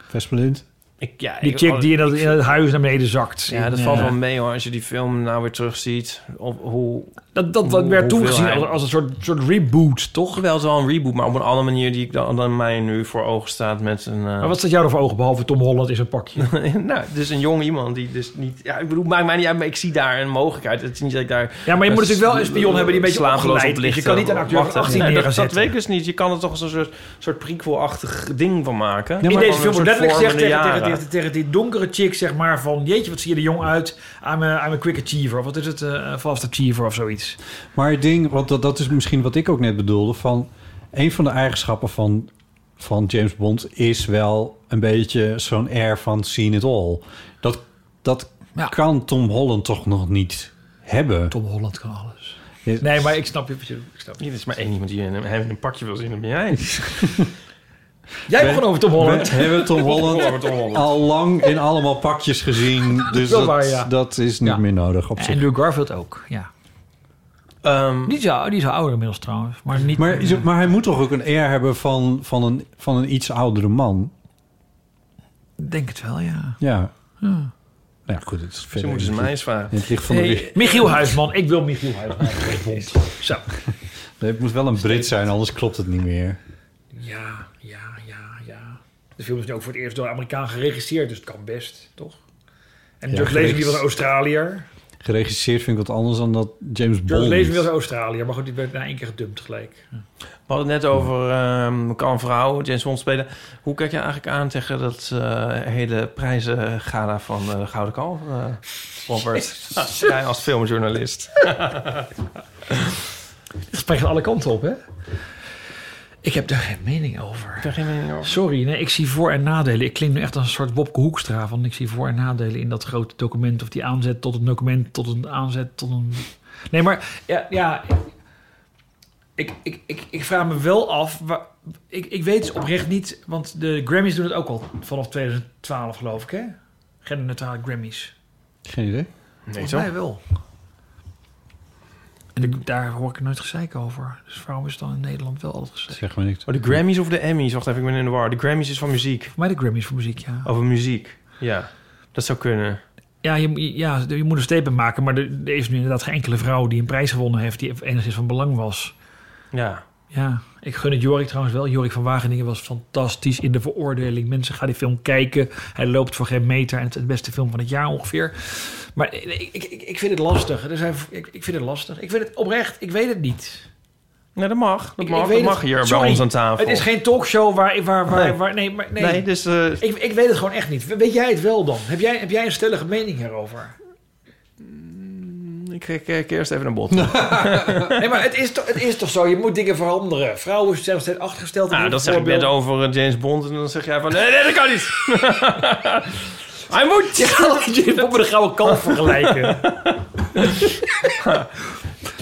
Vesperlind? Ik, ja, Die ik- chick die in dat- in het huis naar beneden zakt. Ja, dat Ja. valt wel mee hoor. Als je die film nou weer terugziet. Of hoe, Dat, dat hoe- werd toen hoeveel gezien hij- als, als een soort, soort reboot, toch? Wel, het is wel een reboot, maar op een andere manier die ik dan, dan mij nu voor ogen staat met een... eh, Maar wat staat jou er voor ogen, behalve Tom Holland in zijn pakje? nou, dus een jong iemand die dus niet... Ja, ik bedoel, maakt mij niet uit, maar ik zie daar een mogelijkheid. Het is niet dat ik daar... Ja, maar je moet natuurlijk wel een spion hebben die een beetje slapeloos opgeleid is. Je ligt, kan niet een eh, acteur van wachten. 18 Nee, dat, dat neerzetten. weet ik dus niet. Je kan er toch een soort, soort prequel-achtig ding van maken. in Gewoon deze een film soort wordt letterlijk gezegd tegen, vormende tegen, jaren. die- tegen die donkere chick, zeg maar, van... Jeetje, wat zie je er jong uit? I'm a, I'm a quick achiever. Of wat is het? eh fast achiever of zoiets. Maar het ding, want dat, dat is misschien wat ik ook net bedoelde, van een van de eigenschappen van, van James Bond is wel een beetje zo'n air van seen it all. Dat, dat kan Tom Holland toch nog niet hebben. Tom Holland kan alles. Nee, maar ik snap je. wat je doet. Ik snap Hier is maar één iemand die in een, hem in een pakje wil zien, dat ben jij. Jij begon over Tom Holland. We hebben Tom Begon over Holland, Tom Holland. al lang in allemaal pakjes gezien. Dus Wel dat, waar, ja. dat is niet meer nodig op zich. En Drew Garfield ook, ja. die, is al, die is al ouder inmiddels trouwens. Maar, niet, Maar, is het- maar hij moet toch ook een air hebben van, van, een, van een iets oudere man? Denk het wel, ja. Ja. Nou ja, goed, het is verder. moeten ze mij eens vragen. In het licht van de Hey, weer- Michiel Huisman. Ik wil Michiel Huisman. Ik wil Bond. Zo. Nee, het moet wel een Brit zijn, anders klopt het niet meer. Ja, ja, ja, ja. De film is nu ook voor het eerst door een Amerikaan geregisseerd, dus het kan best, toch? En Ja, George Lazenby geregis- was een Australiër. Geregisseerd vind ik wat anders dan dat James George Bond. Lazenby was een Australiër, maar goed, die werd na één keer gedumpt gelijk. We hadden het net over ehm, kan vrouwen James Bond spelen. Hoe kijk je eigenlijk aan tegen dat eh, hele prijzengala van eh, de Gouden Kalf, eh, Robert? Jij als filmjournalist. Het spreekt alle kanten op, hè? Ik heb daar geen mening over. geen mening over. Sorry, nee, ik zie voor- en nadelen. Ik klink nu echt als een soort Wopke Hoekstra. Van ik zie voor- en nadelen in dat grote document. Of die aanzet tot een document, tot een aanzet, tot een... Nee, maar ja, ja ik, ik, ik, ik vraag me wel af... waar- ik, ik weet het oprecht niet, want de Grammys doen het ook al vanaf 2012, geloof ik, hè? Genderneutrale Grammys. Geen idee. Nee, Volgens mij wel. En ik- daar hoor ik nooit gezeik over. Dus waarom is het dan in Nederland wel altijd gezeik? Zeg maar niks. Oh, de Grammys of de Emmys? Wacht even, ik ben in de war. De Grammys is van muziek. Voor mij de Grammys voor muziek, ja. Over muziek, ja. Dat zou kunnen. Ja, je, ja, je moet een statement maken, maar er, er is nu inderdaad geen enkele vrouw die een prijs gewonnen heeft die enigszins van belang was. Ja. Ja, ik gun het Jorik trouwens wel. Jorik van Wageningen was fantastisch in de veroordeling. Mensen gaan die film kijken. Hij loopt voor geen meter en het is de beste film van het jaar ongeveer. Maar ik, ik, ik, ik vind het lastig. Er zijn, ik, ik vind het lastig. Ik vind het oprecht. Ik weet het niet. Nee, dat mag. Dat Ik- mag, ik weet dat het- mag hier Sorry, bij ons aan tafel. Het is geen talkshow waar... waar, waar, Nee. waar nee, maar, nee. Nee, dus... eh, ik, ik weet het gewoon echt niet. Weet jij het wel dan? Heb jij, heb jij een stellige mening hierover? ik kijk kijk eerst even naar bot. Nee, maar het is, toch, het is toch zo? Je moet dingen veranderen. Vrouwen zijn nog steeds achtergesteld. Nou, dat zeg ik net over eh, James Bond en dan zeg jij van... Nee, nee, dat kan niet! Hij moet! Je moet met een gouden kalf vergelijken.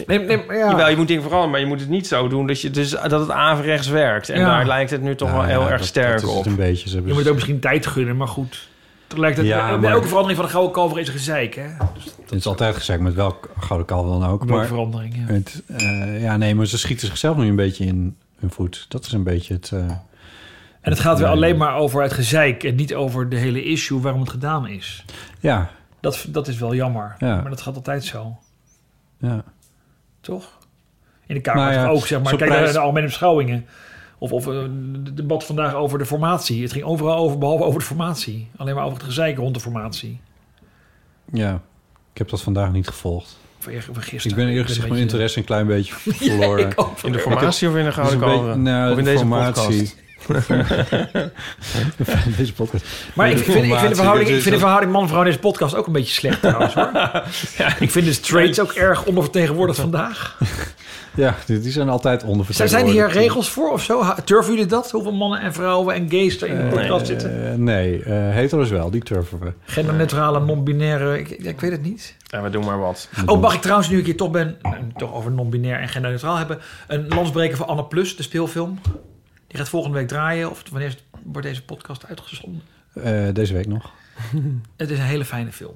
nee, nee, maar ja. Jawel, je moet dingen veranderen, maar je moet het niet zo doen dat, je, dus, dat het averechts werkt. En Ja. daar lijkt het nu toch wel heel erg sterk Nou dat is op. het een beetje. Ze Je hebben moet ook misschien tijd gunnen, maar goed. Tegelijkertijd, Ja, bij maar- elke verandering van een gouden kalver is er gezeik, hè? Het is altijd gezegd met welk gouden kalf dan ook. Welke Maar verandering, ja. het, eh, ja, nee, maar ze schieten zichzelf nu een beetje in hun voet. Dat is een beetje het. eh, En het gaat weer alleen maar over het gezeik en niet over de hele issue waarom het gedaan is. ja, Dat, dat is wel jammer, Ja. maar dat gaat altijd zo, ja. toch? In de Kamer Nou ja, ook, zeg maar. zo'n Kijk naar prijs- de algemene beschouwingen. Of, of eh, het debat vandaag over de formatie. Het ging overal over, behalve over de formatie. Alleen maar over het gezeik rond de formatie. ja. Ik heb dat vandaag niet gevolgd. Of eer- of gisteren. Ik ben eerlijk een gezegd mijn beetje- interesse een klein beetje verloren. Ik ook. In de formatie of in de gouden Dus een kalveren? beetje- nou, of in de deze formatie. podcast? Deze podcast. Maar ik vind, ik vind de verhouding, ik Dit is vind de dat- verhouding man-vrouw in deze podcast ook een beetje slecht trouwens hoor. Ik vind de straights ook erg ondervertegenwoordigd vandaag. Ja, die die zijn altijd Zijn, ondervertegenwoordigd. zijn hier regels voor of zo? Ha- Turven jullie dat? Hoeveel mannen en vrouwen en gays er in de podcast zitten? Eh, nee, eh hetero's wel, die turven we. Genderneutrale, non-binaire, ik, ik weet het niet. Ja, we doen maar wat. Oh, mag ik trouwens, nu ik hier toch ben, nou, nu we het toch over non-binair en genderneutraal hebben, een landsbreker voor Anne Plus, de speelfilm. Die gaat volgende week draaien, of wanneer is- wordt deze podcast uitgezonden? Eh, deze week nog. Het is een hele fijne film.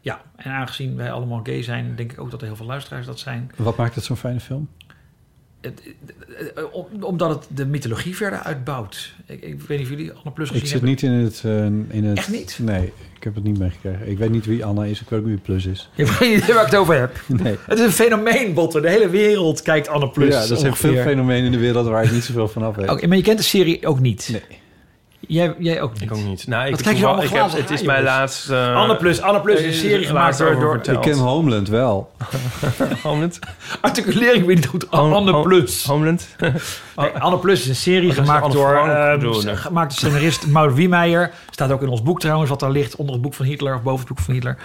Ja, en aangezien wij allemaal gay zijn, denk ik ook dat er heel veel luisteraars dat zijn. Wat maakt het zo'n fijne film? het- eh, om- omdat het de mythologie verder uitbouwt. Ik, ik weet niet of jullie Anne Plus gezien Ik zit hebben. niet in het, eh, in het... Echt niet? Nee, ik heb het niet meegekregen. Ik weet niet wie Anna is, ik weet ook niet wie Plus is. Je hebt geen idee waar ik het over heb. Nee. Het is een fenomeen, Botter. De hele wereld kijkt Anne Plus. ja, er zijn veel fenomenen in de wereld waar ik niet zoveel van af weet. Oké, maar je kent de serie ook niet? Nee. Jij, jij ook niet? Ik ook niet. Nou, ik heb Wat krijg je toeval- allemaal ik heb- glazen het is aan, mijn jongens? laatst, eh, Anne Plus, Anne Plus is een eh, serie gemaakt laatst door... over door verteld. Ik ken Homeland wel. Homeland? Articuleer ik weer niet goed. Home- Anne Home- Plus. Homeland? Nee, Anne Plus is een serie Oh, dat is gemaakt Anne door, Frank eh, bedoelde. gemaakt door scenarist Maud Wiemeijer. Staat ook in ons boek trouwens, wat daar ligt onder het boek van Hitler of boven het boek van Hitler.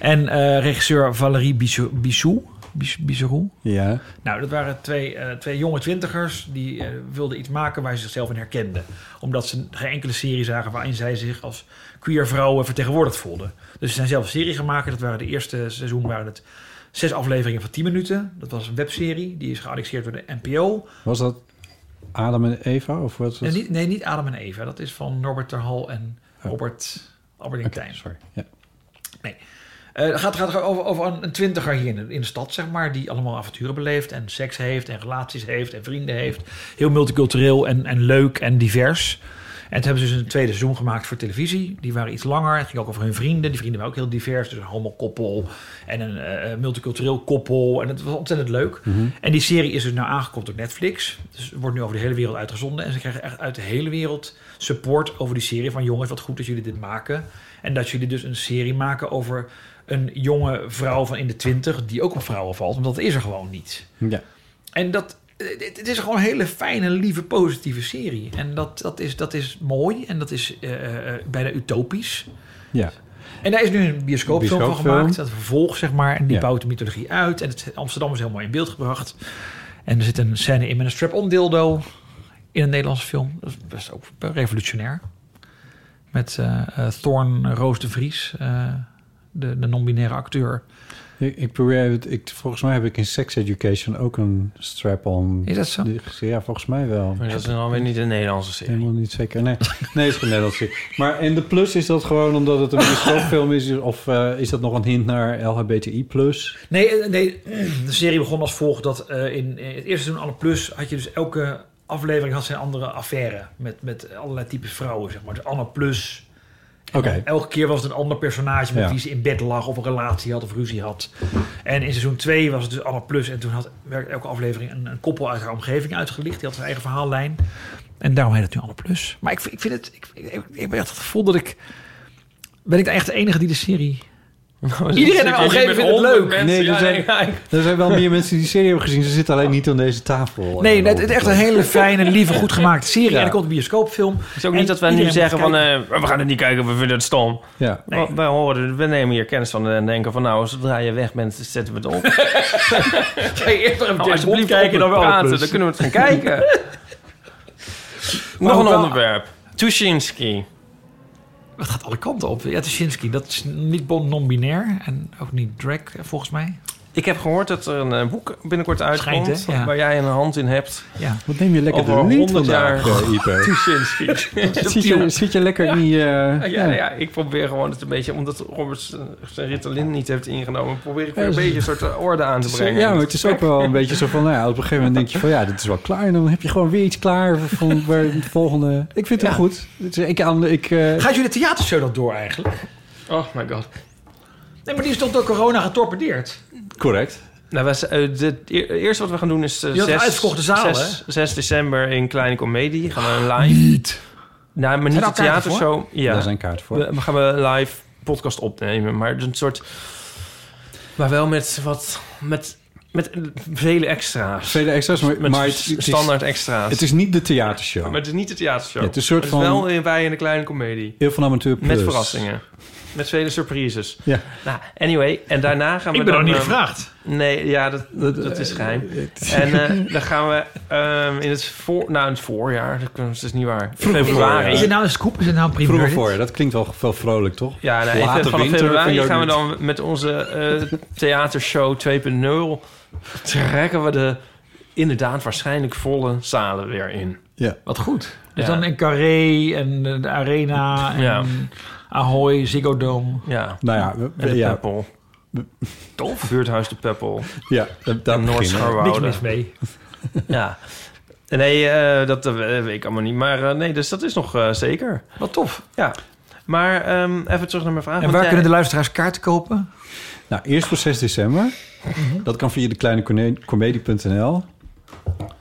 En eh, regisseur Valerie Bissou. Bissou? Bis- Bisserou? Ja. Nou, dat waren twee, eh, twee jonge twintigers die eh, wilden iets maken waar ze zichzelf in herkenden. Omdat ze geen enkele serie zagen waarin zij zich als queer vrouwen vertegenwoordigd voelden. Dus ze zijn zelf een serie gaan maken. Dat waren de eerste seizoen waren het zes afleveringen van 10 minuten. Dat was een webserie, die is geannexeerd door de NPO. Was dat Adam en Eva? Of wat was Oh. Nee, niet, nee, niet Adam en Eva. Dat is van Norbert Terhal en Robert Albert sorry. Ja. Nee. Eh, Het gaat, gaat over, over een, een twintiger hier in, de- in de stad, zeg maar, die allemaal avonturen beleeft en seks heeft en relaties heeft en vrienden heeft. Heel multicultureel en, en leuk en divers. En toen hebben ze dus een tweede seizoen gemaakt voor televisie. Die waren iets langer. Het ging ook over hun vrienden. Die vrienden waren ook heel divers. Dus een homokoppel en een eh, multicultureel koppel. En het was ontzettend leuk. Mhm. En die serie is dus nou aangekomen door Netflix. Dus het wordt nu over de hele wereld uitgezonden. En ze krijgen echt uit de hele wereld support over die serie. Van jongens, wat goed dat jullie dit maken. En dat jullie dus een serie maken over een jonge vrouw van in de twintig... die ook op vrouwen valt, want dat is er gewoon niet. Ja. En dat, het het is gewoon een hele fijne, lieve, positieve serie. En dat, dat, is, dat is mooi en dat is eh, eh, bijna utopisch. Ja. En daar is nu een bioscoopfilm van Bioscoopfilm. gemaakt. Dat vervolg, zeg maar. En die Ja. bouwt de mythologie uit. En het, Amsterdam is heel mooi in beeld gebracht. En er zit een scène in met een strap-on dildo. In een Nederlandse film. Dat is best ook revolutionair. Met eh eh, Thorn Roos de Vries. eh, de, de non-binaire acteur. Ik, ik probeer het. Ik, volgens mij heb ik in Sex Education ook een strap-on. Is dat zo? die gezien. Ja, volgens mij wel. Maar dat is dan weer niet een Nederlandse serie. Helemaal niet zeker. Nee, nee het is geen Nederlandse serie. Maar en de plus is dat gewoon omdat het een bioscoopfilm is? Of eh, is dat nog een hint naar LHBTI+. plus? Nee, eh, nee, de serie begon als volgt. Dat eh, in, in het eerste seizoen Anne Plus had je dus elke aflevering had zijn andere affaire. Met, met allerlei types vrouwen, zeg maar. Dus Anne Plus. En Oké. dan Elke keer was het een ander personage met Ja. wie ze in bed lag... of een relatie had of ruzie had. En in seizoen 2 was het dus Anne Plus. En toen had werd elke aflevering een, een koppel uit haar omgeving uitgelicht. Die had zijn eigen verhaallijn. En daarom heet het nu Anne Plus. Maar ik, vind- ik vind het... Ik, ik, ik heb echt het gevoel dat ik... Ben ik echt de enige die de serie... Iedereen in mijn omgeving vindt het leuk. nee, er zijn, er zijn wel meer mensen die die serie hebben gezien. Ze zitten alleen niet aan deze tafel. Nee, Eh, het het is echt een hele fijne, lieve, goed gemaakte serie. Ja. En er komt een bioscoopfilm. Het is ook niet dat wij nu zeggen van, eh, we gaan het niet kijken, we vinden het stom. Ja. Wa- Wij horen, we nemen hier kennis van en denken van, nou, zodra je weg bent, zetten we het op. Ga je eerst nog even Nou, James alsjeblieft Bond kijken, dan op wel praten, Plus. dan kunnen we het gaan kijken. Nog ook een wel- onderwerp. Tuschinski. Het gaat alle kanten op. Ja, Tuschinski, dat is niet bon- non-binair en ook niet drag, eh, volgens mij. Ik heb gehoord dat er een eh, boek binnenkort uitkomt... Schijnt, hè? Ja. waar jij een hand in hebt. Ja. Wat neem je lekker Over de lead 100 jaar vandaag, eh, Ipe? Tuschinski. Zit je, zit je lekker in je... eh, Ja, ja, ja, ik probeer gewoon het een beetje, omdat Robert zijn- zijn Ritalin niet heeft ingenomen, probeer ik weer Ja, een dus- beetje een soort eh, orde aan te Het is- brengen. Ja, maar het is ook wel een beetje zo van, nou ja, op een gegeven moment denk je van, ja, dit is wel klaar. En dan heb je gewoon weer iets klaar van waar de volgende... Ik vind het Ja. goed. Het is- Ik aan, ik, eh, Gaat jullie theatershow dat door eigenlijk? Oh my god. Nee, maar die is toch door corona getorpedeerd? Correct. Nou, wij z- eh, de- e- eerst wat we gaan doen is eh, Je had 6, uitverkochte zaal, 6, 6 december in Kleine Comedie. Gaan we een live. Niet. Nou, maar Zijn niet daar de kaarten theatershow. voor? Ja. Daar zijn kaarten voor. We, we gaan we live podcast opnemen, maar een soort. Maar wel met wat. Met, met vele extra's. Vele extra's, maar, Met maar s- standaard is- extra's. Het is niet de theatershow. Maar het is niet de theatershow. Ja, het is een soort het van- wel in, wij in de kleine comedie. Heel van Amateur Met Plus. verrassingen. Met vele surprises. Ja. Nou, anyway. En daarna gaan we Ik ben dan, nog niet eh, gevraagd. Nee, ja, dat, dat, is geheim. eh, en eh, dan gaan we ehm, in het, voor, nou, in het voorjaar. Dat kan- dat is niet waar. Vroeg voorjaar. Is het nou een scoop? Is het nou een primeur? Vroeger dit? voor je, dat klinkt wel, wel vrolijk, toch? Ja, nou, ik Late vind vanaf winter vind februari je ook gaan we niet. dan met onze eh, theatershow 2.0... trekken we de inderdaad waarschijnlijk volle zalen weer in. Ja. Wat goed. Dus Ja. dan in Carré en eh, de Arena en Ja. Ahoy, Ziggo Dome. Ja. Nou ja, we- En de ja. Peppel. Tof. Buurthuis de Peppel. Ja, daar En beginnen. Noord-Scharwoude. Niks mis mee. ja. Nee, eh, dat eh, weet ik allemaal niet. Maar eh, nee, dus dat is nog eh, zeker. Wat tof. Ja. Maar ehm, even terug naar mijn vraag. En want waar jij- kunnen de luisteraars kaarten kopen? Mhm. Nou, eerst voor 6 december. Dat kan via de kleine comedie.nl.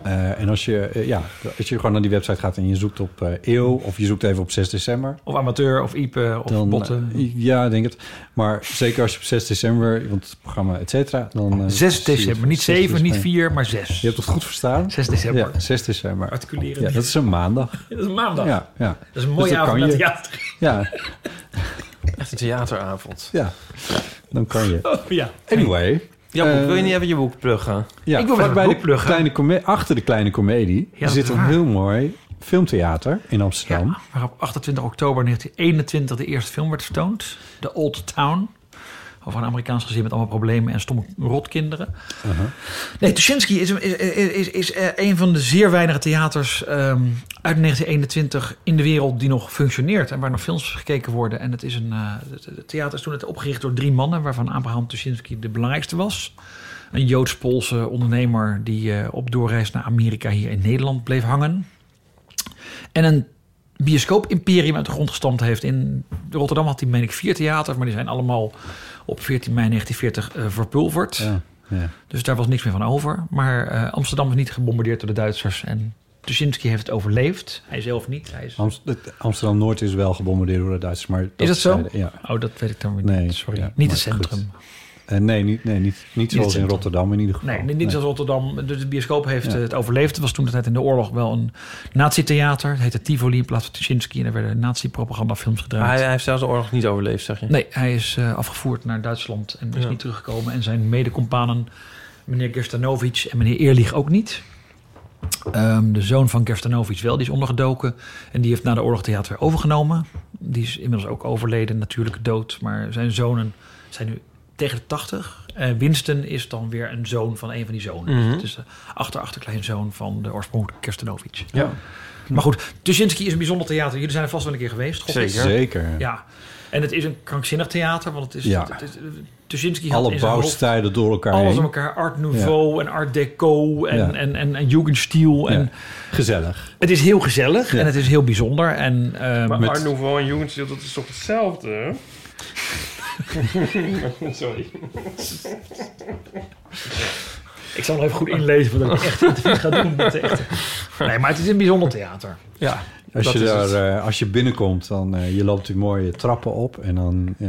Eh, en als je, eh, ja, als je gewoon naar die website gaat en je zoekt op eh, eeuw... of je zoekt even op 6 december... Of amateur, of Ipe, of Dan, botten. eh, ja, ik denk het. Maar zeker als je op 6 december, want het programma, et cetera. Dan, eh, 6 zie je december, het. niet 6 7, niet december. 4, maar 6. Je hebt het goed verstaan. 6 december. Ja, 6 december. Articuleren. Ja, dat is een maandag. Dat is een maandag. Ja, ja. Dat is een mooie Dus dan avond kan naar je- theater. Ja, Echt een theateravond. ja, dan kan je. Oh, ja. Anyway. Ja, eh, wil je niet even je boek pluggen? Ja, Ik wil mijn vlak bij boek de pluggen. kleine kome- achter de kleine komedie dat zit is een waar. heel mooi filmtheater in Amsterdam. Waar op 28 oktober 1921 de eerste film werd vertoond. The Old Town. Over een Amerikaans gezin met allemaal problemen en stomme rotkinderen. Uh-huh. Nee, Tuschinski is, is, is, is eh, een van de zeer weinige theaters ehm, uit 1921 in de wereld die nog functioneert en waar nog films gekeken worden. En het, is een, eh, het, het theater is toen net opgericht door drie mannen, waarvan Abraham Tuschinski de belangrijkste was. Een Joods-Poolse ondernemer die eh, op doorreis naar Amerika hier in Nederland bleef hangen. En een bioscoop-imperium uit de grond gestampt heeft. In Rotterdam had hij, meen ik, vier theaters, maar die zijn allemaal op 14 mei 1940 eh, verpulverd. Ja. Dus daar was niks meer van over. Maar eh, Amsterdam is niet gebombardeerd door de Duitsers. En Tuschinski heeft het overleefd. Hij zelf niet. Hij is... Amst- het- Amsterdam Noord is wel gebombardeerd door de Duitsers, maar Is dat zo? zeiden- Ja. Oh, dat weet ik dan weer Nee, niet. Sorry. ja, niet maar het centrum. goed. Eh, nee, niet, nee, niet, niet het zoals in centrum. Rotterdam in ieder geval. Nee, niet Nee. zoals Rotterdam. De, de bioscoop heeft Ja. eh, het overleefd. Het was toen de tijd in de oorlog wel een nazi-theater. Het heette Tivoli in plaats van Tuschinski. En er werden nazi-propagandafilms gedraaid. Hij, hij heeft zelfs de oorlog niet overleefd, zeg je? Nee, hij is eh, afgevoerd naar Duitsland en is Ja. niet teruggekomen. En zijn medecompanen, meneer Gerstanovic en meneer Eerlich ook niet. Ehm, de zoon van Gerstanovic wel, die is ondergedoken. En die heeft na de oorlog theater weer overgenomen. Die is inmiddels ook overleden, natuurlijk dood. Maar zijn zonen zijn nu tegen de tachtig. Eh, Winston is dan weer een zoon van een van die zonen. Mhm. Dus het is de achter-achterkleinzoon van de oorspronkelijke Gerstanovic. Ja. Maar goed, Tuschinski is een bijzonder theater. Jullie zijn er vast wel een keer geweest. God, Zeker. het is- Zeker. Ja. En het is een krankzinnig theater, want het is... Ja. het- het- Tuschinski had Alle in zijn hoofd bouwstijlen door elkaar alles heen. aan elkaar. Art Nouveau en Art Deco en, Ja. en, en, en Jugendstil. En Gezellig. Het is heel gezellig en het is heel bijzonder. En, ehm, Maar Art Nouveau en Jugendstil, dat is toch hetzelfde? Sorry. Ik zal nog even goed inlezen voordat ik echt een interview ga doen met de echte. Nee, maar het is een bijzonder theater. Ja, Als je, is daar, het. eh, als je binnenkomt, dan eh, je loopt die mooie trappen op en dan eh,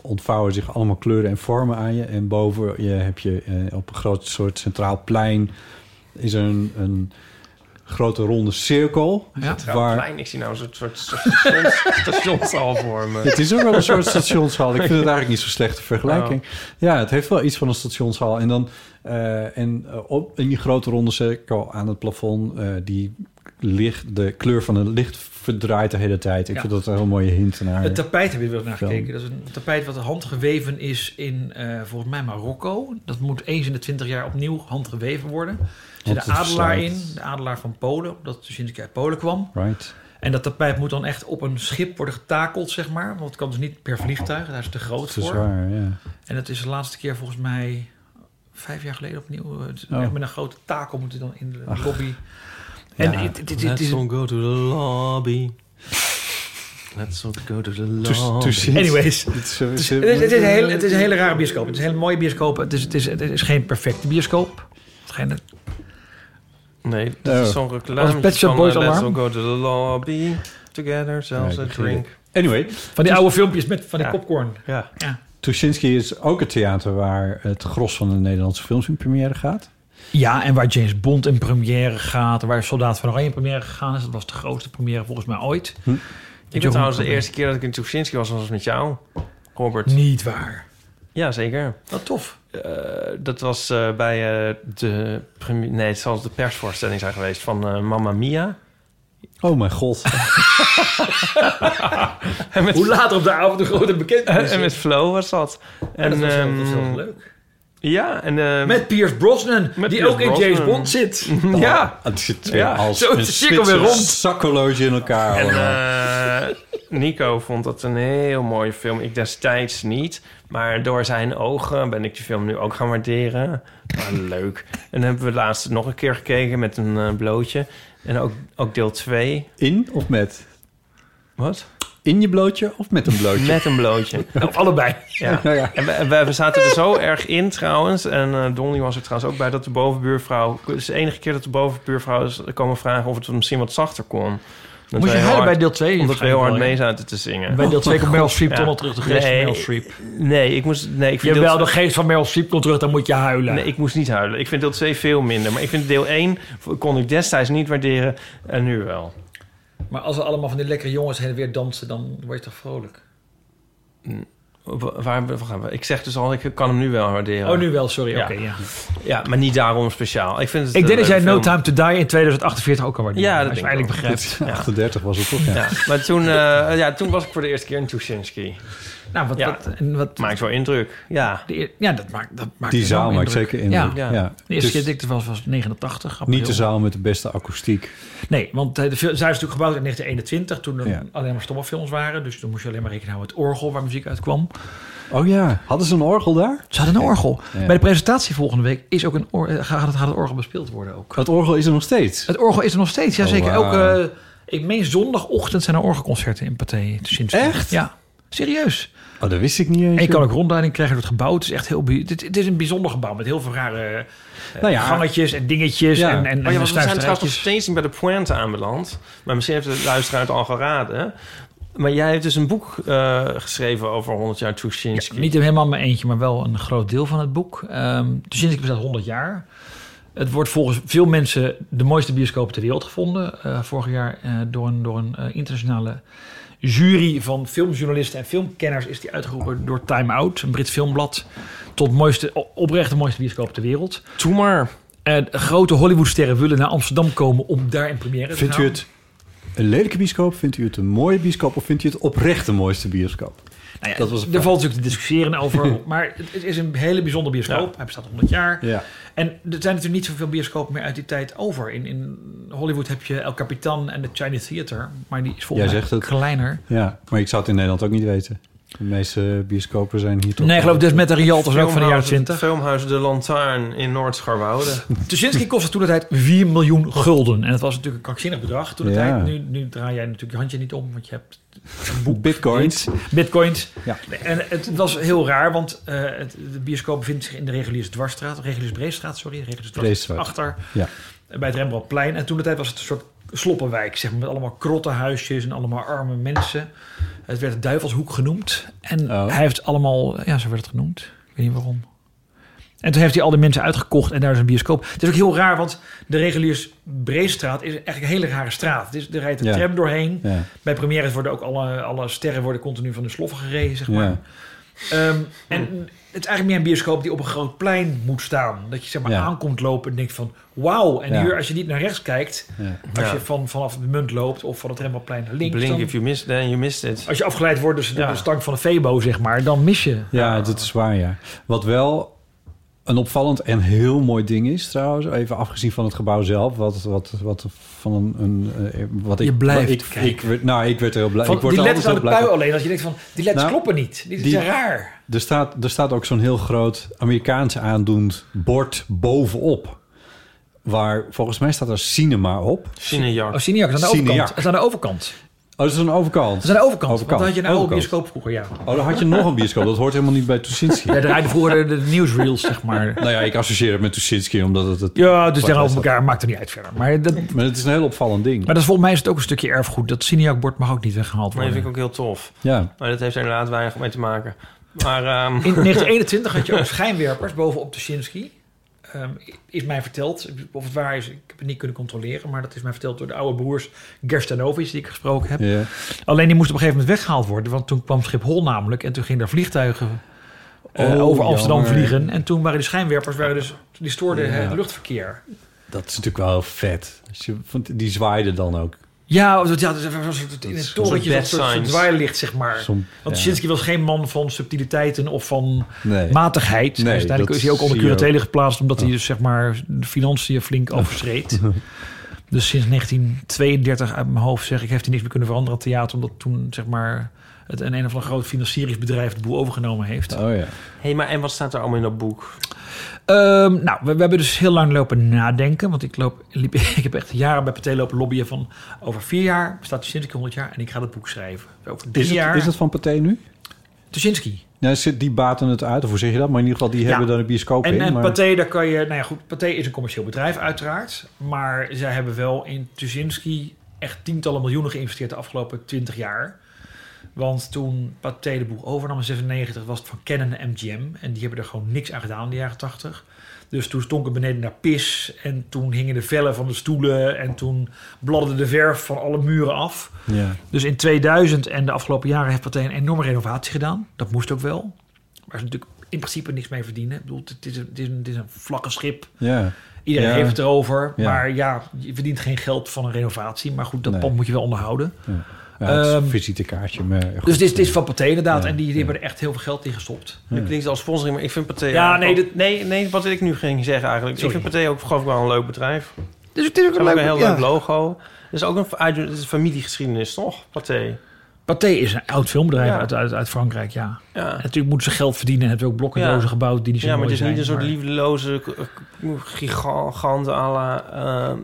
ontvouwen zich allemaal kleuren en vormen aan je. En boven je heb je eh, op een groot soort centraal plein is er een, een grote ronde cirkel. Waar... waar, Klein, ik zie nou een soort, soort stations- stationshal voor me. Het is ook wel een soort stationshal. Ik vind het eigenlijk niet zo'n slechte vergelijking. Oh. Ja, het heeft wel iets van een stationshal. En dan eh, en, eh, op, in die grote ronde cirkel aan het plafond... eh, die licht, de kleur van het licht verdraait de hele tijd. Ik Ja. vind dat een heel mooie hint naar... Het tapijt heb je wel naar Zo. gekeken. Dat is een tapijt wat handgeweven is in, eh, volgens mij, Marokko. Dat moet eens in de twintig jaar opnieuw handgeweven worden. Er zit Want de het adelaar in, verslijt. de adelaar van Polen, omdat Tuschinski uit Polen kwam. Right. En dat tapijt moet dan echt op een schip worden getakeld, zeg maar. Want het kan dus niet per vliegtuig, daar is het te groot Te voor. zwaar, ja. En dat is de laatste keer volgens mij vijf jaar geleden opnieuw. eh, het- Oh. echt Met een grote takel moet hij dan in de Ach. lobby. En Ja. het, het- het- het Let's is all go to the lobby. Let's all go to the Dus- lobby. Anyways. Dus Het is, Het is, het, is een hele, het is een hele rare bioscoop. Het is een hele mooie bioscoop. Het is, het is, het is geen perfecte bioscoop. Het is geen- Nee, dat is Oh. zo'n Als reclame Pet Shop van eh, Boys Boys Let's Alarm. all go to the lobby. Together, zelfs Ja, a ik begin drink. Anyway. Van die oude filmpjes met van die Ja. popcorn. Ja. Ja. Tuschinski is ook het theater waar het gros van de Nederlandse films in première gaat. ja, en waar James Bond in première gaat. Waar Soldaat van Oranje in première gegaan is. Dat was de grootste première volgens mij ooit. Ik Ik ben trouwens de eerste keer dat ik in Tuschinski was, was met jou, Robert. Niet waar. Ja, zeker. Eh, Wat tof. dat was eh, bij eh, de... premi- Nee, het zal de persvoorstelling zijn geweest van eh, Mamma Mia. Oh mijn god. En met- Hoe later op de avond de grote bekendheid. en met Flo was dat. En, dat was wel- dat was wel ehm, leuk. Ja, en... eh, Met Pierce Brosnan, die Pierce ook in James Brosnan. Bond zit. ja. Het Ah, zit eh, Ja, als zo is een de cirkel weer Zwitser rond. zakkenloge in elkaar. En allemaal. eh, Nico vond dat een heel mooie film. Ik destijds niet. Maar door zijn ogen ben ik die film nu ook gaan waarderen. ah, leuk. En dan hebben we laatst nog een keer gekeken met een eh, blootje. En ook, ook deel 2. In of met? Wat? In je blootje of met een blootje? Met een blootje. Of allebei. Ja. Ja, ja. En we, we- we zaten er zo erg in trouwens. En eh Donnie was er trouwens ook bij dat de bovenbuurvrouw... Het is de enige keer dat de bovenbuurvrouw is komen vragen... of het misschien wat zachter kon. Dat Moest je wij heel huilen hard- bij deel twee? Omdat we heel hard mee Waarschijnlijk zaten te zingen. Bij deel twee komt Meryl Streep toch Ja. wel terug, de geest van Nee, Meryl Streep. Nee, ik moest... Nee, ik vind Jawel, deel- de geest van Meryl Streep komt terug, dan moet je huilen. Nee, ik moest niet huilen. Ik vind deel 2 veel minder. Maar ik vind deel 1 kon ik destijds niet waarderen en nu wel. Maar als we allemaal van die lekkere jongens heen en weer dansen, dan word je toch vrolijk? Wa- Waar waar gaan we? Ik zeg dus al, ik kan hem nu wel waarderen. Oh, nu wel, sorry. Ja. Oké, ja. Ja, maar niet daarom speciaal. Ik, vind het Ik een denk dat jij leuke No film. Time to Die in 2048 ook al waarderen. Ja, dat als je denk ik eindelijk wel. begrijpt. Ja. 38 was het toch? Ja. Ja. Maar toen, eh, ja, toen was ik voor de eerste keer in Tuschinski. Nou, wat, Ja. wat, en wat, Maakt wel indruk. Ja. de eer- ja, dat maakt, dat maakt Die enorm zaal maakt zeker indruk, Ja. ja. De eerste Dus- keer dat ik er was, was 89. april. Niet de zaal met de beste akoestiek. Nee, want eh, de film- zij is natuurlijk gebouwd in 1921, toen er Ja. alleen maar stomme films waren. Dus toen moest je alleen maar rekenen houden met het orgel waar muziek uit kwam. Oh ja, hadden ze een orgel daar? Ze hadden een orgel. Ja. Bij de presentatie volgende week is ook een or- eh, gaat, het, gaat het orgel bespeeld worden ook. Het orgel is er nog steeds. Het orgel is er nog steeds, ja Oh, zeker. wauw. Elke, eh, ik meen zondagochtend zijn er orgelconcerten in Pathé. Echt? Ja, serieus. Oh, dat wist ik niet eens. En je joh. kan ook rondleiding krijgen door het gebouw. Het is echt heel... bij- Het, het is een bijzonder gebouw met heel veel rare eh, Nou ja. gangetjes en dingetjes Ja. en, en, Oh ja, en want we zijn trouwens nog snuisterijtjes. steeds niet bij de pointe aanbeland. Maar misschien heeft de luisteraar het al geraden. hè? Maar jij hebt dus een boek eh, geschreven over 100 jaar Tuschinski. Niet helemaal mijn eentje, maar wel een groot deel van het boek. Ehm dus sinds ik bestaat 100 jaar. Het wordt volgens veel mensen de mooiste bioscoop ter wereld gevonden. Eh, vorig jaar eh, door een, door een eh, internationale jury van filmjournalisten en filmkenners is die uitgeroepen door Time Out, een Brits filmblad, tot mooiste, o- oprecht de mooiste bioscoop ter wereld. Doe maar. En grote Hollywoodsterren willen naar Amsterdam komen om daar in première te gaan. Vindt u het een lelijke bioscoop? Vindt u het een mooie bioscoop? Of vindt u het oprecht de mooiste bioscoop? Nou ja, Dat was de er vraag. valt natuurlijk te discussiëren over, maar het- het is een hele bijzondere bioscoop. Hij bestaat 100 jaar. Ja. En er zijn natuurlijk niet zoveel bioscopen meer uit die tijd over. In, in Hollywood heb je El Capitan en de Chinese Theater. Maar die is volgens Jij mij zegt het. kleiner. Ja, maar ik zou het in Nederland ook niet weten. De meeste bioscopen zijn hier toch... Nee, ik geloof dus met de Rialto's ook van de jaren Filmhuis- 20. Filmhuis De Lantaarn in Noord-Scharwoude. Tuschinski kostte toen de tijd 4 miljoen gulden. En dat was natuurlijk een krankzinnig bedrag toen de Ja. tijd. Nu, nu draai jij natuurlijk je handje niet om, want je hebt Bitcoins. bitcoins. Ja. En het was heel raar, want eh, het, de bioscoop bevindt zich in de reguliere dwarsstraat. Reguliere Breestraat, sorry. Reguliere Breestraat. Dwarsstraat achter. Ja. bij het Rembrandtplein. En toen de tijd was het een soort sloppenwijk, zeg maar, met allemaal krottenhuisjes en allemaal arme mensen. Het werd Duivelshoek genoemd. En Oh. hij heeft allemaal, ja, zo werd het genoemd. Ik weet niet waarom. En toen heeft hij al die mensen uitgekocht en daar is een bioscoop. Het is ook heel raar, want de reguliers Breestraat is eigenlijk een hele rare straat. Dus er rijdt een Ja. tram doorheen. Ja. Bij premières worden ook alle, alle sterren worden continu van de sloffen gereden, zeg maar. Ja. Ehm, en het is eigenlijk meer een bioscoop die op een groot plein moet staan. Dat je zeg maar Ja. aankomt lopen en denkt van wauw. En Ja. hier, als je niet naar rechts kijkt, Ja. als Ja. je van, vanaf de munt loopt of van het Rembrandtplein naar links. Blink dan- if you missed, then you missed it. als je afgeleid wordt dus door Ja. de stank van de Febo, zeg maar, dan mis je. Ja, dat is waar, ja. Wat wel een opvallend en heel mooi ding is trouwens... even afgezien van het gebouw zelf... wat, wat, wat van een... een eh, wat ik, Je blijft wat ik, kijken. ik werd- Nou, ik werd er heel blij. Van, ik word die er letters aan de altijd heel pui blij alleen. van. Dat je denkt van, die letters Nou, kloppen niet. Die, die- zijn raar. Er staat, er staat ook zo'n heel groot Amerikaans aandoend bord bovenop. Waar volgens mij staat er cinema op. Cinejak. Oh, Cineac is aan de overkant. Cineac. Dat is aan de overkant. Oh, dat is een overkant. Dat is aan de overkant. Overkant, Want dan had je nou ook overkant. bioscoop vroeger, ja. Oh, dan had je nog een bioscoop. Dat hoort helemaal niet bij Tuschinski. Ja, daar rijden vroeger de, de nieuwsreels, zeg maar. Nou ja, ik associeer het met Tuschinski omdat het... het Ja, dus Wat was tegenover dat? elkaar maakt er niet uit verder. Maar dat, Maar het is een heel opvallend ding. Maar dat is volgens mij is het ook een stukje erfgoed. Dat Cineac-bord mag ook niet weggehaald Dat worden. vind ik ook heel tof. Ja. Maar dat heeft er inderdaad weinig mee te maken. Maar ehm, In 1921 had je ook schijnwerpers bovenop de Shinsky. Ehm, is mij verteld, of het waar is, ik heb het niet kunnen controleren... maar dat is mij verteld door de oude broers Gerstanovic die ik gesproken heb. Ja. Alleen die moest op een gegeven moment weggehaald worden... want toen kwam Schiphol namelijk en toen gingen er vliegtuigen eh, Oh, over Amsterdam jammer. vliegen... en toen waren de schijnwerpers, waren dus, die stoorden het luchtverkeer. Dat is natuurlijk wel heel vet. Als je- want Die zwaaide dan ook. Ja, dat, ja, dat is een soort, in een torentje, bad dat soort, soort signs. zwaailicht, zeg maar. Zo'n- Want ja. Shinsky was geen man van subtiliteiten of van Nee. matigheid. Nee, Dus uiteindelijk dat is hij ook onder zie je curatele geplaatst... omdat hij dus, zeg maar, de financiën flink overschreed. dus sinds 1932 uit mijn hoofd zeg ik... heeft hij niks meer kunnen veranderen aan theater... omdat toen, zeg maar, het een, een of ander groot financieringsbedrijf... de boel overgenomen heeft. Oh ja. hey, maar en wat staat er allemaal in dat boek? Ehm, nou, we, we hebben dus heel lang lopen nadenken. Want ik, loop, liep, ik heb echt jaren bij Pathé lopen lobbyen van... over vier jaar bestaat Tuschinski 100 jaar en ik ga dat boek schrijven. Over drie Is het, jaar... is het van Pathé nu? Tuschinski. Nou, zit die baten het uit, of hoe zeg je dat? Maar in ieder geval, die hebben dan een bioscoop en, in. En maar... Pathé, daar kan je... Nou ja, goed, Pathé is een commercieel bedrijf uiteraard. Maar zij hebben wel in Tuschinski echt tientallen miljoenen geïnvesteerd de afgelopen twintig jaar. Want toen Pathé de boel overnam in 96 was het van Canon en MGM. En die hebben er gewoon niks aan gedaan in de jaren 80. Dus toen stonk het beneden naar pis. En toen hingen de vellen van de stoelen. En toen bladde de verf van alle muren af. Ja. Dus in 2000 en de afgelopen jaren heeft Pathé een enorme renovatie gedaan. Dat moest ook wel. Waar ze natuurlijk in principe niks mee verdienen. Ik bedoel, het is een, het is een, het is een vlakke schip. Ja. Iedereen Ja. heeft het erover. Ja. Maar ja, je verdient geen geld van een renovatie. Maar goed, dat Nee. pand moet je wel onderhouden. Ja. Ja, het is Ehm, een visitekaartje. Maar goed. dus dit is, dit is van Pathé inderdaad. Ja, en die, die hebben er echt heel veel geld in gestopt. Het klinkt als sponsoring, maar ik vind Pathé... Ja, ook- nee, dit- nee, nee, wat ik nu ging zeggen eigenlijk. Sorry. Ik vind Pathé ook gewoon wel een leuk bedrijf. Dus het is ook Ze een hebben leuk- een heel ja. leuk logo. Het is ook een, uit- het is een familiegeschiedenis, toch? Pathé. Pathé is een oud filmbedrijf Ja. uit, uit, uit Frankrijk, ja. Ja. En natuurlijk moeten ze geld verdienen. En hebben ze ook blokken Ja. dozen gebouwd die niet zo Ja, maar mooi het is zijn. niet een soort maar- liefdeloze k- k- gigant à la... ehm,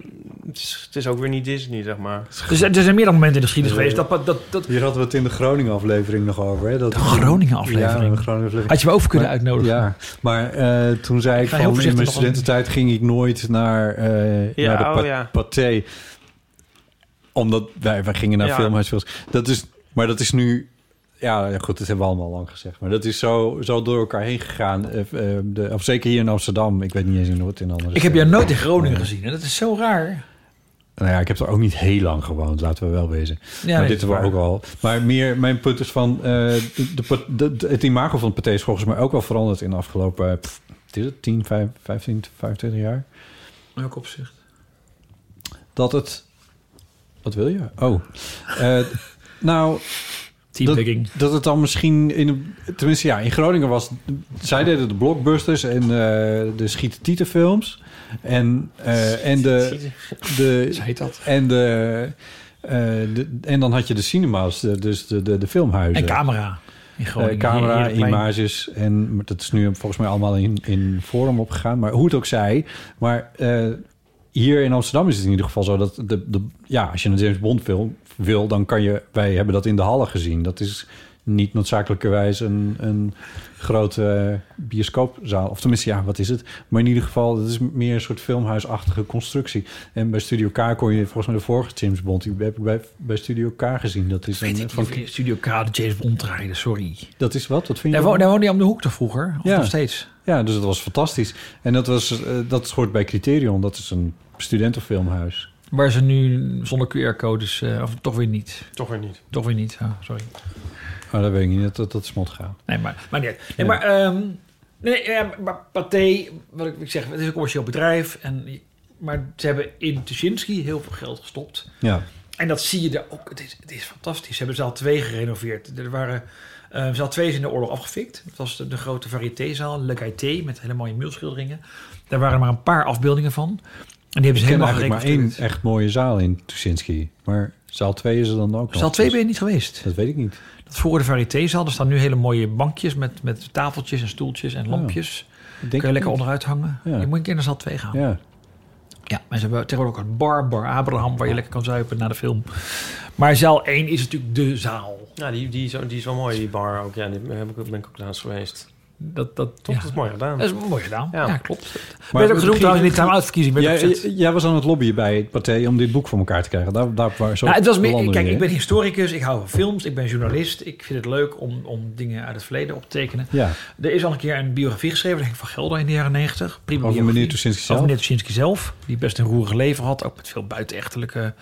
het, is, het is ook weer niet Disney, zeg maar. Dus er er zijn meerdere momenten in de geschiedenis geweest. Dat, dat, dat... Hier hadden we het in de Groningen-aflevering nog over. Hè? Dat... De Groningen-aflevering? Ja, de Groningen-aflevering. Had je me over kunnen Maar- uitnodigen. Ja, maar eh, toen zei ik, ga heel van in voorzichtig mijn nog een- studententijd ging ik nooit naar, eh, Ja, naar de oh pa- ja. pathé. Omdat wij, wij gingen naar Ja. filmhuisfilms. Dat is, maar dat is nu... Ja, ja, goed, dat hebben we allemaal lang gezegd. Maar dat is zo, zo door elkaar heen gegaan. Eh, eh, de, of zeker hier in Amsterdam. Ik weet niet eens in Noord in andere Ik heb jou nooit in Groningen gezien. En dat is zo raar. nou ja, ik heb er ook niet heel lang gewoond, laten we wel wezen. Ja, maar nee, Nou, dit dat was is waar. ook al. Maar meer mijn punt is van... eh, de, de- de- de- het imago van het Pathé is volgens mij ook wel veranderd in de afgelopen... eh, pff, wat is het, 10, 5, 15, 25 jaar? Welk opzicht? Dat het... Wat wil je? Oh. Eh, nou... Dat, dat het dan misschien... In, de- tenminste, ja, in Groningen was... Zij deden de blockbusters en eh, de schieten-tietenfilms. En, eh, en de... de dat? En de... eh, de, en dan had je de cinema's, de- dus de, de, de filmhuizen. En camera. In Groningen. Eh, camera, Herenplein. images. En maar dat is nu volgens mij allemaal in, in Forum opgegaan. Maar hoe het ook zij. Maar eh, hier in Amsterdam is het in ieder geval zo dat... De, de, ja, als je een James Bond film wil, dan kan je... Wij hebben dat in de hallen gezien. Dat is niet noodzakelijkerwijs een, een grote eh, bioscoopzaal. Of tenminste, ja, wat is het? Maar in ieder geval, het is meer een soort filmhuisachtige constructie. En bij Studio K kon je volgens mij de vorige James Bond... die heb ik bij, bij Studio K gezien. Dat is een, eh, Van Studio K, de James Bond rijden, sorry. Dat is wat? Wat vind je? Daar ervan? woonde, daar woonde je om de hoek toch vroeger? Of nog steeds? Ja, dus dat was fantastisch. En dat, was, eh, dat hoort bij Criterion. Dat is een studentenfilmhuis. Waar ze nu zonder QR-codes, eh, of toch weer niet. Toch weer niet. Toch weer niet, ah, sorry. Maar Oh, dat weet ik niet. Dat, dat, dat is mot gaan. Nee, maar, maar niet. uit. Nee, Ja. maar, ehm, nee, ja, maar Pathé, wat ik, ik zeg, het is een commercieel bedrijf. En, maar ze hebben in Tuschinski heel veel geld gestopt. Ja. En dat zie je daar ook. Het is, het is fantastisch. Ze hebben zaal 2 gerenoveerd. Er waren, eh, zaal 2 is in de oorlog afgefikt. Het was de, de grote variétézaal, Le Gaieté, met hele mooie muurschilderingen. Daar waren maar een paar afbeeldingen van. En die hebben ze Ik ken helemaal eigenlijk maar één gereconstrueerd. echt mooie zaal in Tuschinski. Maar zaal 2 is er dan ook nog. Zaal 2 ben je niet geweest? Dat weet ik niet. Dat voor de variétézaal, er staan nu hele mooie bankjes met, met tafeltjes en stoeltjes en lampjes. Kun je ik lekker niet. onderuit hangen. Ja. Je moet een keer naar zaal 2 gaan. Ja. Ja, maar ze hebben tegenwoordig ook een bar, Bar Abraham, waar je lekker kan zuipen na de film. Maar zaal 1 is natuurlijk de zaal. Ja, die, die, is, die is wel mooi, die bar ook. Ja, die heb ik, ben ik ook laatst geweest. Dat, dat, Toch, dat is mooi gedaan. Dat is mooi gedaan. Ja, klopt. Maar werd ook genoemd begin- trouwens in de time-out-verkiezing. werd ook Jij, gezegd. jij- jij was aan het lobbyen bij het partij om dit boek voor elkaar te krijgen. Daar, daar waar zo Nou, het was meer, belanden kijk, we, ik hè? ben historicus, ik hou van films, ik ben journalist. Ik vind het leuk om, om dingen uit het verleden op te tekenen. Ja. Er is al een keer een biografie geschreven, denk ik, van Gelder in de jaren negentig. Prima Over biografie. meneer Tuschinski zelf? Over meneer Tuschinski zelf, die best een roerig leven had. Ook met veel buitenechtelijke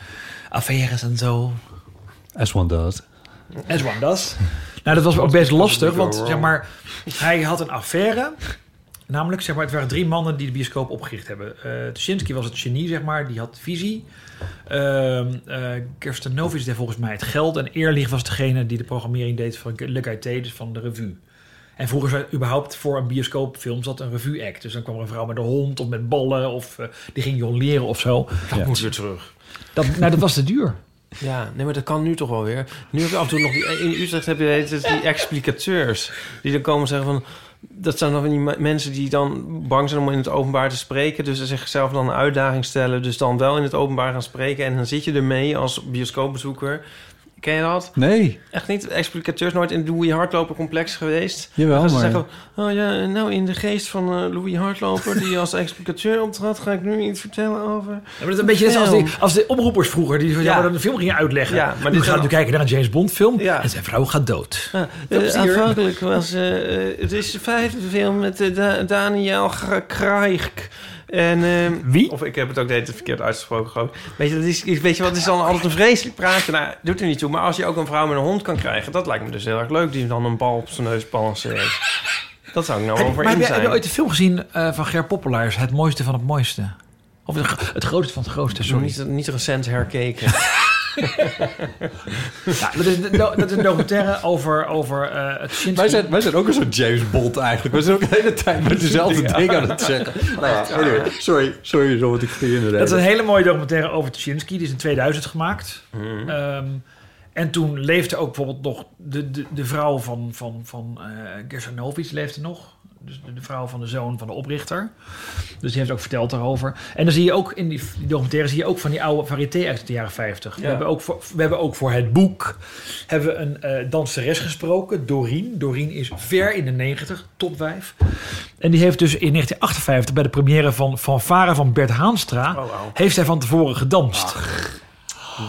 affaires en zo. As one does. As one does. Nou, dat was ook best lastig, want zeg maar, hij had een affaire. Namelijk, zeg maar, het waren drie mannen die de bioscoop opgericht hebben. Eh Tuschinski was het genie, zeg maar, die had visie. Ehm eh Kerstanovic deed volgens mij het geld. En Eerlich was degene die de programmering deed van Le Gaieté, dus van de revue. En vroeger zat überhaupt voor een bioscoopfilm zat een revue-act. Dus dan kwam er een vrouw met een hond of met ballen of eh, die ging jongleren of zo. Dat moet weer terug. Dat, nou, dat was te duur. Ja, nee, maar dat kan nu toch wel weer. Nu heb je af en toe nog... die- in Utrecht heb je de hele tijd die explicateurs. Die dan komen zeggen van... dat zijn dan van die me- mensen die dan bang zijn om in het openbaar te spreken. Dus ze zichzelf dan een uitdaging stellen. Dus dan wel in het openbaar gaan spreken. En dan zit je ermee als bioscoopbezoeker. Ken je dat? Nee. Echt niet? Explicateurs nooit in Louis Hardloper complex geweest? Jawel, Dan gaan maar- Ze zeggen, oh ja, nou in de geest van eh, Louis Hardloper... die als explicateur optrad, ga ik nu iets vertellen over... Ja, maar dat is een beetje net als, die, als de oproepers vroeger, die van, ja. maar dan een film gingen uitleggen. Ja, Ja, maar maar dit dit gaat dan- nu kijken naar een James Bond film en zijn vrouw gaat dood. Ja, Veel eh, plezier. aanvankelijk was eh, eh, het is de vijfde film met eh, Da- Daniel Gra- Craig. En, Wie? Of ik heb het ook de hele tijd verkeerd uitgesproken. geloof ik. Weet je, dat is, is- weet je wat, het is dan altijd een vreselijk praatje. Nou, doet er niet toe. Maar als je ook een vrouw met een hond kan krijgen, dat lijkt me dus heel erg leuk. Die dan een bal op zijn neus balanceert. Dat zou ik nou wel Heb- voor maar heb in jij, heb zijn. je ooit de film gezien eh, van Ger Poppelaars, Het Mooiste van het Mooiste? Of het, gro- het grootste van het grootste, sorry. Niet, niet recent herkeken. Ja, dat, is, een- dat is een documentaire over, over eh, het Shinski. Wij zijn, wij zijn ook een soort James Bond eigenlijk. We zijn ook de hele tijd met dezelfde Ja. dingen aan het zeggen. Nou ja, anyway, sorry, sorry zo wat ik voor je in de Dat is een reden. hele mooie documentaire over Tuschinski. Die is in 2000 gemaakt. Mhm. Ehm, en toen leefde ook bijvoorbeeld nog de, de, de vrouw van, van, van eh Gersanovic leefde nog. Dus de, de vrouw van de zoon van de oprichter. Dus die heeft ook verteld daarover. En dan zie je ook in die, die documentaire zie je ook van die oude variété uit de jaren 50. We, Ja. hebben ook voor, we hebben ook voor het boek hebben we een eh, danseres gesproken, Doreen. Doreen is ver in de 90, topwijf. En die heeft dus in 1958 bij de première van Fanfare van Bert Haanstra... heeft zij van tevoren gedanst.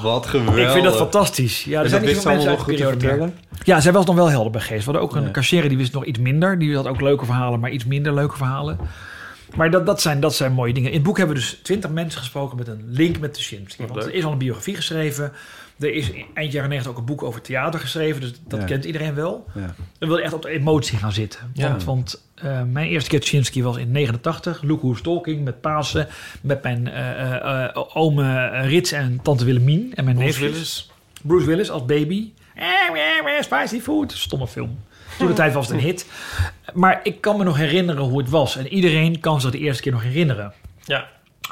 Wat geweldig. Ik vind dat fantastisch. Ja, En er zijn dat niet wist ze veel mensen allemaal nog uit die goed te periode meer. vertellen? Ja, zij was nog wel helder bij geest. We hadden ook een cashier die wist nog iets minder. Die had ook leuke verhalen, maar iets minder leuke verhalen. Maar dat, dat, zijn, dat zijn mooie dingen. In het boek hebben we dus twintig mensen gesproken met een link met de Shimsky. Want er is al een biografie geschreven. Er is eind jaren negentig ook een boek over theater geschreven. Dus dat Ja. kent iedereen wel. Ja. Dan wil je echt op de emotie gaan zitten. Ja. Want, want eh, mijn eerste keer Tschinski was in 89. Look Who's Talking met Pasen. Met mijn eh eh, eh, ome Rits en tante Willemien. En mijn Bruce neefjes. Willis. Bruce Willis als baby. Eh, eh, eh, Spicy food. Stomme film. Toen de tijd was het een hit. Maar ik kan me nog herinneren hoe het was. En iedereen kan zich de eerste keer nog herinneren. Ja.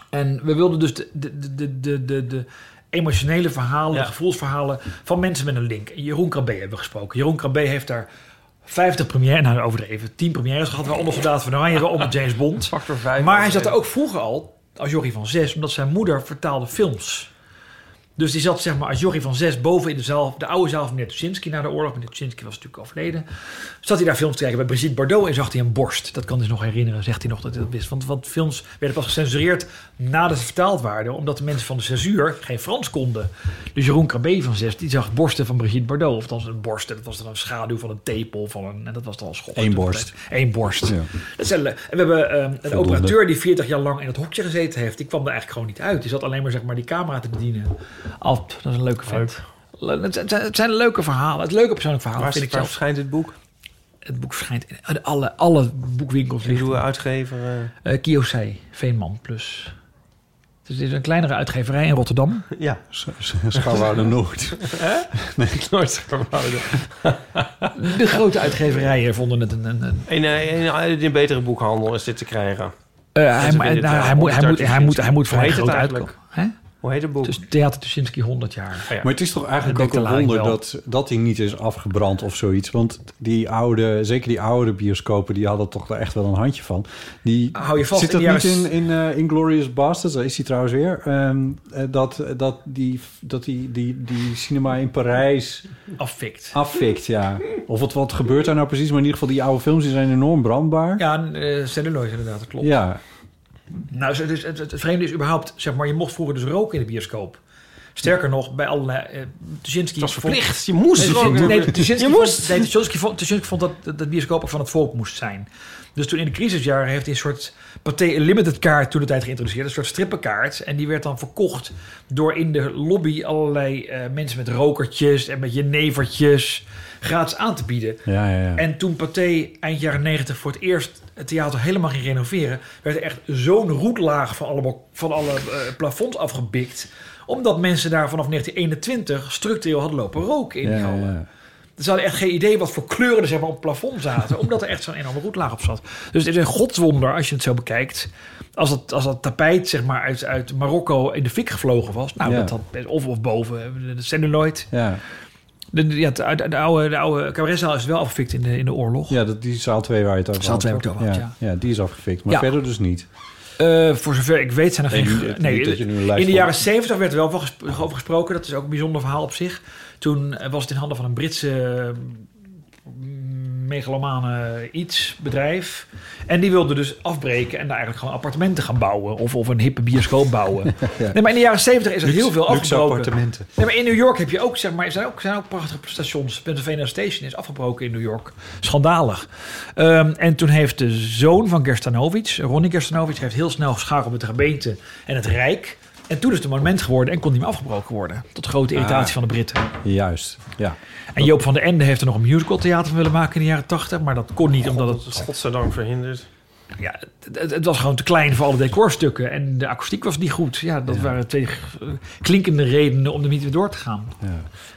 En we wilden dus de, de, de, de, de, de, de emotionele verhalen, de gevoelsverhalen van mensen met een link. En Jeroen Krabbe hebben we gesproken. Jeroen Krabbe heeft daar 50 premières, nou overdreven, 10 premières gehad. Waaronder Soldaat van Oranje, waaronder James Bond. maar hij zat er ook vroeger al als Jorrie van Zes, omdat zijn moeder vertaalde films. Dus die zat zeg maar als Jorrie van Zes boven in de zaal, de oude zaal van meneer Tuschinski na de oorlog. Meneer Tuschinski was natuurlijk overleden. Zat hij daar films te kijken bij Brigitte Bardot en zag hij een borst. Dat kan hij zich nog herinneren, zegt hij nog dat hij dat wist. Want, want films werden pas gecensureerd nadat ze vertaald waren. Omdat de mensen van de censuur geen Frans konden. Dus Jeroen Krabbe van Zes, die zag borsten van Brigitte Bardot. Of althans een borst. En dat was dan een schaduw van een tepel. Van een, en dat was dan al school. Eén borst. Eén borst. Ja. Dat is heel leuk. En we hebben ehm, een Voldoende. operateur die 40 jaar lang in het hokje gezeten heeft. Die kwam er eigenlijk gewoon niet uit. Die zat alleen maar zeg maar, die camera te bedienen. Alp, dat is een leuke vent. Le- Het zijn, het zijn leuke verhalen. Het leuke persoonlijk verhaal Waar, vind ik waar zelf. verschijnt dit boek? Het boek verschijnt in alle, alle boekwinkels. Ik bedoel, uitgever... eh, Eh Kiosai, Veenman Plus. Dus dit is een kleinere uitgeverij in Rotterdam. ja. Schouwhouden nooit. Nee, nooit schouwhouden. De grote uitgeverijen vonden het een... een, een- In, eh, in, eh, in een betere boekhandel is dit te krijgen. Eh, Mensen hij, vinden nou, dit, eh, hij, moet, hij, moet, hij, moet, hij moet voor Hoe een heet het groot eigenlijk? uitkomen. Hè? Hoe heet het boek? Oh Dus Theater Tuschinski 100 jaar. Maar het is toch eigenlijk Dat ook dekt de een lading wonder wel. dat, dat die niet is afgebrand of zoiets. Want die oude, zeker die oude bioscopen, die hadden toch daar echt wel een handje van. Die, Hou je vast, zit dat in niet die in, jaren- in eh, Inglourious Basterds? Daar is hij trouwens weer. Ehm, eh, dat dat, die, dat die, die, die cinema in Parijs Afvikt. afvikt, ja. Of wat, wat gebeurt daar nou precies? Maar in ieder geval, die oude films die zijn enorm brandbaar. Ja, eh celluloid inderdaad, dat klopt. Ja, Nou, het, is- het, het, het vreemde is überhaupt, zeg maar, je mocht vroeger dus roken in de bioscoop. Sterker nog, bij allerlei... eh Tuschinski Het was vond- verplicht. Je moest Nee, roken. Nee, Tuschinski Je vond- moest. nee, Tuschinski vond, Tuschinski vond dat, dat, dat bioscoop ook van het volk moest zijn. Dus toen in de crisisjaren heeft hij een soort Pathé Limited kaart toen de tijd geïntroduceerd. Een soort strippenkaart. En die werd dan verkocht door in de lobby allerlei eh, mensen met rokertjes en met jenevertjes gratis aan te bieden. ja, ja. ja. En toen Pathé eind jaren 90 voor het eerst eh, het theater helemaal ging renoveren, werd er echt zo'n roetlaag van alle, van alle eh, plafonds afgebikt. Omdat mensen daar vanaf 1921 structureel hadden lopen roken in ja, die ja, hallen. ja. Ze hadden echt geen idee wat voor kleuren er zeg maar, op het plafond zaten. omdat er echt zo'n enorme roetlaag op zat. Dus het is een godswonder als je het zo bekijkt. Als dat, als dat tapijt zeg maar, uit, uit Marokko in de fik gevlogen was. Nou, Ja. dat had, of, of boven eh, de celluloid. Ja. De, de- ja, het- de, de oude, de oude cabaretzaal is wel afgefikt in de, in de oorlog. Ja, dat, die zaal 2 waar je het over Zaal had, twee waar ik toch? het over had, ja. ja, die is afgefikt. Maar Ja. verder dus niet. Eh, voor zover ik weet zijn er Nee, geen... niet- nee, niet dat je nu een lijst in de van- jaren 70 werd er wel van gesp- over gesproken. Dat is ook een bijzonder verhaal op zich. Toen eh, was het in handen van een Britse eh, megalomane iets bedrijf. En die wilde dus afbreken en daar eigenlijk gewoon appartementen gaan bouwen. Of, of een hippe bioscoop bouwen. Nee, maar in de jaren 70 is er Luxe- heel veel luxe afgebroken. appartementen. Nee, maar in New York heb je ook, zeg maar, er zijn ook, zijn ook prachtige stations. Pennsylvania Station is afgebroken in New York. Schandalig. Ehm, en toen heeft de zoon van Gerstanovic, Ronnie Gerstanovic, heeft heel snel geschakeld met de gemeente en het Rijk. En toen is het een monument geworden en kon niet meer afgebroken worden. Tot grote irritatie Ah. van de Britten. Juist, ja. En Joop van der Ende heeft er nog een musical theater willen maken in de jaren 80, maar dat kon niet omdat het... Godzijdank verhinderd. Ja, het, het- het was gewoon te klein voor alle decorstukken en de akoestiek was niet goed. Ja, dat waren twee eh, klinkende redenen om er niet weer door te gaan.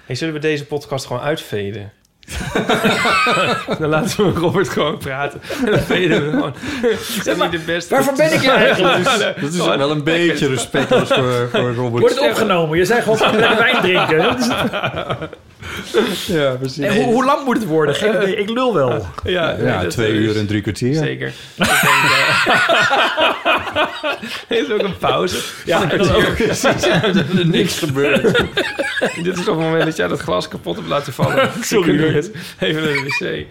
Hey, zullen we deze podcast gewoon uitveden? dan laten we Robert gewoon praten. En dan veden we gewoon. Zeg maar, de beste waarvoor ben ik hier eigenlijk? Ja, Dat is wel een beetje respectloos voor, voor Robert. Wordt het opgenomen? Je zei gewoon van lekker wijn drinken. Dat is het. Ja, precies. En hoe, hoe lang moet het worden? Geen idee. Ik lul wel. Ja, Ja, twee uur en drie kwartier. Zeker. is ook een pauze. Ja, Ja, dat ja, ook. precies. Ja, er is niks gebeurd. Dit is op het moment dat jij dat glas kapot hebt laten vallen. Sorry, Ik doe Ruud. het. Even naar de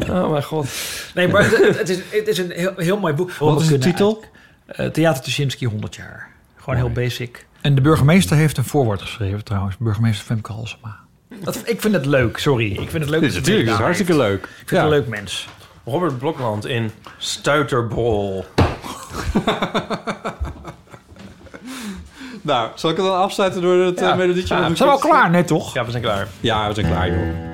wc. oh mijn god. Nee, maar het, het is, het is een heel, heel mooi boek. Wat is de titel? Eh, Theater Tuschinski 100 jaar. Gewoon heel basic. En de burgemeester heeft een voorwoord geschreven trouwens. Burgemeester Femke Halsema. Dat, ik vind het leuk, sorry. Ik vind het leuk. dat ze Natuurlijk, meegedaan dat is heeft. hartstikke leuk. Ik vind Ja. het een leuk mens. Robert Blokland in Stuiterbol. Nou, zal ik het dan afsluiten door het eh, melodietje? Ja, wat we ik zijn wel net- klaar, nee toch? Ja, we zijn klaar. Ja, we zijn klaar, joh.